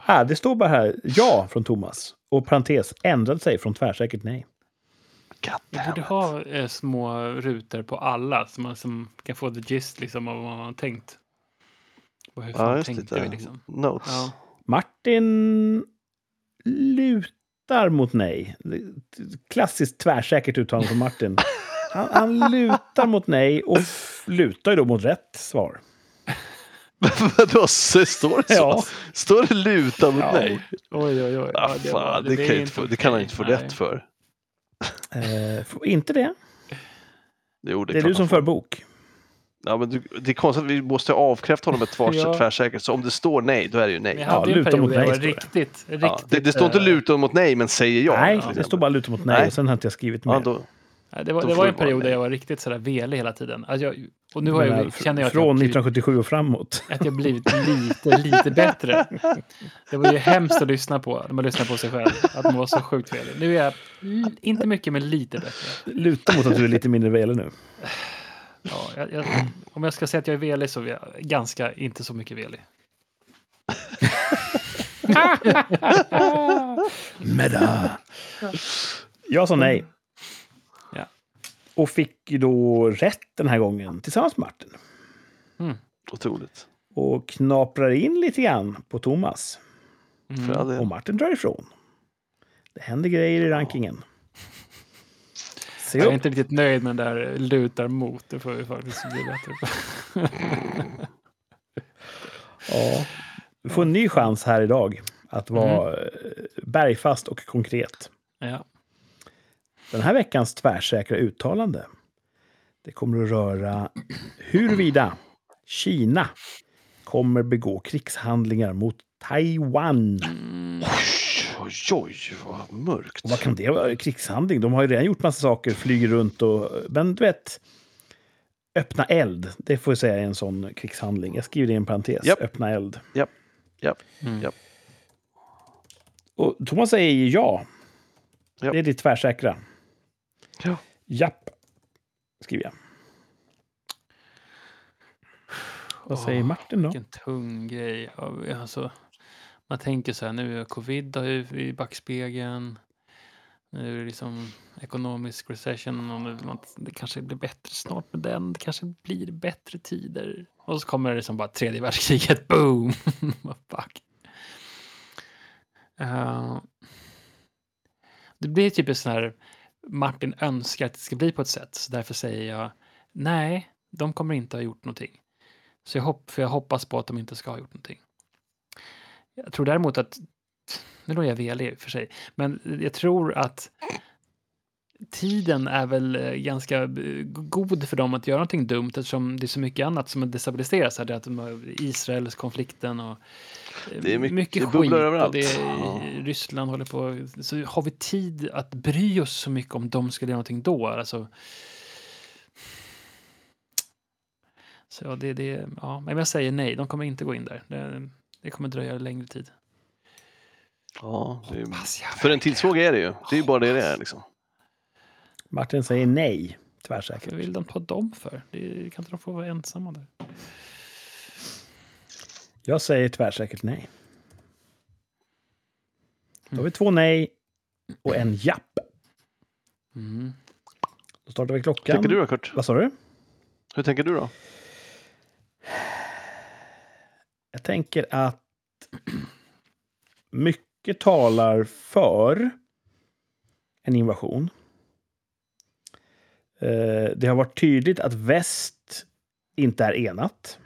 [SPEAKER 1] Ah, det står bara här ja från Thomas och parentes ändrade sig från tvärsäkert nej.
[SPEAKER 3] God
[SPEAKER 4] Jag borde
[SPEAKER 3] damn.
[SPEAKER 4] ha eh, små rutor på alla så man som kan få the gist liksom, av vad man har tänkt. Och hur fan
[SPEAKER 3] Ja, just
[SPEAKER 4] tänkte
[SPEAKER 3] det. eh,
[SPEAKER 4] vi liksom?
[SPEAKER 3] Notes.
[SPEAKER 4] Ja.
[SPEAKER 1] Martin lutar mot nej. Klassiskt tvärsäkert uttalande från Martin. Han, han lutar mot nej och f- lutar ju då mot rätt svar.
[SPEAKER 3] Vadå, så- står det så?
[SPEAKER 1] Ja.
[SPEAKER 3] Står det luta mot
[SPEAKER 1] Ja.
[SPEAKER 3] nej?
[SPEAKER 4] Oj, oj, oj.
[SPEAKER 3] Ah,
[SPEAKER 4] det var-
[SPEAKER 3] fan, det, kan
[SPEAKER 4] är
[SPEAKER 3] ju inte få, det kan han
[SPEAKER 4] okej.
[SPEAKER 3] inte få
[SPEAKER 4] Nej.
[SPEAKER 3] rätt för.
[SPEAKER 1] Eh, f- inte det.
[SPEAKER 3] Jo, det,
[SPEAKER 1] Det är du
[SPEAKER 3] klart han
[SPEAKER 1] som
[SPEAKER 3] får.
[SPEAKER 1] för bok.
[SPEAKER 3] Ja, men du, det är konstigt att vi måste avkräfta honom ett svar
[SPEAKER 4] Ja.
[SPEAKER 3] tvärsäkert. Så om det står nej, då är det ju nej.
[SPEAKER 4] Men jag
[SPEAKER 1] Ja,
[SPEAKER 4] hade ju en
[SPEAKER 1] luta
[SPEAKER 4] period
[SPEAKER 1] mot
[SPEAKER 4] där jag
[SPEAKER 1] nej,
[SPEAKER 4] var
[SPEAKER 1] står det.
[SPEAKER 4] riktigt, riktigt...
[SPEAKER 3] Ja, det, det står inte
[SPEAKER 4] eh,
[SPEAKER 3] luta mot nej, men säger ja.
[SPEAKER 1] nej,
[SPEAKER 3] till
[SPEAKER 1] det
[SPEAKER 3] exempel.
[SPEAKER 1] står bara lutar mot nej.
[SPEAKER 3] Nej.
[SPEAKER 1] Och sen har inte jag skrivit mer.
[SPEAKER 3] Ja, då,
[SPEAKER 4] Nej, det var,
[SPEAKER 3] Då
[SPEAKER 4] det
[SPEAKER 3] får
[SPEAKER 4] var
[SPEAKER 3] det
[SPEAKER 4] en
[SPEAKER 3] vara
[SPEAKER 4] period där
[SPEAKER 3] nej.
[SPEAKER 4] jag var riktigt sådär velig hela tiden. Alltså jag, och nu har
[SPEAKER 1] Men,
[SPEAKER 4] jag,
[SPEAKER 1] eh, fr-
[SPEAKER 4] känner jag att jag, typ-
[SPEAKER 1] från
[SPEAKER 4] har blivit,
[SPEAKER 1] 1977 och framåt.
[SPEAKER 4] att jag blivit lite, lite bättre. Det var ju hemskt att lyssna på när man lyssnar på sig själv, att man var så sjukt velig. Nu är jag l- inte mycket, men lite bättre.
[SPEAKER 1] Luta mot att du är lite mindre velig nu.
[SPEAKER 4] Ja, jag, jag, om jag ska säga att jag är velig så är jag ganska inte så mycket velig.
[SPEAKER 1] Meda. Jag sa nej.
[SPEAKER 4] Ja.
[SPEAKER 1] Och fick ju då rätt den här gången tillsammans med Martin.
[SPEAKER 3] otroligt.
[SPEAKER 1] Och knaprar in lite grann på Thomas.
[SPEAKER 3] För
[SPEAKER 4] Mm.
[SPEAKER 3] all del.
[SPEAKER 1] Och Martin drar ifrån. Det händer grejer i rankingen. Se
[SPEAKER 4] Jag är
[SPEAKER 1] upp.
[SPEAKER 4] inte riktigt nöjd med den där lutar mot. Det får vi faktiskt bli bättre på.
[SPEAKER 1] Ja. Du får en ny chans här idag att vara
[SPEAKER 4] Mm.
[SPEAKER 1] eh, bergfast och konkret.
[SPEAKER 4] Ja.
[SPEAKER 1] Den här veckans tvärsäkra uttalande. Det kommer att röra huruvida Kina kommer begå krigshandlingar mot Taiwan.
[SPEAKER 3] Oj, oj, vad mörkt.
[SPEAKER 1] Och vad kan det vara? Krigshandling? De har ju redan gjort massa saker, flyger runt och... Men du vet, öppna eld, det får jag säga är en sån krigshandling. Jag skriver det i en parentes,
[SPEAKER 3] Japp.
[SPEAKER 1] öppna eld.
[SPEAKER 3] Ja,
[SPEAKER 1] Och Thomas säger ju ja.
[SPEAKER 3] Japp.
[SPEAKER 1] Det är ditt tvärsäkra.
[SPEAKER 3] Ja.
[SPEAKER 1] Japp, skriver jag. Vad säger
[SPEAKER 4] Åh,
[SPEAKER 1] Martin då?
[SPEAKER 4] Vilken tung grej. Ja, Alltså, man tänker så här, nu är covid har ju i backspegeln. Nu är det liksom ekonomisk recession och nu, man- det kanske blir bättre snart med den. Det kanske blir bättre tider. Och så kommer det liksom bara tredje världskriget, boom! Vad Fuck. Eh, det blir typ en sån här, Martin önskar att det ska bli på ett sätt, så därför säger jag nej, de kommer inte ha gjort någonting. Så jag, hopp, för jag hoppas på att de inte ska ha gjort någonting. Jag tror däremot att, nu är nog jag velig i och för sig, men jag tror att tiden är väl eh, ganska eh, god för dem att göra någonting dumt eftersom det är så mycket annat som destabiliseras. Här, det är att de har Israels konflikten och eh,
[SPEAKER 3] Det är mycket- det
[SPEAKER 4] skit.
[SPEAKER 3] bubblar
[SPEAKER 4] Och
[SPEAKER 3] överallt.
[SPEAKER 4] det är,
[SPEAKER 3] Ja.
[SPEAKER 4] Ryssland håller på. Så har vi tid att bry oss så mycket om de skulle göra någonting då? Alltså, Så ja, det, det, ja, men jag säger nej, de kommer inte gå in där. Det, det kommer dröja längre tid.
[SPEAKER 3] ja det är...
[SPEAKER 4] Pass, jag
[SPEAKER 3] Mm. För en tidsfråga är det ju. Det är ju bara det det är. Liksom.
[SPEAKER 1] Martin säger nej, tvärsäkert.
[SPEAKER 4] vill de ta dem för? Det, kan inte de få vara ensamma där?
[SPEAKER 1] Jag säger tvärsäkert nej. Då har vi två nej och en japp.
[SPEAKER 4] Mm.
[SPEAKER 1] Då startar vi
[SPEAKER 3] Hur
[SPEAKER 1] klockan.
[SPEAKER 3] tänker du då, Kurt?
[SPEAKER 1] Vad sa du?
[SPEAKER 3] Hur tänker du då?
[SPEAKER 1] Jag tänker att mycket talar för en invasion. Eh, Det har varit tydligt att väst inte är enat.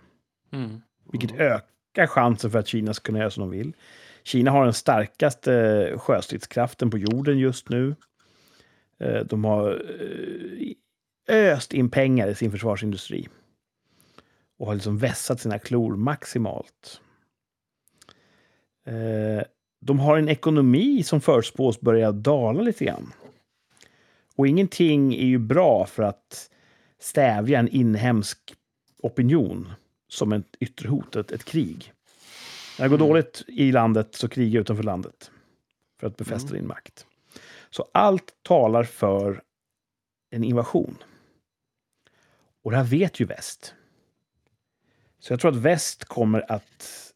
[SPEAKER 4] Mm.
[SPEAKER 1] Vilket ökar chansen för att Kina ska kunna göra som de vill. Kina har den starkaste eh, sjöstridskraften på jorden just nu. Eh, De har eh, öst in pengar i sin försvarsindustri. Och har liksom vässat sina klor maximalt. Eh, De har en ekonomi som förutspås börja dala lite grann. Och ingenting är ju bra för att stävja en inhemsk opinion som ett yttre hot, ett, ett krig. När det går dåligt i landet så krigar utanför landet för att befästa din makt. Så allt talar för en invasion. Och det här vet ju väst. Så jag tror att väst kommer att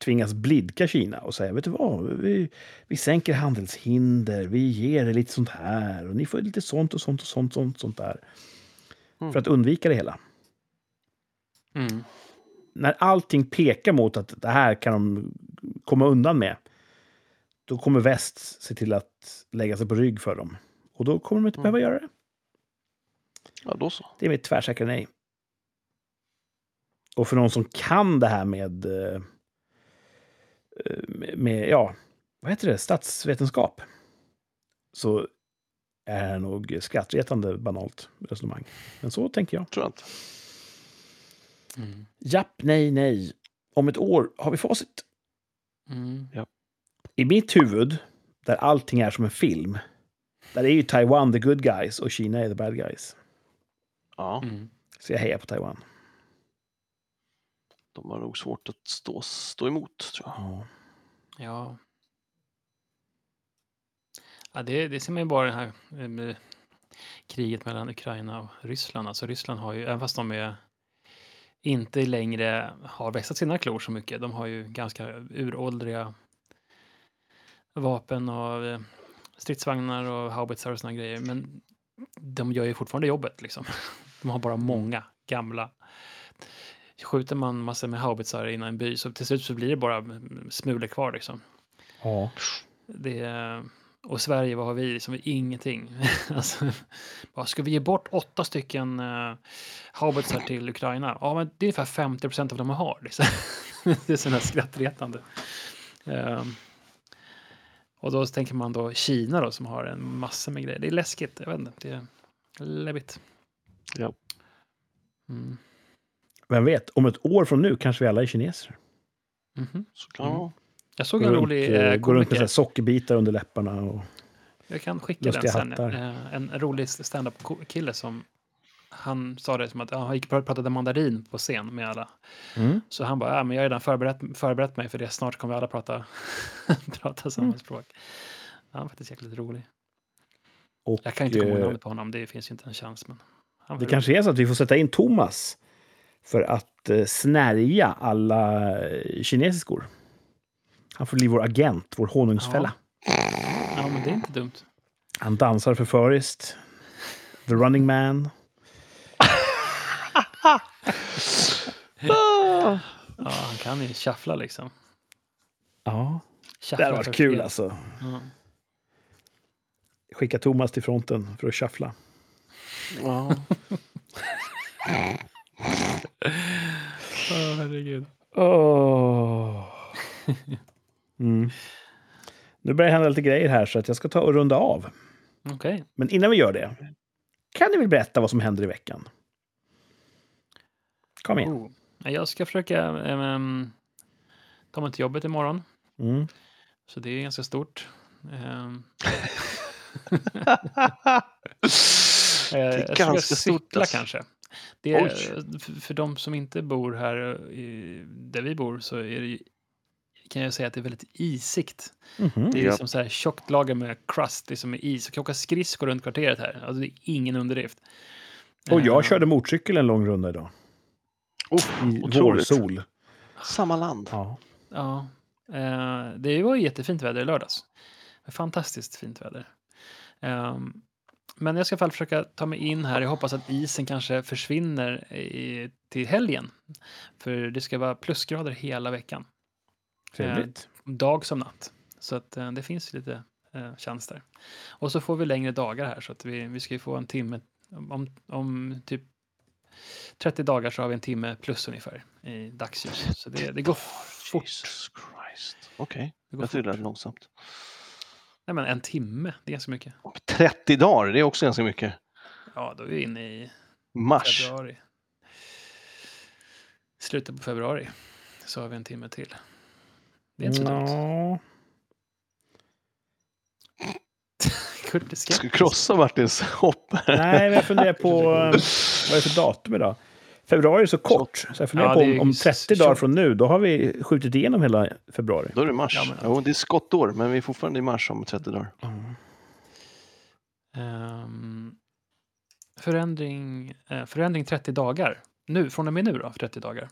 [SPEAKER 1] tvingas blidka Kina och säga, vet du vad, vi, vi sänker handelshinder, vi ger er lite sånt här och ni får lite sånt och sånt och sånt, sånt, sånt där.
[SPEAKER 3] Mm.
[SPEAKER 1] För att undvika det hela
[SPEAKER 4] Mm.
[SPEAKER 1] när allting pekar mot att det här kan de komma undan med, då kommer väst se till att lägga sig på rygg för dem. Och då kommer de inte behöva göra det.
[SPEAKER 3] Ja, då så.
[SPEAKER 1] Det är mitt tvärsäkra nej. Och för någon som kan det här med, eh, med, med ja, vad heter det, statsvetenskap, så är det här nog skrattretande banalt resonemang. Men så tänker jag.
[SPEAKER 3] Tror jag inte.
[SPEAKER 4] Mm.
[SPEAKER 1] Japp, nej, nej. Om ett år har vi facit.
[SPEAKER 4] Mm.
[SPEAKER 1] I mitt huvud, där allting är som en film, där är ju Taiwan the good guys och Kina är the bad guys.
[SPEAKER 3] Ja,
[SPEAKER 4] Mm.
[SPEAKER 1] Så jag hejar på Taiwan.
[SPEAKER 3] de har nog svårt att stå, stå emot, tror jag.
[SPEAKER 1] Ja.
[SPEAKER 4] Ja. ja det, det ser man ju bara i det här eh, med kriget mellan Ukraina och Ryssland. Alltså Ryssland har ju, även fast de är inte längre har vässat sina klor så mycket. De har ju ganska uråldriga vapen och eh, stridsvagnar och haubitsar och såna grejer. Men de gör ju fortfarande jobbet liksom. De har bara många gamla skjuter man massor med haubitsar innan en by så till slut så blir det bara mm, smulor kvar liksom.
[SPEAKER 1] ja.
[SPEAKER 4] Det är, och Sverige, vad har vi? Som vi ingenting. alltså, bara, ska vi ge bort åtta stycken uh, haubitsar till Ukraina? Ja, men det är ungefär 50 procent av dem man har. Liksom. det är sådana skrattretande. Ehm, och då så tänker man då Kina då som har en massa med grejer. Det är läskigt, jag vet inte. Det är läbbigt.
[SPEAKER 3] Ja.
[SPEAKER 4] Mm.
[SPEAKER 1] Vem vet, om ett år från nu kanske vi alla är kineser.
[SPEAKER 4] Mhm.
[SPEAKER 3] Så kan det
[SPEAKER 4] Mm.
[SPEAKER 3] vara.
[SPEAKER 4] Jag såg
[SPEAKER 1] Går
[SPEAKER 4] en
[SPEAKER 1] runt,
[SPEAKER 4] rolig
[SPEAKER 1] eh,
[SPEAKER 4] eh,
[SPEAKER 1] Går runt med så
[SPEAKER 4] komiker.
[SPEAKER 1] här sockerbitar under läpparna. Och,
[SPEAKER 4] Jag kan skicka den
[SPEAKER 1] Lustiga
[SPEAKER 4] sen.
[SPEAKER 1] hattar.
[SPEAKER 4] Eh, En rolig standup-kille som han sa det som att ja, han gick och pratade mandarin på scen med alla.
[SPEAKER 1] Mm.
[SPEAKER 4] Så han bara, ja, men jag har redan förberett, förberett mig för det, snart kommer alla prata, prata samma
[SPEAKER 1] Mm.
[SPEAKER 4] språk. Han var faktiskt jäkligt rolig.
[SPEAKER 1] Och,
[SPEAKER 4] Jag kan inte komma ihåg
[SPEAKER 1] eh,
[SPEAKER 4] namnet på honom, det finns ju inte en chans. Men han var
[SPEAKER 1] Det
[SPEAKER 4] rolig.
[SPEAKER 1] kanske är så att vi får sätta in Thomas för att eh, snärja alla eh, kinesiskor. Han får bli vår agent, vår honungsfälla.
[SPEAKER 4] Ja, men det är inte dumt.
[SPEAKER 1] Han dansar förföriskt. The running man.
[SPEAKER 4] Ja, han kan ju shuffla liksom.
[SPEAKER 1] Ja,
[SPEAKER 4] Shuffla
[SPEAKER 1] det hade varit
[SPEAKER 4] för
[SPEAKER 1] kul
[SPEAKER 4] fred.
[SPEAKER 1] alltså.
[SPEAKER 4] Ja.
[SPEAKER 1] Skicka Thomas till fronten för att shuffla.
[SPEAKER 4] Eh,
[SPEAKER 3] Ja.
[SPEAKER 4] Åh, herregud.
[SPEAKER 1] Åh. Mm. Nu börjar det hända lite grejer här så att jag ska ta och runda av.
[SPEAKER 4] Okej.
[SPEAKER 1] Men innan vi gör det kan ni väl berätta vad som händer i veckan? Kom igen.
[SPEAKER 4] Oh. Jag ska försöka eh, ehm, ta mig till jobbet imorgon.
[SPEAKER 1] Mm.
[SPEAKER 4] Så det är ganska stort. Ehm, eh, jag tror jag
[SPEAKER 3] ganska stort,
[SPEAKER 4] cyklar
[SPEAKER 3] alltså.
[SPEAKER 4] kanske. Det är,
[SPEAKER 3] Oj.
[SPEAKER 4] f- för de som inte bor här eh, i- där vi bor så är det, ju- kan jag säga att det är väldigt isigt.
[SPEAKER 1] Mhm.
[SPEAKER 4] Det är
[SPEAKER 3] Ja.
[SPEAKER 4] liksom så här tjockt lager med crust, det som är is. Och åka skridskor runt kvarteret här. Alltså det är ingen underdrift.
[SPEAKER 1] Och jag
[SPEAKER 4] Eh,
[SPEAKER 1] körde motorcykel en lång runda idag.
[SPEAKER 3] Oh,
[SPEAKER 1] I
[SPEAKER 3] otroligt.
[SPEAKER 1] vårsol.
[SPEAKER 3] Samma land.
[SPEAKER 1] Ja.
[SPEAKER 4] Ja, eh, det var ju jättefint väder i lördags. Fantastiskt fint väder. Ehm, men jag ska i alla fall försöka ta mig in här. Jag hoppas att isen kanske försvinner i, till helgen. För det ska vara plusgrader hela veckan,
[SPEAKER 1] Trevligt.
[SPEAKER 4] dag som natt. Så att eh, det finns lite eh, chans där. Och så får vi längre dagar här så att vi, vi ska ju få en timme. Om, om typ 30 dagar så har vi en timme plus ungefär i dagsljus. Så det, det går fort.
[SPEAKER 3] Jesus Christ. Okej,
[SPEAKER 4] Det går
[SPEAKER 3] jag
[SPEAKER 4] fort.
[SPEAKER 3] tyckte det lät långsamt.
[SPEAKER 4] Nej, men en timme, det är ganska mycket.
[SPEAKER 3] Om 30 dagar, det är också ganska mycket.
[SPEAKER 4] Ja, då är vi inne i
[SPEAKER 3] Mars.
[SPEAKER 4] februari. Slutet på februari så har vi en timme till. Det är inte så dumt.
[SPEAKER 1] Nå.
[SPEAKER 4] Kurt är
[SPEAKER 3] Ska vi
[SPEAKER 4] skeptisk.
[SPEAKER 3] krossa Martins hopp?
[SPEAKER 1] Nej, men jag funderar på eh, vad är det för datum idag? Februari är så kort, så jag funderar
[SPEAKER 4] Ja,
[SPEAKER 1] på
[SPEAKER 4] det
[SPEAKER 1] om,
[SPEAKER 4] är
[SPEAKER 1] om 30 dagar
[SPEAKER 4] tjockt.
[SPEAKER 1] från nu, då har vi skjutit igenom hela februari.
[SPEAKER 3] Då är det mars.
[SPEAKER 4] Ja, men-
[SPEAKER 3] Jo, det är skottår, men vi är fortfarande i mars om 30 dagar.
[SPEAKER 4] Ehm, förändring, eh, förändring 30 dagar. Nu, från och med nu då, 30 dagar.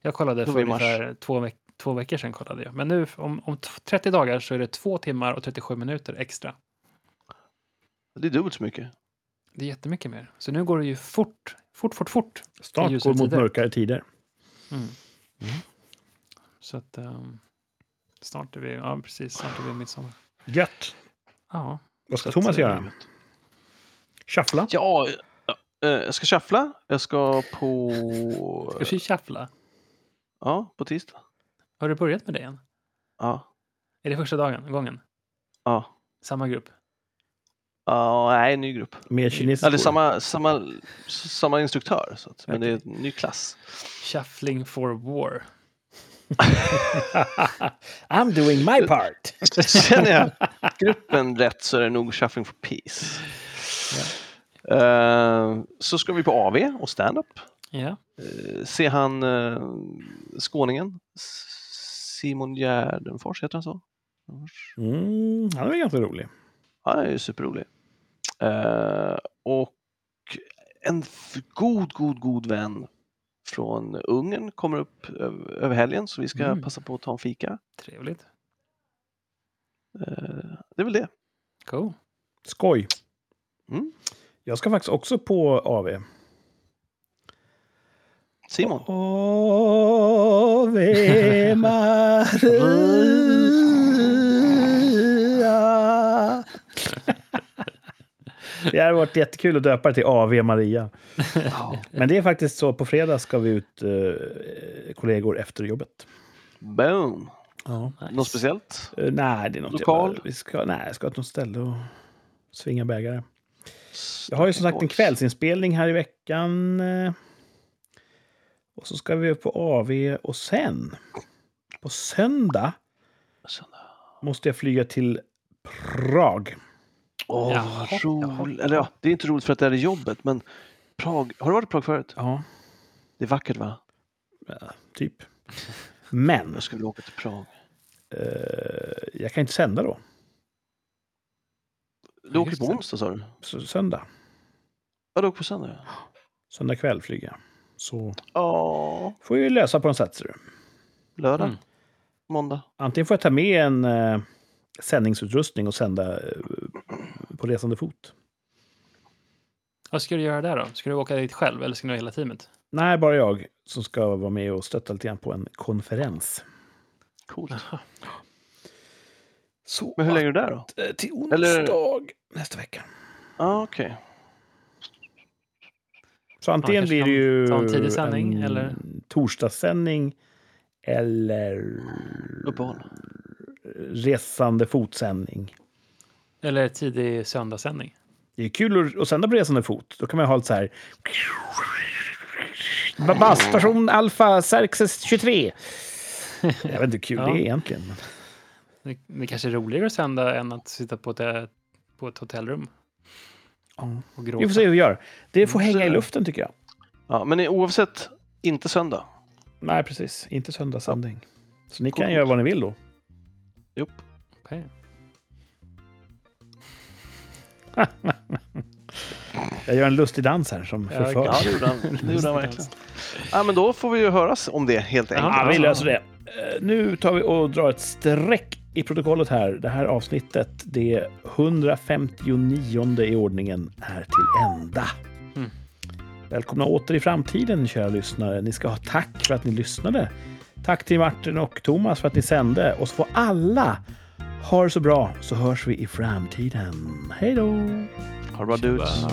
[SPEAKER 4] Jag kollade
[SPEAKER 3] Då
[SPEAKER 4] för
[SPEAKER 3] var det mars.
[SPEAKER 4] ungefär två, veck- två veckor sedan. Kollade jag. Men nu, om, om t- 30 dagar så är det två timmar och 37 minuter extra.
[SPEAKER 3] Det är dubbelt så mycket.
[SPEAKER 4] Det är jättemycket mer. Så nu går det ju fort, fort, fort, fort.
[SPEAKER 1] Snart
[SPEAKER 4] Ljusare
[SPEAKER 1] går mot
[SPEAKER 4] tider.
[SPEAKER 1] mörkare tider.
[SPEAKER 4] Så att, ehm, Snart är vi, ja precis, snart är vi midsommar.
[SPEAKER 1] Gött!
[SPEAKER 4] Ja,
[SPEAKER 1] Vad ska
[SPEAKER 4] Så att,
[SPEAKER 1] Thomas
[SPEAKER 4] eh,
[SPEAKER 1] göra? Shuffla?
[SPEAKER 3] Ja, eh, eh, jag ska shuffla. Jag ska på...
[SPEAKER 4] ska vi shuffla?
[SPEAKER 3] Ja, på tisdag.
[SPEAKER 4] Har du börjat med det än?
[SPEAKER 3] Ja.
[SPEAKER 4] Är det första dagen, gången?
[SPEAKER 3] Ja.
[SPEAKER 4] Samma grupp?
[SPEAKER 3] Ja, nej, ny grupp.
[SPEAKER 1] Med kinesisk
[SPEAKER 3] Eller samma, samma, s- samma instruktör, så att, men det är en ny klass.
[SPEAKER 4] Shuffling for war.
[SPEAKER 1] I'm doing my part!
[SPEAKER 3] Känner jag gruppen rätt så är det nog Shuffling for Peace. Eh, så ska vi på AV och stand-up.
[SPEAKER 4] Ja,
[SPEAKER 3] Eh, se han eh, skåningen Simon Gärdenfors, heter han så?
[SPEAKER 1] Mm, han är ganska rolig.
[SPEAKER 3] Han är ju superrolig. Eh, och en f- god, god, god vän från Ungern kommer upp över, över helgen så vi ska
[SPEAKER 4] Mm.
[SPEAKER 3] passa på att ta en fika.
[SPEAKER 4] trevligt.
[SPEAKER 3] Eh, det är väl det.
[SPEAKER 4] Cool.
[SPEAKER 1] Skoj!
[SPEAKER 3] Mm.
[SPEAKER 1] Jag ska faktiskt också på AV.
[SPEAKER 3] Simon.
[SPEAKER 1] Ave Maria. Det hade varit jättekul att döpa det till AV Maria. Men det är faktiskt så, på fredag ska vi ut eh, kollegor efter jobbet.
[SPEAKER 3] Boom! Något
[SPEAKER 4] Nice.
[SPEAKER 3] speciellt?
[SPEAKER 1] Eh, nej, det är något
[SPEAKER 3] Lokal?
[SPEAKER 1] jävla- vi ska, nej, jag ska till något ställe och svinga bägare. Jag har ju som sagt en kvällsinspelning här i veckan. eh, Och så ska vi upp på AV och sen på söndag måste jag flyga till Prag.
[SPEAKER 3] Åh,
[SPEAKER 4] Jaha,
[SPEAKER 3] vad roligt. Eller ja, det är inte roligt för att det är jobbet, men Prag. Har du varit i Prag förut?
[SPEAKER 1] Ja,
[SPEAKER 3] Det är vackert va?
[SPEAKER 1] typ. Men
[SPEAKER 3] Jag skulle vilja åka till Prag.
[SPEAKER 1] eh, jag kan inte sända då,
[SPEAKER 3] Du åker
[SPEAKER 4] just
[SPEAKER 3] på
[SPEAKER 4] det.
[SPEAKER 3] onsdag sa du?
[SPEAKER 1] så söndag.
[SPEAKER 3] Ja, du åker på söndag. ja.
[SPEAKER 1] Söndag kväll flyger jag. Så
[SPEAKER 3] Ja,
[SPEAKER 1] får jag ju lösa på något sätt. ser du.
[SPEAKER 3] lördag.
[SPEAKER 4] Mm.
[SPEAKER 3] Måndag.
[SPEAKER 1] Antingen får jag ta med en eh, sändningsutrustning och sända eh, på resande fot.
[SPEAKER 4] Vad ska du göra där då? Ska du åka dit själv eller ska du ha hela teamet?
[SPEAKER 1] Nej, bara jag som ska vara med och stötta lite grann på en konferens.
[SPEAKER 3] Coolt.
[SPEAKER 1] Så
[SPEAKER 3] Men hur länge är du där då?
[SPEAKER 1] att, eh, till onsdag
[SPEAKER 3] Eller-
[SPEAKER 1] nästa vecka.
[SPEAKER 3] Ja, ah, okej.
[SPEAKER 1] Så antingen
[SPEAKER 4] kanske
[SPEAKER 1] blir det ju
[SPEAKER 4] kan ta en tidig sändning,
[SPEAKER 1] en
[SPEAKER 4] eller?
[SPEAKER 1] torsdagssändning eller
[SPEAKER 3] Uppehåll.
[SPEAKER 1] resande fotsändning.
[SPEAKER 4] Eller tidig söndagssändning?
[SPEAKER 1] Det är kul att- att sända på resande fot. Då kan man ju ha lite så här... Ba- Station Alfa Xerxes 23. Jag vet inte hur kul
[SPEAKER 4] Ja.
[SPEAKER 1] det är egentligen. men-
[SPEAKER 4] Det, det kanske är roligare att sända än att sitta på ett, på ett hotellrum
[SPEAKER 1] Ja.
[SPEAKER 4] och gråta.
[SPEAKER 1] Vi får se hur vi gör. Det får
[SPEAKER 3] Mm,
[SPEAKER 1] hänga i
[SPEAKER 3] sådär.
[SPEAKER 1] luften tycker jag.
[SPEAKER 3] Ja, men oavsett, inte söndag.
[SPEAKER 1] Nej, precis. Inte söndagssändning. Så ni kan
[SPEAKER 3] Coolt.
[SPEAKER 1] göra vad ni vill då.
[SPEAKER 3] Jopp.
[SPEAKER 4] Okej.
[SPEAKER 1] Jag gör en lustig dans här som
[SPEAKER 4] Ja,
[SPEAKER 1] förför.
[SPEAKER 3] Ja, det gjorde han, det gjorde han verkligen. Ja, men då får vi ju höras om det helt enkelt.
[SPEAKER 1] Ja, vi
[SPEAKER 4] Ja.
[SPEAKER 1] löser det. Eh, Nu tar vi och drar ett streck i protokollet här. Det här avsnittet, det 159 i ordningen, är till ända.
[SPEAKER 4] Mm.
[SPEAKER 1] Välkomna åter i framtiden, kära lyssnare. Ni ska ha tack för att ni lyssnade. Tack till Martin och Thomas för att ni sände. Och så får alla ha det så bra, så hörs vi i framtiden. Hej då!
[SPEAKER 3] Ha det bra dudes.